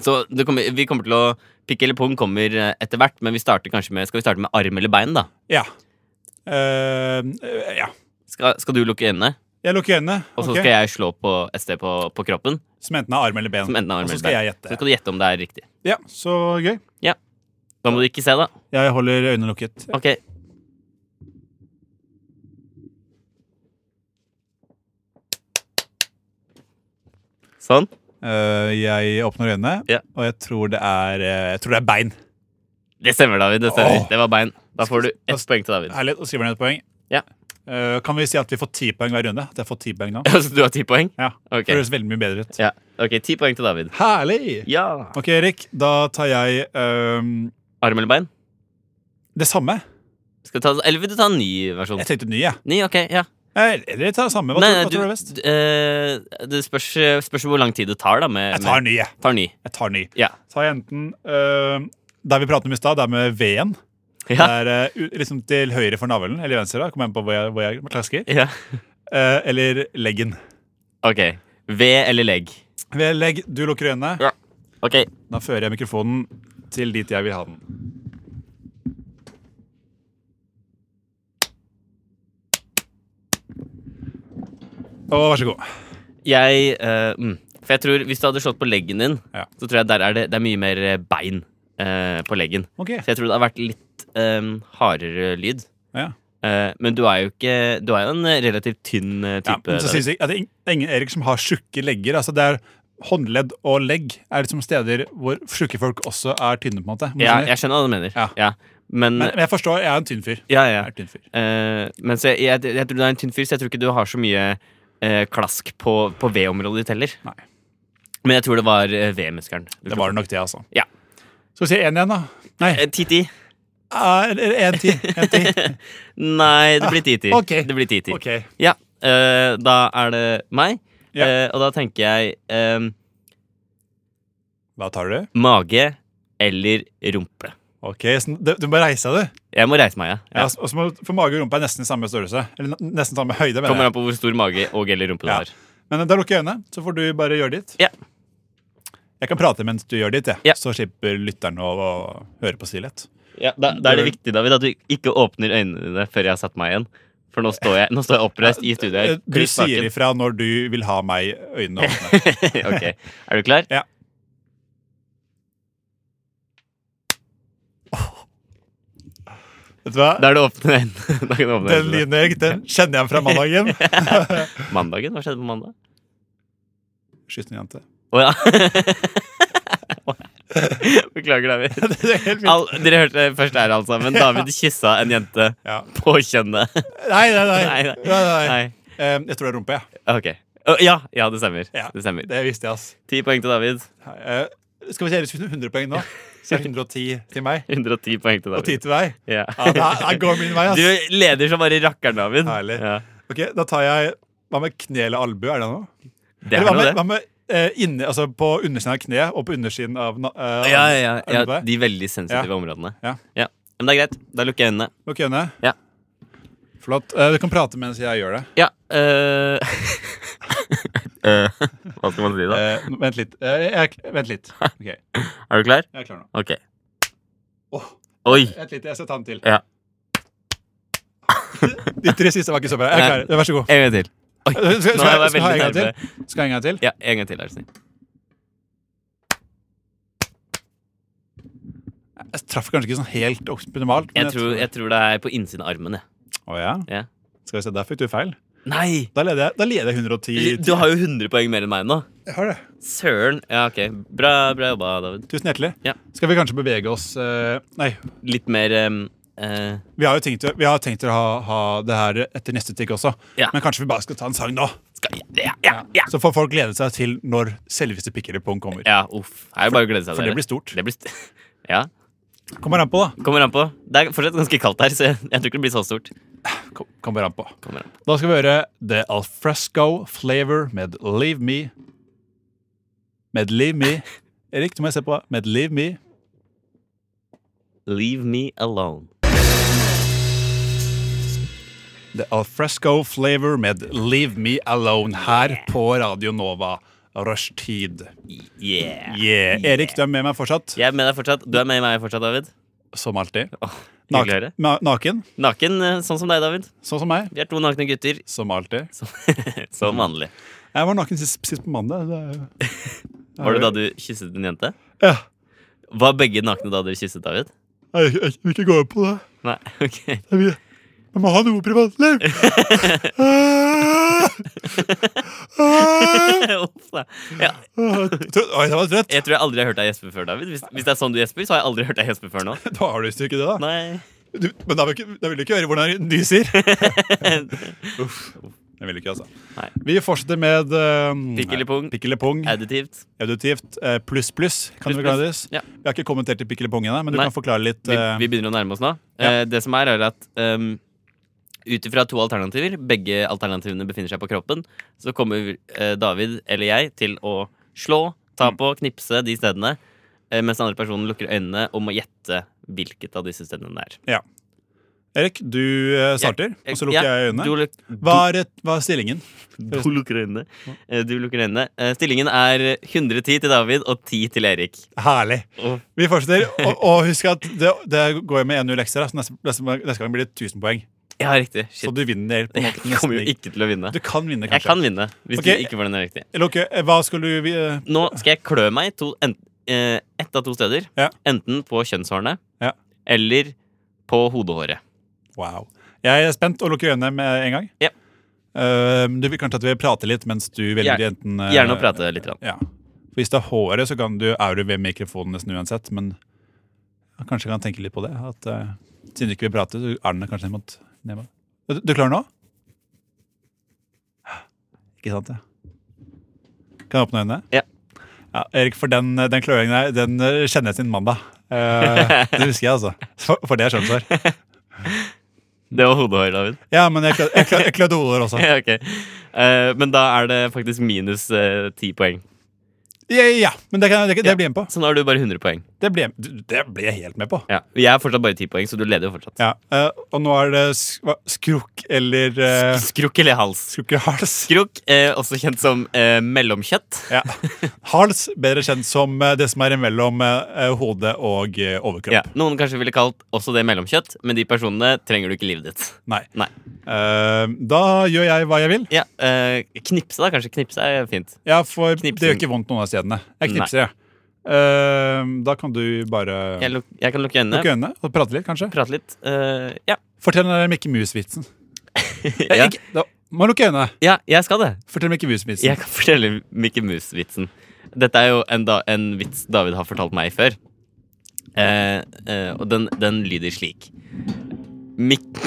S2: Så det kommer, vi kommer til å Pikk eller pung kommer eh, etter hvert, men vi starter kanskje med, skal vi starte med arm eller bein, da?
S1: Ja. Eh, ja.
S2: Skal, skal du lukke øynene,
S1: Jeg lukker øynene.
S2: og så
S1: ok.
S2: skal jeg slå på et sted på, på kroppen?
S1: Som enten er arm eller ben.
S2: Som enten er arm
S1: og så
S2: eller
S1: skal
S2: bein.
S1: jeg
S2: Så
S1: gjette.
S2: skal du gjette om det er riktig.
S1: Ja, Så gøy.
S2: Da må du ikke se, da.
S1: Jeg holder øynene lukket.
S2: Ok. Sånn.
S1: Eh, jeg åpner øynene,
S2: Ja.
S1: og jeg tror det er eh, Jeg tror det er bein.
S2: Det stemmer, David. Det stemmer.
S1: Åh.
S2: Det var bein. Da får du
S1: Da-
S2: ett poeng til David.
S1: Herlig. Og skriver ned et poeng.
S2: Ja.
S1: Eh, kan vi si at vi får ti poeng hver runde? At jeg får ti poeng nå?
S2: Så du har ti poeng?
S1: Ja.
S2: Ok.
S1: Det høres veldig mye bedre ut.
S2: Ja. Ok, ti poeng til David.
S1: Herlig!
S2: Ja.
S1: Ok, Erik. Da tar jeg ehm,
S2: Arm eller bein?
S1: det samme.
S2: Skal du ta, eller vil du ta en ny versjon?
S1: Jeg tenkte ny, jeg.
S2: Ny, ok, ja.
S1: Eller eller jeg tar det samme. Hva, tror, hva tror du er best?
S2: du, eh, det spørs, spørs hvor lang tid det tar, da. Med,
S1: Jeg tar
S2: med,
S1: ny, jeg.
S2: tar ny.
S1: Jeg ehm, tar ny.
S2: Ja.
S1: Tar jeg enten eh, der vi pratet om i stad, det er med veden.
S2: Ja.
S1: Det er eh, u- liksom til høyre for navlen, eller venstre, da, kommer an på hvor jeg, hvor jeg klasker.
S2: Ja.
S1: Eh, eller leggen.
S2: OK. Ved eller legg?
S1: Ved legg, du lukker øynene.
S2: Ja. OK.
S1: Da fører jeg mikrofonen til dit jeg vil ha den. Og vær så god.
S2: Jeg eh, mm. For jeg tror hvis du hadde slått på leggen din,
S1: Ja.
S2: så tror jeg der er det, det er mye mer eh, bein eh, på leggen.
S1: Ok.
S2: Så jeg tror det hadde vært litt eh, hardere lyd.
S1: Ja.
S2: Eh, men du er jo ikke Du er jo en relativt tynn eh,
S1: Ja,
S2: type.
S1: men så
S2: David.
S1: sies det, ja, det er ing- det er ingen Erik som har tjukke legger. Altså det er Håndledd og legg er liksom steder hvor tjukke folk også er tynne. på en måte Må
S2: ja,
S1: skjønner.
S2: jeg skjønner hva du mener.
S1: Ja.
S2: Men,
S1: men, men jeg forstår, jeg er en tynn fyr.
S2: ja,
S1: Jeg
S2: ja.
S1: er en tynn fyr.
S2: Eh, men så jeg, jeg, jeg tror du er en tynn fyr, så jeg tror ikke du har så mye eh, klask på, på V-området ditt heller.
S1: Nei.
S2: Men jeg tror det var eh, V-muskelen.
S1: Det var nok det, altså.
S2: Ja.
S1: Skal vi si én igjen, da? Nei,
S2: Eh, 10-10.
S1: én ti. En ti.
S2: Nei, det blir 10-10.
S1: ok.
S2: Det blir 10-10.
S1: Ok.
S2: Ja, eh, da er det meg.
S1: Ja.
S2: Eh, og da tenker jeg eh,
S1: Hva tar du?
S2: mage eller rumpe.
S1: Ok, så Du, du må reise deg, du.
S2: Jeg må reise meg, ja.
S1: Ja.
S2: ja.
S1: og så må, du- for mage og rumpe er nesten i samme størrelse. Eller n- nesten samme høyde. mener
S2: Kommer
S1: jeg.
S2: an på hvor stor mage og eller rumpe du
S1: Ja.
S2: har.
S1: Men eh, da lukker jeg øynene, så får du bare gjøre ditt.
S2: Ja.
S1: Jeg kan prate mens du gjør ditt, jeg.
S2: Ja.
S1: så slipper lytteren å, å høre på stillhet.
S2: Ja, da, da er det viktig, David, at du ikke åpner øynene dine før jeg har satt meg igjen. For nå står jeg, nå står jeg oppreist i studio
S1: Eh,
S2: her.
S1: Du
S2: kliss naken.
S1: sier ifra når du vil ha meg øynene åpne.
S2: ok, Er du klar?
S1: Ja. Vet du hva?
S2: Da er det åpne øynene. Da kan du åpne
S1: Den
S2: øynene.
S1: lyden, Erik, den kjenner jeg fra mandagen.
S2: Mandagen? Hva skjedde på mandag?
S1: Skyt en jente.
S2: Å ja. Beklager, David.
S1: Det er helt fint.
S2: Al dere hørte det først her, altså. Men David kyssa en jente
S1: Ja.
S2: på kjønnet.
S1: Nei, nei, nei.
S2: Nei, nei.
S1: nei, nei.
S2: Nei.
S1: Eh, jeg tror det er rumpe, jeg.
S2: Ok. Å, ja, ja, det stemmer.
S1: Ja.
S2: Det stemmer.
S1: Det visste jeg, ass.
S2: Ti poeng til David.
S1: Eh, skal vi se, hvis vi har 100 poeng nå, så er det 110 til meg
S2: 110 poeng til
S1: og 10
S2: David.
S1: til deg.
S2: Ja.
S1: Ja, det her går min vei,
S2: Du
S1: ass.
S2: leder som bare rakkeren, David.
S1: Herlig.
S2: Ja.
S1: Ok, Da tar jeg Hva med kne eller albue? Er det noe?
S2: Det
S1: Eller
S2: er
S1: hva med,
S2: noe,
S1: hva
S2: det.
S1: med eh, inni, altså på undersiden av kneet og på undersiden av na- eh,
S2: Ja, ja, ja,
S1: albue?
S2: ja. De veldig sensitive
S1: Ja.
S2: områdene.
S1: Ja.
S2: ja. Men det er greit. Da lukker jeg øynene.
S1: Lukk øynene.
S2: Ja.
S1: Flott. Eh, du kan prate mens jeg gjør det.
S2: Ja øh... Øh, Hva skal man si da?
S1: Eh, nå- vent litt. Eh, jeg, vent litt. Ok, jeg
S2: Er du klar?
S1: er klar nå.
S2: Ok
S1: Åh.
S2: Oi
S1: Vent litt, jeg skal ta den til.
S2: Ja.
S1: De tre siste var ikke så bra. Jeg er klar. Vær så god. Eh,
S2: En gang til Oi
S1: Skal, skal,
S2: Nå er
S1: skal,
S2: jeg
S1: skal ha en
S2: veldig
S1: gang til?
S2: nærme
S1: Skal jeg en gang til?
S2: Ja, en gang til er du snill
S1: Jeg traff kanskje ikke sånn helt optimalt. men
S2: jeg tror, jeg tror det er på innsiden av armen jeg.
S1: Å ja?
S2: Ja.
S1: Skal vi se, der fikk du feil.
S2: Nei
S1: Da leder jeg, da leder jeg 110.
S2: Du har jo 100 poeng mer enn meg nå
S1: Jeg har det.
S2: Søren Ja, ok Bra, bra jobba, David
S1: Tusen hjertelig.
S2: Ja.
S1: Skal vi kanskje bevege oss eh, Nei,
S2: Litt mer ehm, eh,
S1: vi har jo tenkt, vi har tenkt å ha, ha det her etter neste stikk også.
S2: Ja.
S1: Men kanskje vi bare skal ta en sang nå?
S2: skal, Ja, ja, ja
S1: Så får folk glede seg til når selveste pikkerepong kommer.
S2: Ja, uff Her er det bare å glede seg
S1: For det
S2: dere.
S1: blir stort.
S2: Det blir st Ja
S1: Kommer an på, da.
S2: Kommer an på Det er fortsatt ganske kaldt her Så jeg, jeg tror ikke det blir så stort
S1: Kom- Kommer an på.
S2: Kommer an på
S1: Da skal vi høre The Alfresco Flavor med Leave Me. Med Leave Me. Erik, du må jeg se på. Med Leave Me.
S2: Leave me alone
S1: The Alfresco Flavor med Leave Me Alone her på Radio Nova. Rushtid.
S2: Yeah
S1: Yeah. Erik, du er med meg fortsatt,
S2: Jeg er med deg fortsatt Du er med meg fortsatt, David
S1: som alltid.
S2: Åh,
S1: Nak-
S2: hyggelig å høre.
S1: na- naken,
S2: Naken, eh, sånn som deg, David.
S1: sånn som meg.
S2: Vi er to nakne gutter.
S1: Som alltid.
S2: Som, som vanlig.
S1: Jeg var naken sist, sist på mandag. Det er jo-
S2: Var det da du kysset en jente?
S1: Ja.
S2: Var begge nakne da dere kysset, David?
S1: Nei, Jeg, jeg vil ikke gå inn på det.
S2: Nei, ok.
S1: Jeg, vil, jeg må ha noe privatliv! Ah!
S2: Uff da. Ja,
S1: Tro- Oi, det var trøtt.
S2: jeg tror jeg aldri har hørt deg gjespe før, David. Hvis, hvis det er sånn du gjesper, så har jeg aldri hørt deg gjespe før nå.
S1: Da har du visst ikke det, da.
S2: Nei.
S1: Du, men da vil, ikke, da vil du ikke høre hvordan de sier. Uff. Jeg vil ikke, altså.
S2: Nei.
S1: Vi fortsetter med uh,
S2: Pikk eller pung?
S1: Pikk eller pung.
S2: Additivt.
S1: Auditivt. eh, pluss, pluss. Kan
S2: Pluss,
S1: du forklare
S2: pluss.
S1: det?
S2: Ja.
S1: Vi har ikke kommentert til pikk eller pung ennå, men du
S2: Nei.
S1: kan forklare litt.
S2: Vi,
S1: eh,
S2: vi begynner å nærme oss nå. Eh, det som er, er at um, ut ifra to alternativer, begge alternativene befinner seg på kroppen, så
S1: Mm.
S2: kommer eh, David eller jeg til å slå, ta på, knipse de stedene eh, mens den andre personen lukker øynene og må gjette hvilket av disse stedene det er.
S1: Erik, du eh, starter, og så lukker
S2: Ja,
S1: jeg
S2: Du,
S1: øynene.
S2: luk,
S1: Hva er, et, hva er stillingen?
S2: du lukker øynene. Eh, Du lukker øynene. Eh, Stillingen er 110 til David og 10 til Erik.
S1: Herlig.
S2: Og
S1: Vi fortsetter. Og, og husk at det, det går jo med 1-0 ekstra, så neste, neste, neste gang blir det 1000 poeng.
S2: Ja, riktig.
S1: Så
S2: Shit.
S1: du vinner. på en
S2: Jeg
S1: måte
S2: kommer jo
S1: nesten.
S2: ikke til å vinne.
S1: Du kan vinne,
S2: Jeg
S1: kanskje.
S2: kan vinne hvis
S1: Ok.
S2: du ikke får den riktig.
S1: Eller ok, hva skal du vi- eh,
S2: Nå skal jeg klø meg to, en, eh, ett av to steder.
S1: Ja.
S2: Enten på kjønnshårene
S1: Ja.
S2: eller på hodehåret.
S1: Wow. Jeg er spent og lukker øynene med en gang.
S2: Ja.
S1: Eh, du vil kanskje at vi prater litt mens du velger
S2: Gjerne-
S1: enten eh,
S2: Gjerne å prate litt. grann.
S1: Ja. For Hvis det er håret, så kan du, er du ved mikrofonen nesten uansett, men jeg kanskje kan tenke litt på det. At eh, siden du ikke vil prate, så er den kanskje ned mot ned mot- Du, du klarer nå? Ikke sant, ja. Kan jeg åpne øynene?
S2: Ja.
S1: Ja, Erik, for den, den kløringen der, den eh, kjenner jeg siden mandag. Eh, det husker jeg, altså. For, for det er skjønnsår.
S2: Det var hodehår, David.
S1: Ja, men jeg klødde, jeg klø- jeg klødde hodet også.
S2: Ja, ok. Eh, men da er det faktisk minus eh, ti poeng.
S1: Ja, ja, men det, kan, det, det blir jeg med på.
S2: Så nå har du bare 100 poeng.
S1: Det blir, jeg- det blir jeg helt med på.
S2: Ja. Jeg er fortsatt bare 10 poeng, så du leder jo fortsatt.
S1: Ja, eh, og nå er det sk hva- skrukk eller eh,
S2: Skrukk eller hals?
S1: Skrukk eller hals.
S2: Skrukk, eh, også kjent som eh, mellomkjøtt.
S1: Ja. Hals, bedre kjent som eh, det som er imellom eh, hodet og eh, overkropp.
S2: Ja. Noen kanskje ville kalt også det mellomkjøtt, men de personene trenger du ikke i livet ditt.
S1: Nei.
S2: Nei.
S1: Eh, da gjør jeg hva jeg vil.
S2: Ja, eh, knipse da, kanskje knipse er fint
S1: Ja, for det gjør
S2: Knipsen.
S1: ikke vondt noen av stedene. Jeg knipser, jeg. Eh, da kan du bare
S2: Jeg, luk jeg kan lukke øynene,
S1: lukke øynene og prate litt, kanskje.
S2: prate litt eh, ja.
S1: Fortell den der Mikke Mus-vitsen.
S2: ja.
S1: Ikke- da- Må lukke øynene.
S2: ja, jeg skal det
S1: Fortell Mikke Mus-vitsen.
S2: Jeg kan fortelle Mickey Mouse-vitsen Dette er jo en, da en vits David har fortalt meg før Eh, eh, Og den, den lyder slik Mik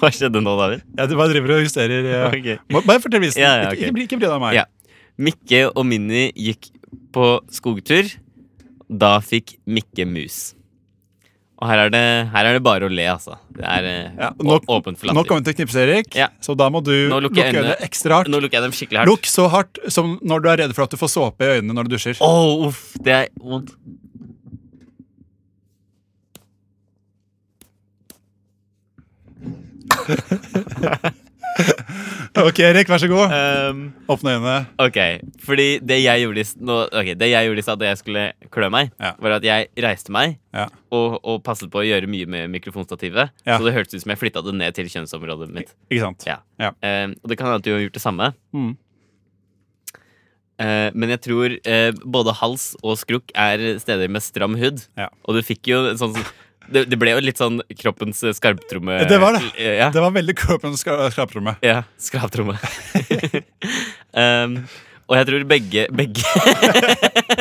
S2: Hva skjedde nå, David?
S1: Ja, du bare driver og justerer. eh,
S2: Ok.
S1: må- Bare fortell vitsen.
S2: Ja, ja, ok.
S1: Ikke- Ikke, bry- ikke bry deg om meg.
S2: Ja. Mikke og Minni gikk på skogtur. Da fikk Mikke mus. Og her er det, her er det bare å le, altså. Det er eh,
S1: Ja,
S2: å-
S1: nå-
S2: åpent for
S1: Nå kommer
S2: latter.
S1: vi til å knipse, Erik.
S2: Ja.
S1: Så da må du
S2: Nå
S1: lukke
S2: lukker jeg
S1: øynene
S2: øynene.
S1: ekstra hardt.
S2: Nå lukker jeg dem skikkelig hardt.
S1: Lukk så hardt som når du er redd for at du får såpe i øynene når du dusjer.
S2: Åh, uff, det er vondt.
S1: Ok, Erik, vær så god.
S2: Ehm,
S1: Åpne øynene.
S2: ok, fordi det jeg gjorde i s- nå, ok, det jeg gjorde i stad da jeg skulle klø meg,
S1: Ja.
S2: var at jeg reiste meg
S1: Ja.
S2: og, og passet på å gjøre mye med mikrofonstativet.
S1: Ja.
S2: Så det hørtes ut som jeg flytta det ned til kjønnsområdet mitt.
S1: Ikke sant?
S2: Ja.
S1: Ja.
S2: Eh, og det kan hende at du har gjort det samme.
S1: Mm.
S2: Eh, men jeg tror eh, både hals og skrukk er steder med stram hud.
S1: Ja.
S2: Og du fikk jo en sånn det, det ble jo litt sånn kroppens eh, skarptromme.
S1: Det var det.
S2: Eh, Ja.
S1: Det var veldig kroppen skraperommet.
S2: ja skarptromme. um, og jeg tror begge begge,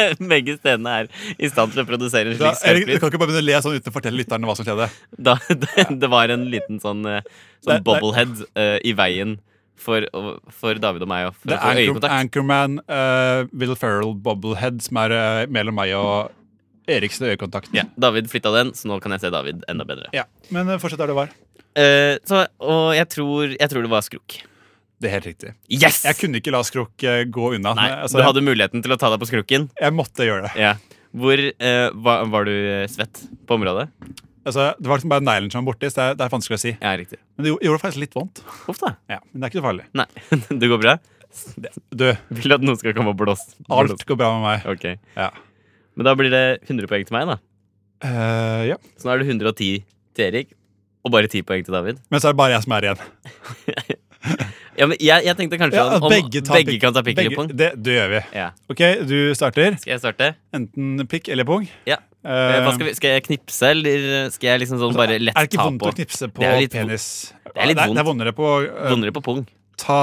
S2: begge stedene er i stand til å produsere en
S1: Da,
S2: slik
S1: Erik, du
S2: skarplyd.
S1: kan ikke bare begynne å le sånn uten å fortelle lytterne hva som skjedde.
S2: Da, det, det var en liten sånn, eh,
S1: Det- det-
S2: sånn bobblehead eh, i veien for, for David og meg. Og for
S1: Det
S2: å få
S1: er Anchor,
S2: øyekontakt.
S1: Anchorman, eh, Will Ferrell, Bobblehead, som er eh, mellom meg og Eriks øyekontakt.
S2: Ja, David flytta den, så nå kan jeg se David enda bedre.
S1: Ja. Men eh, fortsett der du var.
S2: Eh, så, og jeg tror, jeg tror det var skrukk.
S1: Det er helt riktig.
S2: Yes!
S1: Jeg kunne ikke la Skrukk eh, gå unna.
S2: Nei,
S1: altså,
S2: du hadde muligheten til å ta deg på skrukken.
S1: jeg, jeg måtte gjøre det.
S2: Ja. Hvor eh, var, var du eh, svett på området?
S1: Altså, det var liksom bare neglen som var borti, så det er, det er vanskelig å si.
S2: Ja, riktig.
S1: Men det gjo- gjorde faktisk litt vondt.
S2: Uff da.
S1: Ja, Men det er ikke så farlig.
S2: Nei, det går bra?
S1: Du,
S2: Vil at noen skal komme og blåse?
S1: alt går bra med meg.
S2: Ok.
S1: Ja.
S2: Men da blir det 100 poeng til meg, da.
S1: Eh, ja.
S2: Så nå er det 110 til Erik. Og bare 10 poeng til David.
S1: Men så er det bare jeg som er igjen.
S2: Ja, men jeg, jeg tenkte kanskje
S1: Ja,
S2: om, om begge,
S1: tar pikk-
S2: kan ta pikk
S1: begge-
S2: eller pung.
S1: Det, det gjør vi.
S2: Ja.
S1: Ok, du starter.
S2: Skal jeg starte?
S1: Enten pikk eller pung.
S2: Ja. Eh,
S1: Eh,
S2: Hva skal, vi, skal jeg knipse, eller skal jeg liksom sånn bare lett
S1: Altså, er det ikke
S2: ta
S1: vondt
S2: på?
S1: å knipse på
S2: Det er litt vo-
S1: penis?
S2: er litt
S1: det er vondere på eh,
S2: Vondere på pung.
S1: ta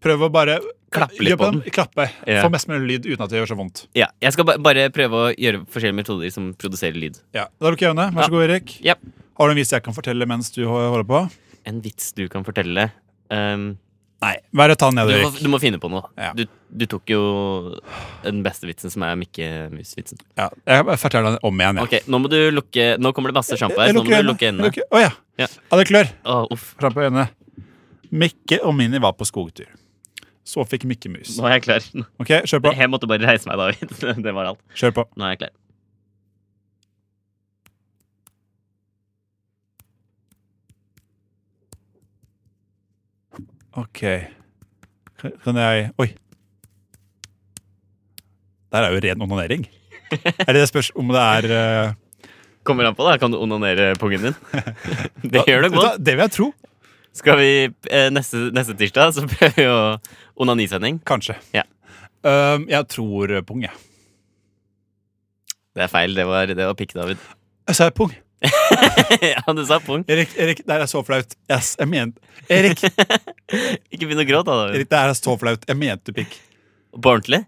S1: Prøv å bare
S2: Klappe litt
S1: Gjør
S2: på
S1: den. Klappe.
S2: Ja.
S1: Få mest mulig lyd uten at det gjør så vondt.
S2: Ja, Jeg skal ba bare prøve å gjøre forskjellige metoder som produserer lyd.
S1: Ja. Da lukker jeg øynene. Vær
S2: Ja.
S1: så god, Erik.
S2: Ja.
S1: Har du en vits jeg kan fortelle mens du holder på?
S2: En vits du kan fortelle. Um,
S1: Nei. Bare ta den
S2: du,
S1: ned,
S2: må,
S1: Erik.
S2: du må finne på noe.
S1: Ja.
S2: Du, du tok jo den beste vitsen, som er Mikke Mus-vitsen.
S1: Ja, jeg forteller den om igjen. jeg.
S2: Ok, Nå må du lukke Nå kommer det masse sjampo her.
S1: Jeg
S2: så Nå må du lukke
S1: Eh, øynene.
S2: øynene.
S1: Jeg lukker- Å ja.
S2: Ja.
S1: ja. Det klør.
S2: Å, uff.
S1: Fram på øynene. Mikke og Minni var på skogtur. Så fikk Mikke mus.
S2: Nå er jeg klar.
S1: Ok, kjør på.
S2: Jeg måtte bare reise meg, David. Det var alt.
S1: Kjør på.
S2: Nå er jeg klar.
S1: OK. Kan jeg Oi. Der er jo ren onanering. Er det det spørs om det er eh,
S2: Kommer an på, da. Kan du onanere pungen din? Det gjør nok
S1: da-
S2: vondt.
S1: Det vil jeg tro.
S2: Skal vi eh, neste, neste tirsdag så prøver vi å onanisending.
S1: Kanskje.
S2: Ja.
S1: Um, jeg tror eh, pung, jeg. Ja.
S2: Det er feil. Det var, det var pikk, David.
S1: Jeg sa pung.
S2: ja, du sa pung.
S1: Erik, Erik, det her er så flaut. Yes, jeg mente Erik,
S2: Ikke begynn å gråte, da, David.
S1: Erik, det her er så flaut. Jeg mente pikk.
S2: På ordentlig?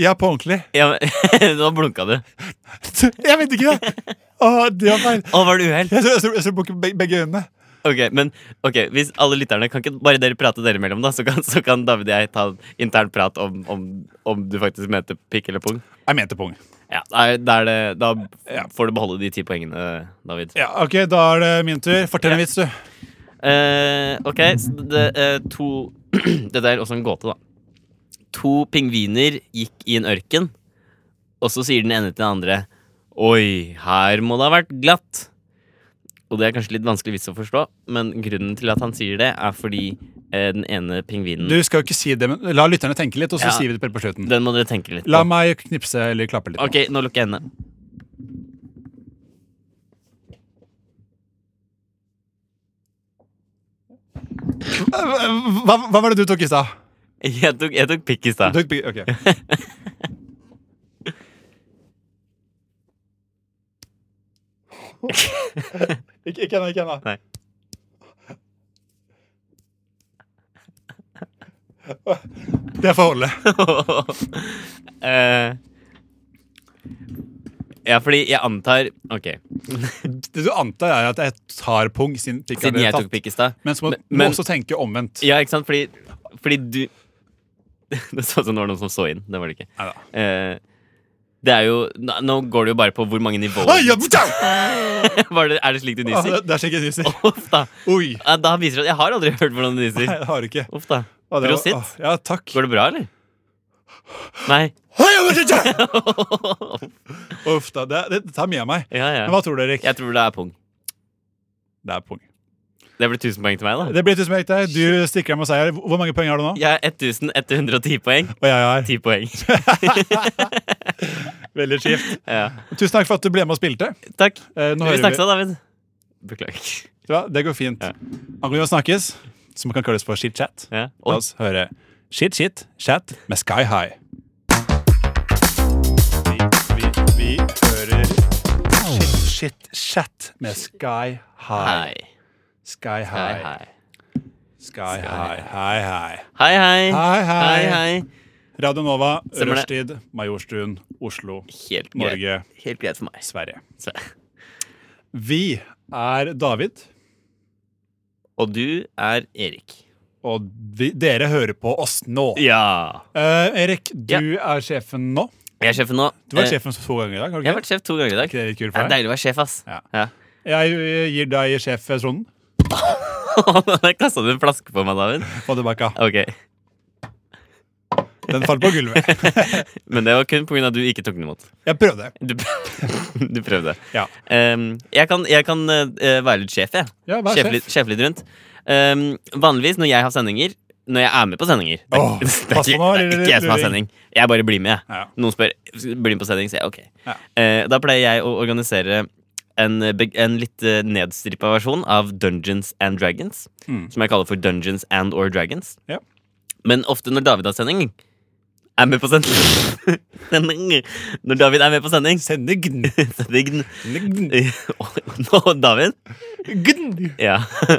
S1: Ja, på ordentlig.
S2: Ja, men, Nå blunka du.
S1: Jeg mente ikke det! Å, det var feil.
S2: Å, var det uhell?
S1: Jeg tror jeg tror- jeg tror på begge- begge øynene.
S2: Ok, men ok, hvis alle lytterne Kan ikke bare dere prate dere imellom, da? Så kan, så kan David og jeg ta en intern prat om, om, om du faktisk mente pikk eller pung.
S1: Jeg mente pung.
S2: Ja, da, er- da, er det, da
S1: Ja.
S2: får du beholde de ti poengene, David.
S1: Ja, ok, Da er det min tur. Fortell en vits, du.
S2: Eh, ok, så det, eh, to Dette er også en gåte, da. To pingviner gikk i en ørken, og så sier den ene til den andre Oi, her må det ha vært glatt. Og det er kanskje litt vanskelig vits å forstå, men grunnen til at han sier det, er fordi eh, den ene pingvinen
S1: Du skal jo ikke si det, men La lytterne tenke litt, og så
S2: Ja.
S1: sier vi det på- på slutten.
S2: Den må dere tenke litt
S1: La
S2: på.
S1: meg knipse eller klappe litt. nå.
S2: Ok, nå lukker jeg øynene.
S1: Hva, hva var det du tok i stad?
S2: Jeg tok, jeg tok pikk i
S1: Du
S2: stad.
S1: tok bi- ok. Ikke ikke ennå, ikke ennå.
S2: Nei.
S1: Det får holde.
S2: Eh, ja, fordi jeg antar Ok.
S1: Det du antar, er at jeg tar pung siden pikk
S2: Siden
S1: allerede
S2: jeg
S1: tatt.
S2: tok pikk i stad.
S1: Men så må
S2: Men- men-
S1: du også tenke omvendt.
S2: Ja, ikke sant? Fordi, fordi du Det så ut som det var noen som så inn. Det var det ikke.
S1: Neida.
S2: Eh, det er jo Nå nå går det jo bare på hvor mange nivåer
S1: Oi, ja, tjau!
S2: Var det, Er det slik du
S1: Ah,
S2: nyser?
S1: det, det er slik jeg nyser.
S2: Uff da.
S1: Oi.
S2: Ja, Da viser det at jeg har aldri hørt hvordan du
S1: Nei,
S2: nyser.
S1: det har du ikke.
S2: Uff da.
S1: Ah, det var-
S2: Prosit.
S1: ah, Ja, takk.
S2: Går det bra, eller? Nei.
S1: Hei, ja, det- tjau! Uff da. Det, det tar mye av meg.
S2: Ja,
S1: Men hva
S2: ja.
S1: tror du, Erik?
S2: Jeg tror det er pung.
S1: Det er pung.
S2: Det blir 1000 poeng til meg, da.
S1: Det blir tusen poeng til deg. Du stikker deg med seier. Hvor hvor mange poeng har du nå?
S2: Jeg er 1110 poeng.
S1: Og jeg har
S2: 10 poeng.
S1: Veldig skift.
S2: Ja.
S1: Tusen takk for at du ble med og spilte.
S2: Takk.
S1: Eh, nå
S2: Vi
S1: hører
S2: snakkes da, David. Beklager.
S1: Ja, det går fint.
S2: Ja.
S1: Angående å snakkes, som kan kalles for chit-chat,
S2: Ja.
S1: la
S2: Oi.
S1: oss høre Shit, shit, chat med Sky High. Vi, vi, vi hører Shit, shit, chat med Sky High.
S2: Hei.
S1: Sky
S2: Hei,
S1: High.
S2: hei.
S1: Sky High. Hei, hei.
S2: Hei, hei.
S1: Hei, hei.
S2: Hei, hei.
S1: Radio Nova,
S2: Stemmer det.
S1: Rushtid, Majorstuen, Oslo,
S2: Helt greit.
S1: Norge,
S2: Helt greit for meg.
S1: Sverige.
S2: Så-
S1: Vi er David,
S2: Og du er Erik.
S1: og vi, dere hører på oss nå.
S2: Ja.
S1: Eh, Erik, du er sjefen nå.
S2: Jeg er sjefen nå.
S1: Du var
S2: Eh,
S1: sjefen to ganger i dag. har du
S2: Jeg har
S1: ikke?
S2: vært sjef to ganger i dag.
S1: Ikke det litt kult
S2: Det
S1: for
S2: er
S1: deg?
S2: deilig å være sjef, ass.
S1: Ja.
S2: Ja.
S1: Jeg eh, gir deg sjeftronen.
S2: Der kasta du en flaske på meg, David.
S1: Få tilbake.
S2: Ok.
S1: Den falt på gulvet.
S2: Men det var kun pga. at du ikke tok den imot.
S1: Jeg prøvde.
S2: Du, prøv- du prøvde.
S1: Ja.
S2: Em, jeg kan, jeg kan eh, være litt sjef, jeg.
S1: Ja, vær sjef.
S2: Litt, sjefe litt rundt. Em, vanligvis når jeg har sendinger Når jeg er med på sendinger Det,
S1: Åh,
S2: det, er,
S1: pass på
S2: ikke,
S1: nå,
S2: det er ikke jeg som har sending. Jeg bare blir med. jeg.
S1: Ja.
S2: Noen spør blir med på sending, sier jeg ok.
S1: Ja.
S2: Eh, da pleier jeg å organisere en, beg- en litt eh, nedstrippa versjon av Dungeons and Dragons.
S1: Mm.
S2: Som jeg kaller for Dungeons and or Dragons.
S1: Ja.
S2: Men ofte når David har sending er med på sending. sending. Når David er med på sending
S1: Sending.
S2: Sending. Og David ja.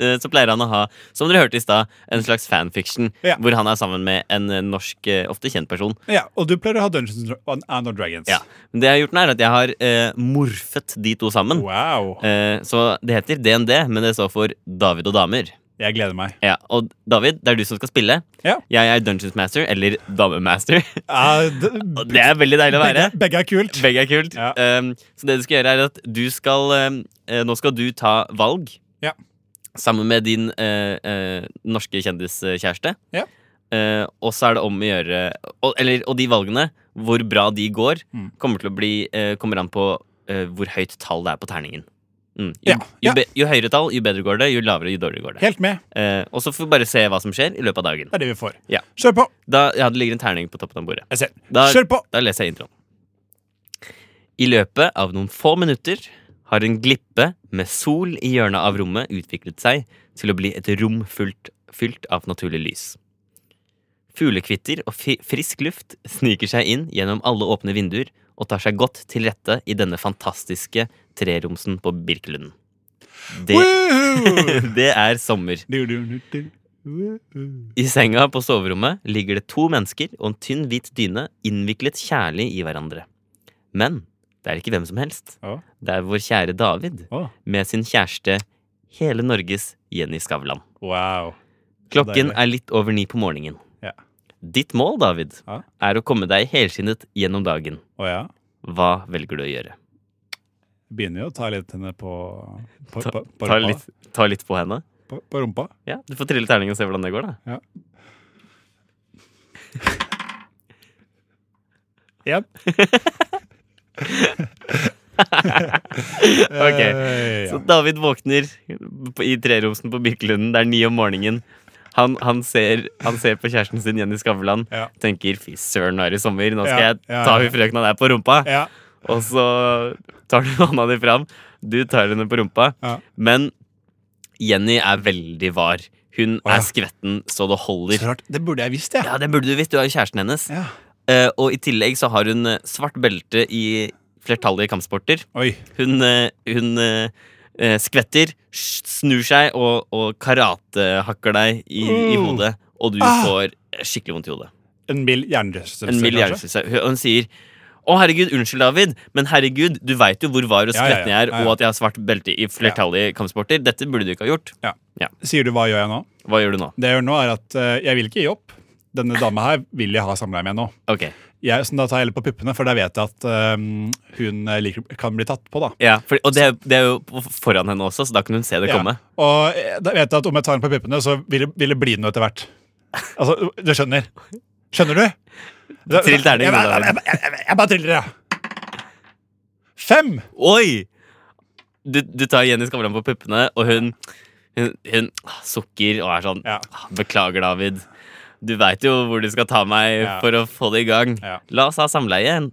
S2: Eh, Så pleier han å ha, som dere hørte i stad, en slags fanfiction.
S1: Ja.
S2: Hvor han er sammen med en eh, norsk, eh, ofte kjent person.
S1: Ja, og du pleier å ha Dungeons and and Dragons.
S2: Ja. Men det jeg har gjort nå, er at jeg har eh, morfet de to sammen.
S1: Wow.
S2: Eh, så det heter DND, men det står for David og damer.
S1: Jeg gleder meg.
S2: Ja, Og David, det er du som skal spille.
S1: Ja.
S2: Jeg er Dungeons Master, eller Damemaster.
S1: Eh, d-
S2: Og det er veldig deilig å være.
S1: begge, begge er kult.
S2: Begge er kult.
S1: Ja.
S2: Ehm, så det du skal gjøre, er at du skal ehm, eh, Nå skal du ta valg
S1: Ja.
S2: sammen med din eh, eh, norske kjendiskjæreste.
S1: Ja.
S2: Eh, og så er det om å gjøre og, eller, og de valgene, hvor bra de går,
S1: Mm.
S2: kommer til å bli eh, Kommer an på eh, hvor høyt tall det er på terningen. Mm. Jo,
S1: Ja, ja.
S2: Jo, be, jo høyere tall, jo bedre går det. Jo lavere, jo dårligere går det.
S1: Helt med.
S2: Eh, og så får vi bare se hva som skjer i løpet av dagen.
S1: Det er det vi får.
S2: Ja.
S1: Kjør på!
S2: Da, ja, det ligger en terning på toppen av bordet.
S1: Jeg ser.
S2: Da-
S1: Kjør på!
S2: Da leser jeg introen. I løpet av noen få minutter har en glippe med sol i hjørnet av rommet utviklet seg til å bli et rom fullt, fylt av naturlig lys. Fuglekvitter og fi frisk luft sniker seg inn gjennom alle åpne vinduer og tar seg godt til rette i denne fantastiske treromsen på Birkelunden. Det,
S1: Woohoo!
S2: det er sommer.
S1: Du, du, du, du.
S2: I senga på soverommet ligger det to mennesker og en tynn hvit dyne innviklet kjærlig i hverandre. Men det er ikke hvem som helst.
S1: Ja.
S2: Det er vår kjære David
S1: Å,
S2: med sin kjæreste hele Norges Jenny Skavlan.
S1: Wow.
S2: Klokken
S1: Deilig.
S2: er litt over ni på morgenen.
S1: Ja.
S2: Ditt mål, David,
S1: Ja.
S2: er å komme deg helskinnet gjennom dagen.
S1: Å ja.
S2: Hva velger du å gjøre?
S1: Begynner jo å ta litt henne på På,
S2: Ta-
S1: på, på,
S2: Ta
S1: rumpa.
S2: litt, ta litt på henne.
S1: på, på rumpa.
S2: Ja, Du får trille terningen og se hvordan det går, da.
S1: Yep.
S2: Ok.
S1: Eh, ja.
S2: Så David våkner på- i treromsen på Birkelunden. Det er ni om morgenen. Han, han, ser, han ser på kjæresten sin Jenny Skavlan.
S1: Ja.
S2: Tenker 'fy søren, nå er det sommer. Nå skal
S1: Ja,
S2: jeg
S1: ja,
S2: ta
S1: ja.
S2: hun frøkna der på rumpa'.
S1: ja.
S2: Og så tar du hånda di fram. Du tar henne på rumpa.
S1: Ja.
S2: Men Jenny er veldig var. Hun
S1: Å, ja.
S2: er skvetten så det holder.
S1: Klart, det burde jeg visst, jeg.
S2: Ja, det burde du visst. Du er jo kjæresten hennes.
S1: Ja.
S2: Eh, og i tillegg så har hun eh, svart belte i flertallige kampsporter.
S1: Oi.
S2: Hun, eh, hun eh, eh, skvetter, s- snur seg og, og karatehakker deg i, i
S1: Mm.
S2: hodet. Og du
S1: Ah.
S2: får skikkelig vondt i hodet.
S1: En mild hjernerystelse.
S2: En
S1: kanskje?
S2: mild hjernerystelse. Hun- Hun sier å, herregud, unnskyld, David, men herregud, du veit jo hvor var og
S1: Ja, ja,
S2: skvetten jeg er,
S1: ja, ja.
S2: og at jeg har svart belte i flertallige kampsporter. Dette burde du ikke ha gjort.
S1: Sier du hva gjør jeg nå?
S2: Hva gjør du nå?
S1: Det jeg gjør nå, er at eh, jeg vil ikke gi opp. Denne dama her vil jeg ha samleie med nå.
S2: Ok,
S1: Jeg, så da tar jeg heller på puppene, for der vet jeg at eh, hun eh, liker, kan bli tatt på, da.
S2: ja, for, Og det, er- det er jo på- foran henne også, så da kan hun se det
S1: Ja.
S2: komme.
S1: Og eh, da vet jeg at om jeg tar den på puppene, så vil det, vil det bli noe etter hvert. Altså, du skjønner. Skjønner du?
S2: Trill terning,
S1: Jeg,
S2: du,
S1: jeg, jeg,
S2: David.
S1: jeg, jeg, jeg bare triller, jeg. Fem!
S2: Oi! Du, du tar Jenny Skavlan på puppene, og hun, hun, hun ah, sukker og er sånn
S1: Ja.
S2: «Ah, Beklager, David. Du veit jo hvor du skal ta meg
S1: Ja.
S2: for å få det i gang.
S1: Ja.
S2: La oss ha samleie nå.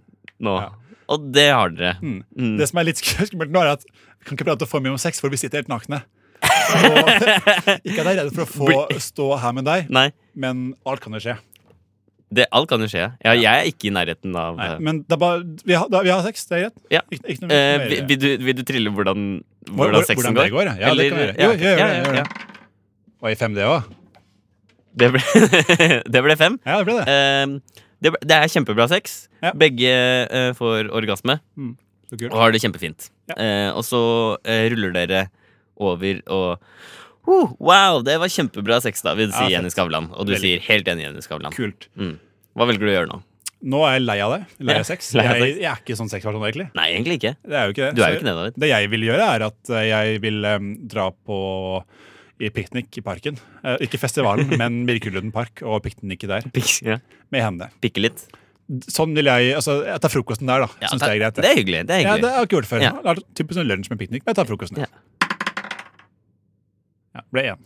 S1: Ja. Hmm.
S2: Og det har dere. Mm.
S1: Det som er litt sk- skummelt nå, er at vi kan ikke prate for mye om sex, for vi sitter helt nakne. Og ikke at jeg er redd for å få stå her med deg,
S2: Nei,
S1: men alt kan jo skje.
S2: det, alt kan jo skje. Ja, jeg er ikke i nærheten av eh,
S1: Nei, men det er bare, vi, har, da, vi har sex, det er greit.
S2: Ja.
S1: Ikke, ikke noe
S2: Eh,
S1: mer.
S2: vil, vil, du, vil du trille hvordan, hvordan,
S1: Hvor- hvor-
S2: sexen
S1: hvordan
S2: går?
S1: det går? ja. Ja, det kan vi
S2: Eller-
S1: gjøre. Jo, gjør det,
S2: ja,
S1: gjør
S2: ja,
S1: det. Oi, 5D òg?
S2: Det ble, det ble fem.
S1: Ja, det ble det.
S2: Eh, det, ble- det er kjempebra sex.
S1: Ja.
S2: Begge eh, får orgasme.
S1: Så kult.
S2: og har det kjempefint.
S1: Ja.
S2: Eh, og så eh, ruller dere over og «Huh, Wow, det var kjempebra sex, David, sier
S1: Ja,
S2: Jenny Skavlan. Og du
S1: Veldig.
S2: sier helt enig, Jenny Skavlan.
S1: kult.
S2: Hva velger du å gjøre nå?
S1: Mm. Nå er jeg lei av det. Lei av sex.
S2: lei av
S1: Jeg,
S2: sex.
S1: jeg er ikke sånn sexperson, egentlig.
S2: Nei, egentlig ikke.
S1: Det er jo ikke det.
S2: Du er jo
S1: Så
S2: ikke det, David.
S1: Det jeg vil gjøre, er at eh, jeg vil em, dra på i piknik i parken. Eh, ikke festivalen, men Birkelunden park og piknikke der
S2: Pik- ja.
S1: med henne.
S2: Pikke litt.
S1: Sånn vil jeg altså, Jeg tar frokosten der, da.
S2: Ja,
S1: Syns
S2: ta-
S1: det er greit.
S2: Det er hyggelig. Det er
S1: ja, det
S2: hyggelig.
S1: har jeg ikke gjort før.
S2: Ja.
S1: Det er typisk sånn lunsj med piknik, men jeg tar frokosten der. Ja, ble én.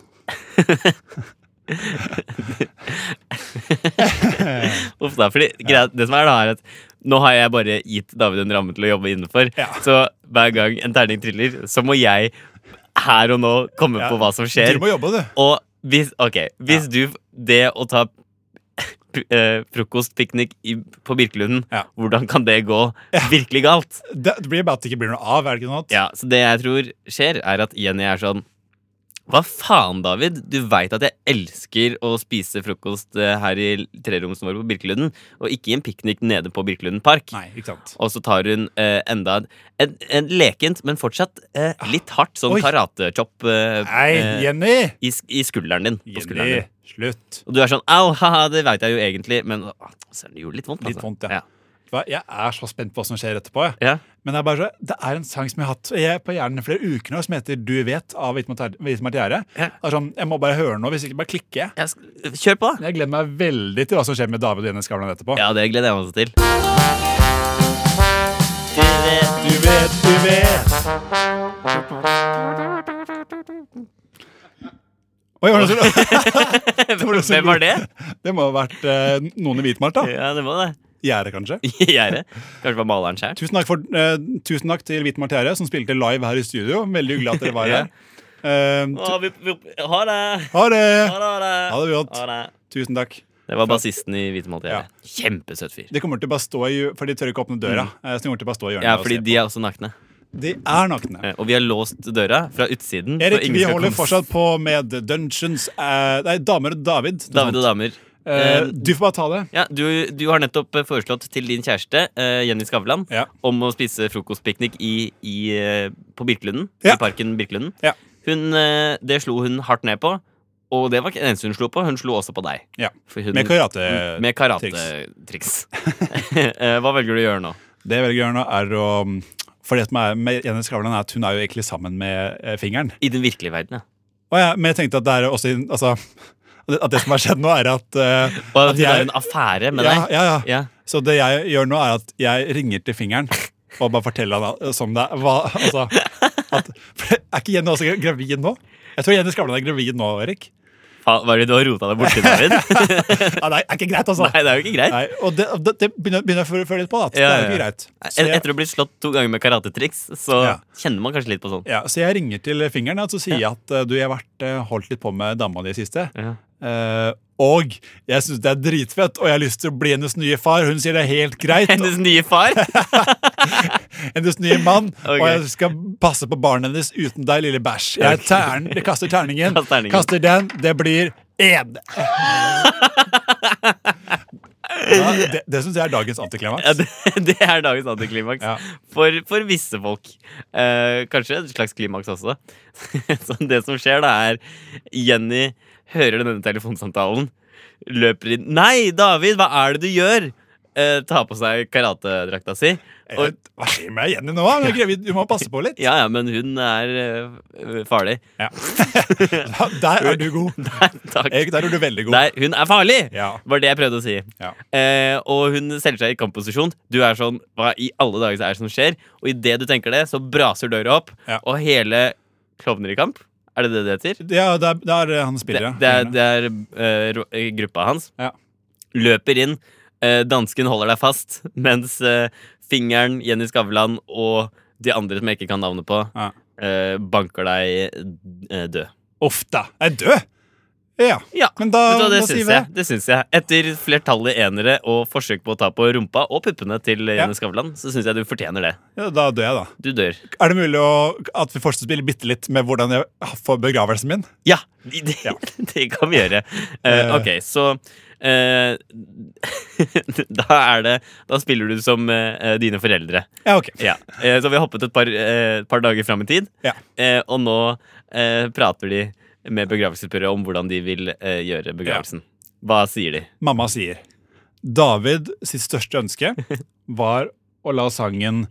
S2: Uff da, fordi greia, Det som er, da, er at nå har jeg bare gitt David en ramme til å jobbe innenfor.
S1: Ja.
S2: Så hver gang en terning triller, så må jeg her og nå komme
S1: Ja.
S2: på hva som skjer.
S1: Du må jobbe, du.
S2: Og hvis, ok, hvis du Det å ta p- eh, frokostpiknik i- på Birkelunden,
S1: Ja.
S2: hvordan kan det gå virkelig galt?
S1: Det det blir bare at det ikke blir noe av. er det ikke sånn? noe annet?
S2: Ja, Så det jeg tror skjer, er at Jenny er sånn Hva faen, David? Du veit at jeg elsker å spise frokost eh, her i treromsen vår på Birkelunden, og ikke i en piknik nede på Birkelunden park.
S1: Nei, ikke sant.
S2: Og så tar hun eh, enda en, en, en lekent, men fortsatt eh, litt hardt sånn
S1: Ah. Oi.
S2: karatechopp eh,
S1: Nei,
S2: eh,
S1: Jenny!
S2: i, sk- i skulderen din. På skulderen
S1: Jenny,
S2: din.
S1: slutt.
S2: Og du er sånn au, haha, det veit jeg jo egentlig, men å, søren, det gjorde litt vondt.
S1: Litt
S2: altså.
S1: vondt, ja. Vet du hva, Jeg er så spent på hva som skjer etterpå. jeg.
S2: ja.
S1: Men det er, bare så, det er en sang som jeg har hatt jeg, på hjernen i flere uker nå, som heter Du vet av Hvit Martiere.
S2: Ja.
S1: Sånn, jeg må bare høre noe, hvis ikke bare klikker jeg.
S2: Jeg sk- Kjør på, da.
S1: Jeg gleder meg veldig til hva som skjer med David og Jenny Skavlan etterpå.
S2: Ja, det gleder jeg meg også til. Du vet,
S1: Du vet, du vet. Oi, var det så-
S2: Hvem var det?
S1: det må ha vært eh, noen i Hvitmark, da.
S2: Ja, det må det.
S1: Gjerdet, kanskje.
S2: Gjerdet. Kanskje det var maleren sjøl.
S1: Tusen takk, for, eh, tusen takk til Hvitmark Gjerde, som spilte live her i studio. Veldig hyggelig at dere var her. Eh, tu-
S2: Ha det! Ha det,
S1: ha det!
S2: ha det.
S1: Ha det godt.
S2: Ha det.
S1: Tusen takk.
S2: Det var bassisten i Hvite Maltiere. Kjempesøt fyr.
S1: De kommer til å bare stå i, for de tør ikke åpne døra. eh, Så de kommer til å bare stå i hjørnet
S2: Mm. Ja,
S1: og
S2: fordi
S1: se
S2: de er også nakne.
S1: på. de er nakne.
S2: Eh, Og vi har låst døra fra utsiden. så
S1: Erik,
S2: ingen
S1: vi
S2: skal
S1: holder
S2: komme-
S1: fortsatt på med Dungeons eh, Nei, Damer og David. noe
S2: Damer og
S1: sånt.
S2: damer.
S1: Eh,
S2: Eh,
S1: du får bare ta det.
S2: Ja, du, du har nettopp eh, foreslått til din kjæreste, eh, Jenny Skavlan,
S1: Ja.
S2: om å spise frokostpiknik i, i, eh, på Birkelunden.
S1: Ja.
S2: I parken Birkelunden.
S1: Ja.
S2: Hun, eh, det slo hun hardt ned på. Og det var ikke det eneste hun slo på, hun slo også på deg.
S1: Ja.
S2: For hun-
S1: Med karate.
S2: Mm. Med karatetriks. Eh, Hva velger du å gjøre nå?
S1: Det jeg velger å gjøre nå, er å mm, For det som er med Jenny Skavlan, er at hun er jo egentlig sammen med eh, fingeren.
S2: I den virkelige verden, ja.
S1: Og jeg, men jeg tenkte at det er også i- Altså at det som har skjedd nå, er at eh,
S2: Og
S1: At
S2: hun har
S1: jeg-
S2: en affære med
S1: ja,
S2: deg.
S1: ja, ja.
S2: Ja.
S1: Så det jeg gjør nå, er at jeg ringer til fingeren og bare forteller han al- som det er. Hva, altså, at, for er ikke Jenny også gravid nå? Jeg tror Jenny Skavlan er gravid nå, Erik.
S2: Fa- Hva er det du har rota deg borti, David?
S1: Ja, det er er ikke greit, altså.
S2: Nei, det er jo ikke greit.
S1: Nei, og det, det, det begynner, begynner jeg å føle litt på. Da, at
S2: Ja,
S1: Det er jo
S2: ja,
S1: ikke
S2: ja.
S1: greit. Så
S2: Et-
S1: jeg,
S2: Etter å ha blitt slått to ganger med karatetriks, så
S1: Ja.
S2: kjenner man kanskje litt på sånn.
S1: ja, så jeg ringer til fingeren og så sier jeg at eh, du, jeg har vært, eh, holdt litt på med dama di i siste.
S2: Ja.
S1: Eh, og jeg syns det er dritfett, og jeg har lyst til å bli hennes nye far. Hun sier det er helt greit.
S2: Hennes nye far!
S1: hennes nye mann,
S2: Ok.
S1: og jeg skal passe på barnet hennes uten deg, lille bæsj. Jeg, tern, jeg kaster terningen.
S2: Kast terningen.
S1: Kaster den, det blir én. Ja, det det syns jeg er dagens
S2: Ja,
S1: antiklimaks.
S2: det, det er dagens antiklimaks.
S1: Ja.
S2: For, for visse folk. Eh, kanskje et slags klimaks også. Så det som skjer, da, er Jenny hører denne telefonsamtalen, løper inn Nei, David, hva er det du gjør? Eh, tar på seg karatedrakta si.
S1: Jeg-
S2: Og,
S1: Hva skjer med Jenny nå? Hun er gravid, Du må passe på litt.
S2: ja, ja, men hun er eh, farlig.
S1: Ja. Der er du god.
S2: Nei, takk.
S1: Erik, der er du veldig god.
S2: Nei, hun er farlig!
S1: Ja.
S2: Var det jeg prøvde å si.
S1: Ja.
S2: Eh, og hun selger seg i kampposisjon. Du er sånn Hva i alle dager er det som skjer? Og idet du tenker det, så braser døra opp,
S1: Ja.
S2: og hele Klovner i kamp Er det det det heter?
S1: Ja, det er, det er han
S2: Det,
S1: spiller,
S2: det
S1: ja.
S2: er, det er eh, ro- eh, gruppa hans.
S1: Ja.
S2: Løper inn. Eh, dansken holder deg fast, mens eh, fingeren, Jenny Skavlan og de andre som jeg ikke kan navnet på,
S1: Ja.
S2: eh, banker deg eh, død.
S1: Uff da. Jeg er død. Ja.
S2: Ja,
S1: Men da-
S2: vet du hva, det
S1: da sier
S2: syns
S1: vi
S2: jeg. Det syns jeg. Etter flertallet enere og forsøk på å ta på rumpa og puppene til
S1: Ja.
S2: Jenny Skavlan, så syns jeg du fortjener det.
S1: ja. Da dør jeg, da.
S2: Du dør.
S1: Er det mulig å, at vi fortsetter å spille bitte litt med hvordan jeg får begravelsen min?
S2: Ja, det, det- det kan vi gjøre. Eh, ok, så eh, Da er det Da spiller du som eh, dine foreldre.
S1: Ja, ok.
S2: Ja. Eh, så vi har hoppet et par, eh, par dager fram i tid,
S1: Ja.
S2: eh, og nå eh, prater de med begravelsesbyrået om hvordan de vil eh, gjøre begravelsen. Hva sier de?
S1: Mamma sier David sitt største ønske var å la sangen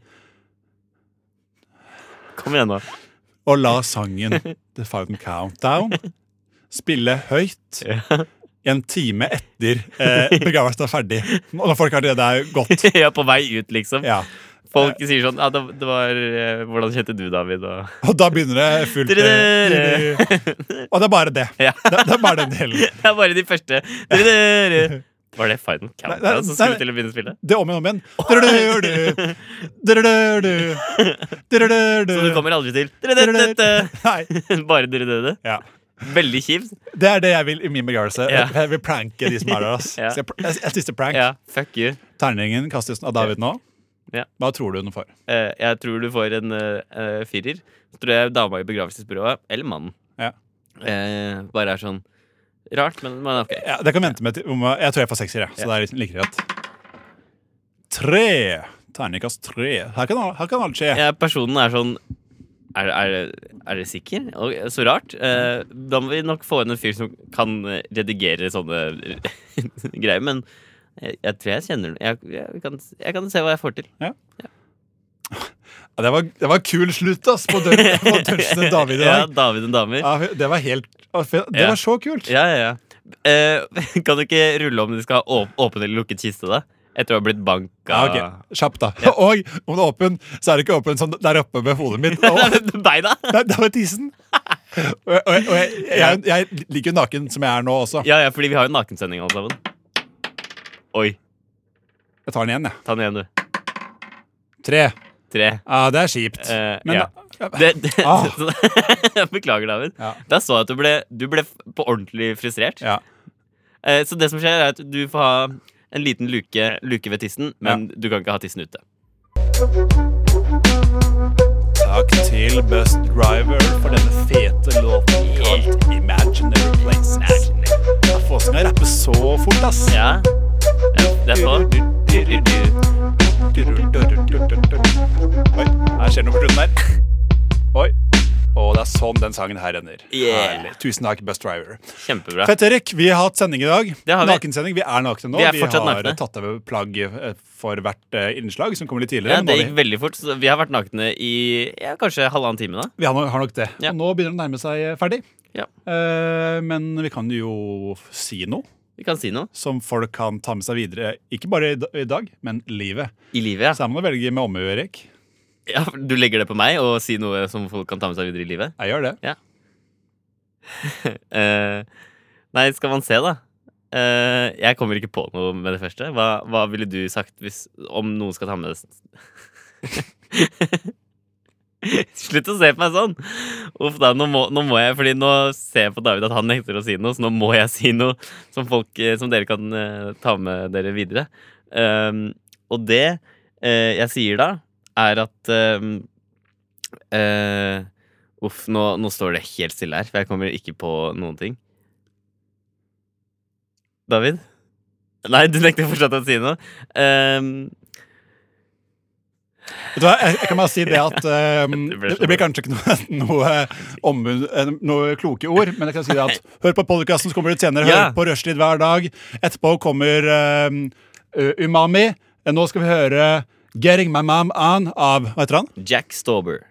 S2: Kom igjen, nå.
S1: Å la sangen The Fountain Countdown spille høyt en time etter eh, begravelsen er ferdig. Og når folk allerede er gått.
S2: ja, på vei ut, liksom.
S1: Ja.
S2: Folk sier sånn ja, det, det var, eh, Hvordan kjente du, David? Og...
S1: Og da begynner det fullt eh, Og det er bare det.
S2: Ja.
S1: Det, det er bare den delen.
S2: Det er bare de første Var det Final
S1: Nei, nei,
S2: Countdown som skulle
S1: nei.
S2: til å begynne å spille?
S1: Det er om igjen og om igjen. Drrrrrdu. Drrrrrdu. Drrrrrdu.
S2: Så du kommer aldri til
S1: Nei.
S2: Bare dere døde?
S1: Ja.
S2: Veldig kjipt.
S1: Det er det jeg vil i min begravelse.
S2: Ja.
S1: Jeg vil pranke de som er der. Ass.
S2: Ja.
S1: Så jeg, pr- et siste prank.
S2: Ja, fuck you.
S1: Terningen kastes av David nå.
S2: Ja.
S1: Hva tror du den får?
S2: Eh, jeg tror du får en eh, eh, firer. Så tror jeg dama i begravelsesbyrået, eller mannen,
S1: Ja.
S2: eh, bare er sånn rart, men, men ok.
S1: Ja, det kan vente med til om, Jeg tror jeg får sekser, jeg. Så det er liksom like greit. Tre. Terningkast tre. Her kan, al- her kan alt skje.
S2: ja, personen er sånn er, er, er det sikker? Og, så rart. Eh, da må vi nok få inn en fyr som kan eh, redigere sånne greier. Men jeg, jeg tror jeg kjenner jeg, jeg, kan, jeg kan se hva jeg får til.
S1: Ja, det, var, det var kul slutt ass, på dun- på Dungeons and David i
S2: Ja,
S1: dag. Ah.
S2: David og damer.
S1: Ja, det var helt Det
S2: Ja.
S1: var så kult.
S2: Ja, ja, ja. Eh, kan du ikke rulle om du skal ha åp åpen eller lukket kiste, da? Etter å ha blitt banka
S1: Ja, Ah, ok, Kjapt, da. Og om det er åpen, så er det ikke åpen sånn der oppe ved hodet mitt. Å,
S2: Beina!
S1: Nei, det var tissen. Og, og, og jeg, jeg, jeg ligger jo naken som jeg er nå også.
S2: Ja, ja, fordi vi har jo nakensending alle sammen. Oi.
S1: Jeg tar den igjen, jeg.
S2: Ta den igjen, du.
S1: Tre.
S2: Tre.
S1: Ja, det er kjipt.
S2: Eh,
S1: Men
S2: ja.
S1: da-
S2: Det, det,
S1: Ah.
S2: så- Beklager, David.
S1: Ja.
S2: Da så jeg at du ble, du ble f- på ordentlig frustrert.
S1: Ja.
S2: Eh, så det som skjer, er at du får ha en liten luke, luke ved tissen, men du kan ikke ha tissen ute.
S4: Takk til Bust Driver for denne fete låten kalt Imaginary Places. Da får vi skal rappe så fort, ass.
S2: Ja. ja det er så.
S4: Oi, her skjer det noe på slutten her. Oi. Og det er sånn den sangen her ender.
S2: Yeah.
S4: Herlig. Tusen takk, Bust Driver.
S2: Kjempebra.
S1: Fett, Erik. Vi har hatt sending i dag.
S2: Det har vi.
S1: Nakensending. Vi er nakne nå.
S2: Vi er fortsatt
S1: har
S2: nakne.
S1: tatt av plagg eh, for hvert eh, innslag, som kommer litt tidligere.
S2: Ja,
S1: men
S2: det
S1: nå
S2: gikk
S1: vi,
S2: veldig fort. Så vi har vært nakne i ja, kanskje halvannen time. da
S1: vi har, nok, har nok det.
S2: Ja.
S1: Og nå begynner det å nærme seg eh, ferdig.
S2: Ja.
S1: Eh, men vi kan jo si noe
S2: Vi kan si noe.
S1: som folk kan ta med seg videre. Ikke bare i, da, i dag, men livet.
S2: I livet,
S1: Så
S2: ja.
S1: her må du velge med omhu, Erik.
S2: ja. for Du legger det på meg og sier noe som folk kan ta med seg videre i livet?
S1: Jeg gjør det.
S2: Eh, nei, skal man se, da. Eh, jeg kommer ikke på noe med det første. Hva, hva ville du sagt hvis, om noen skal ta med det? Slutt å se på meg sånn! Uff da, nå må, nå må jeg, fordi nå ser jeg på David at han nekter å si noe, så nå må jeg si noe som, folk, eh, som dere kan eh, ta med dere videre. Um, og det eh, jeg sier da, er at um, eh, Uff, nå, nå står det helt stille her, for jeg kommer ikke på noen ting. David? Nei, du nekter fortsatt å si noe. Ehm,
S1: Vet du hva, jeg, jeg kan bare si det at eh,
S2: Det ble
S1: det,
S2: så
S1: det blir kanskje ikke noe, noe, ombud, eh, noe kloke ord, men jeg kan si det at hør på podkasten som kommer ut senere. Hør
S2: Ja.
S1: på Rushtid hver dag. Etterpå kommer eh, eh, Umami. Eh, Nå skal vi høre Getting My Mom On av Hva heter han?
S2: Jack Stauber.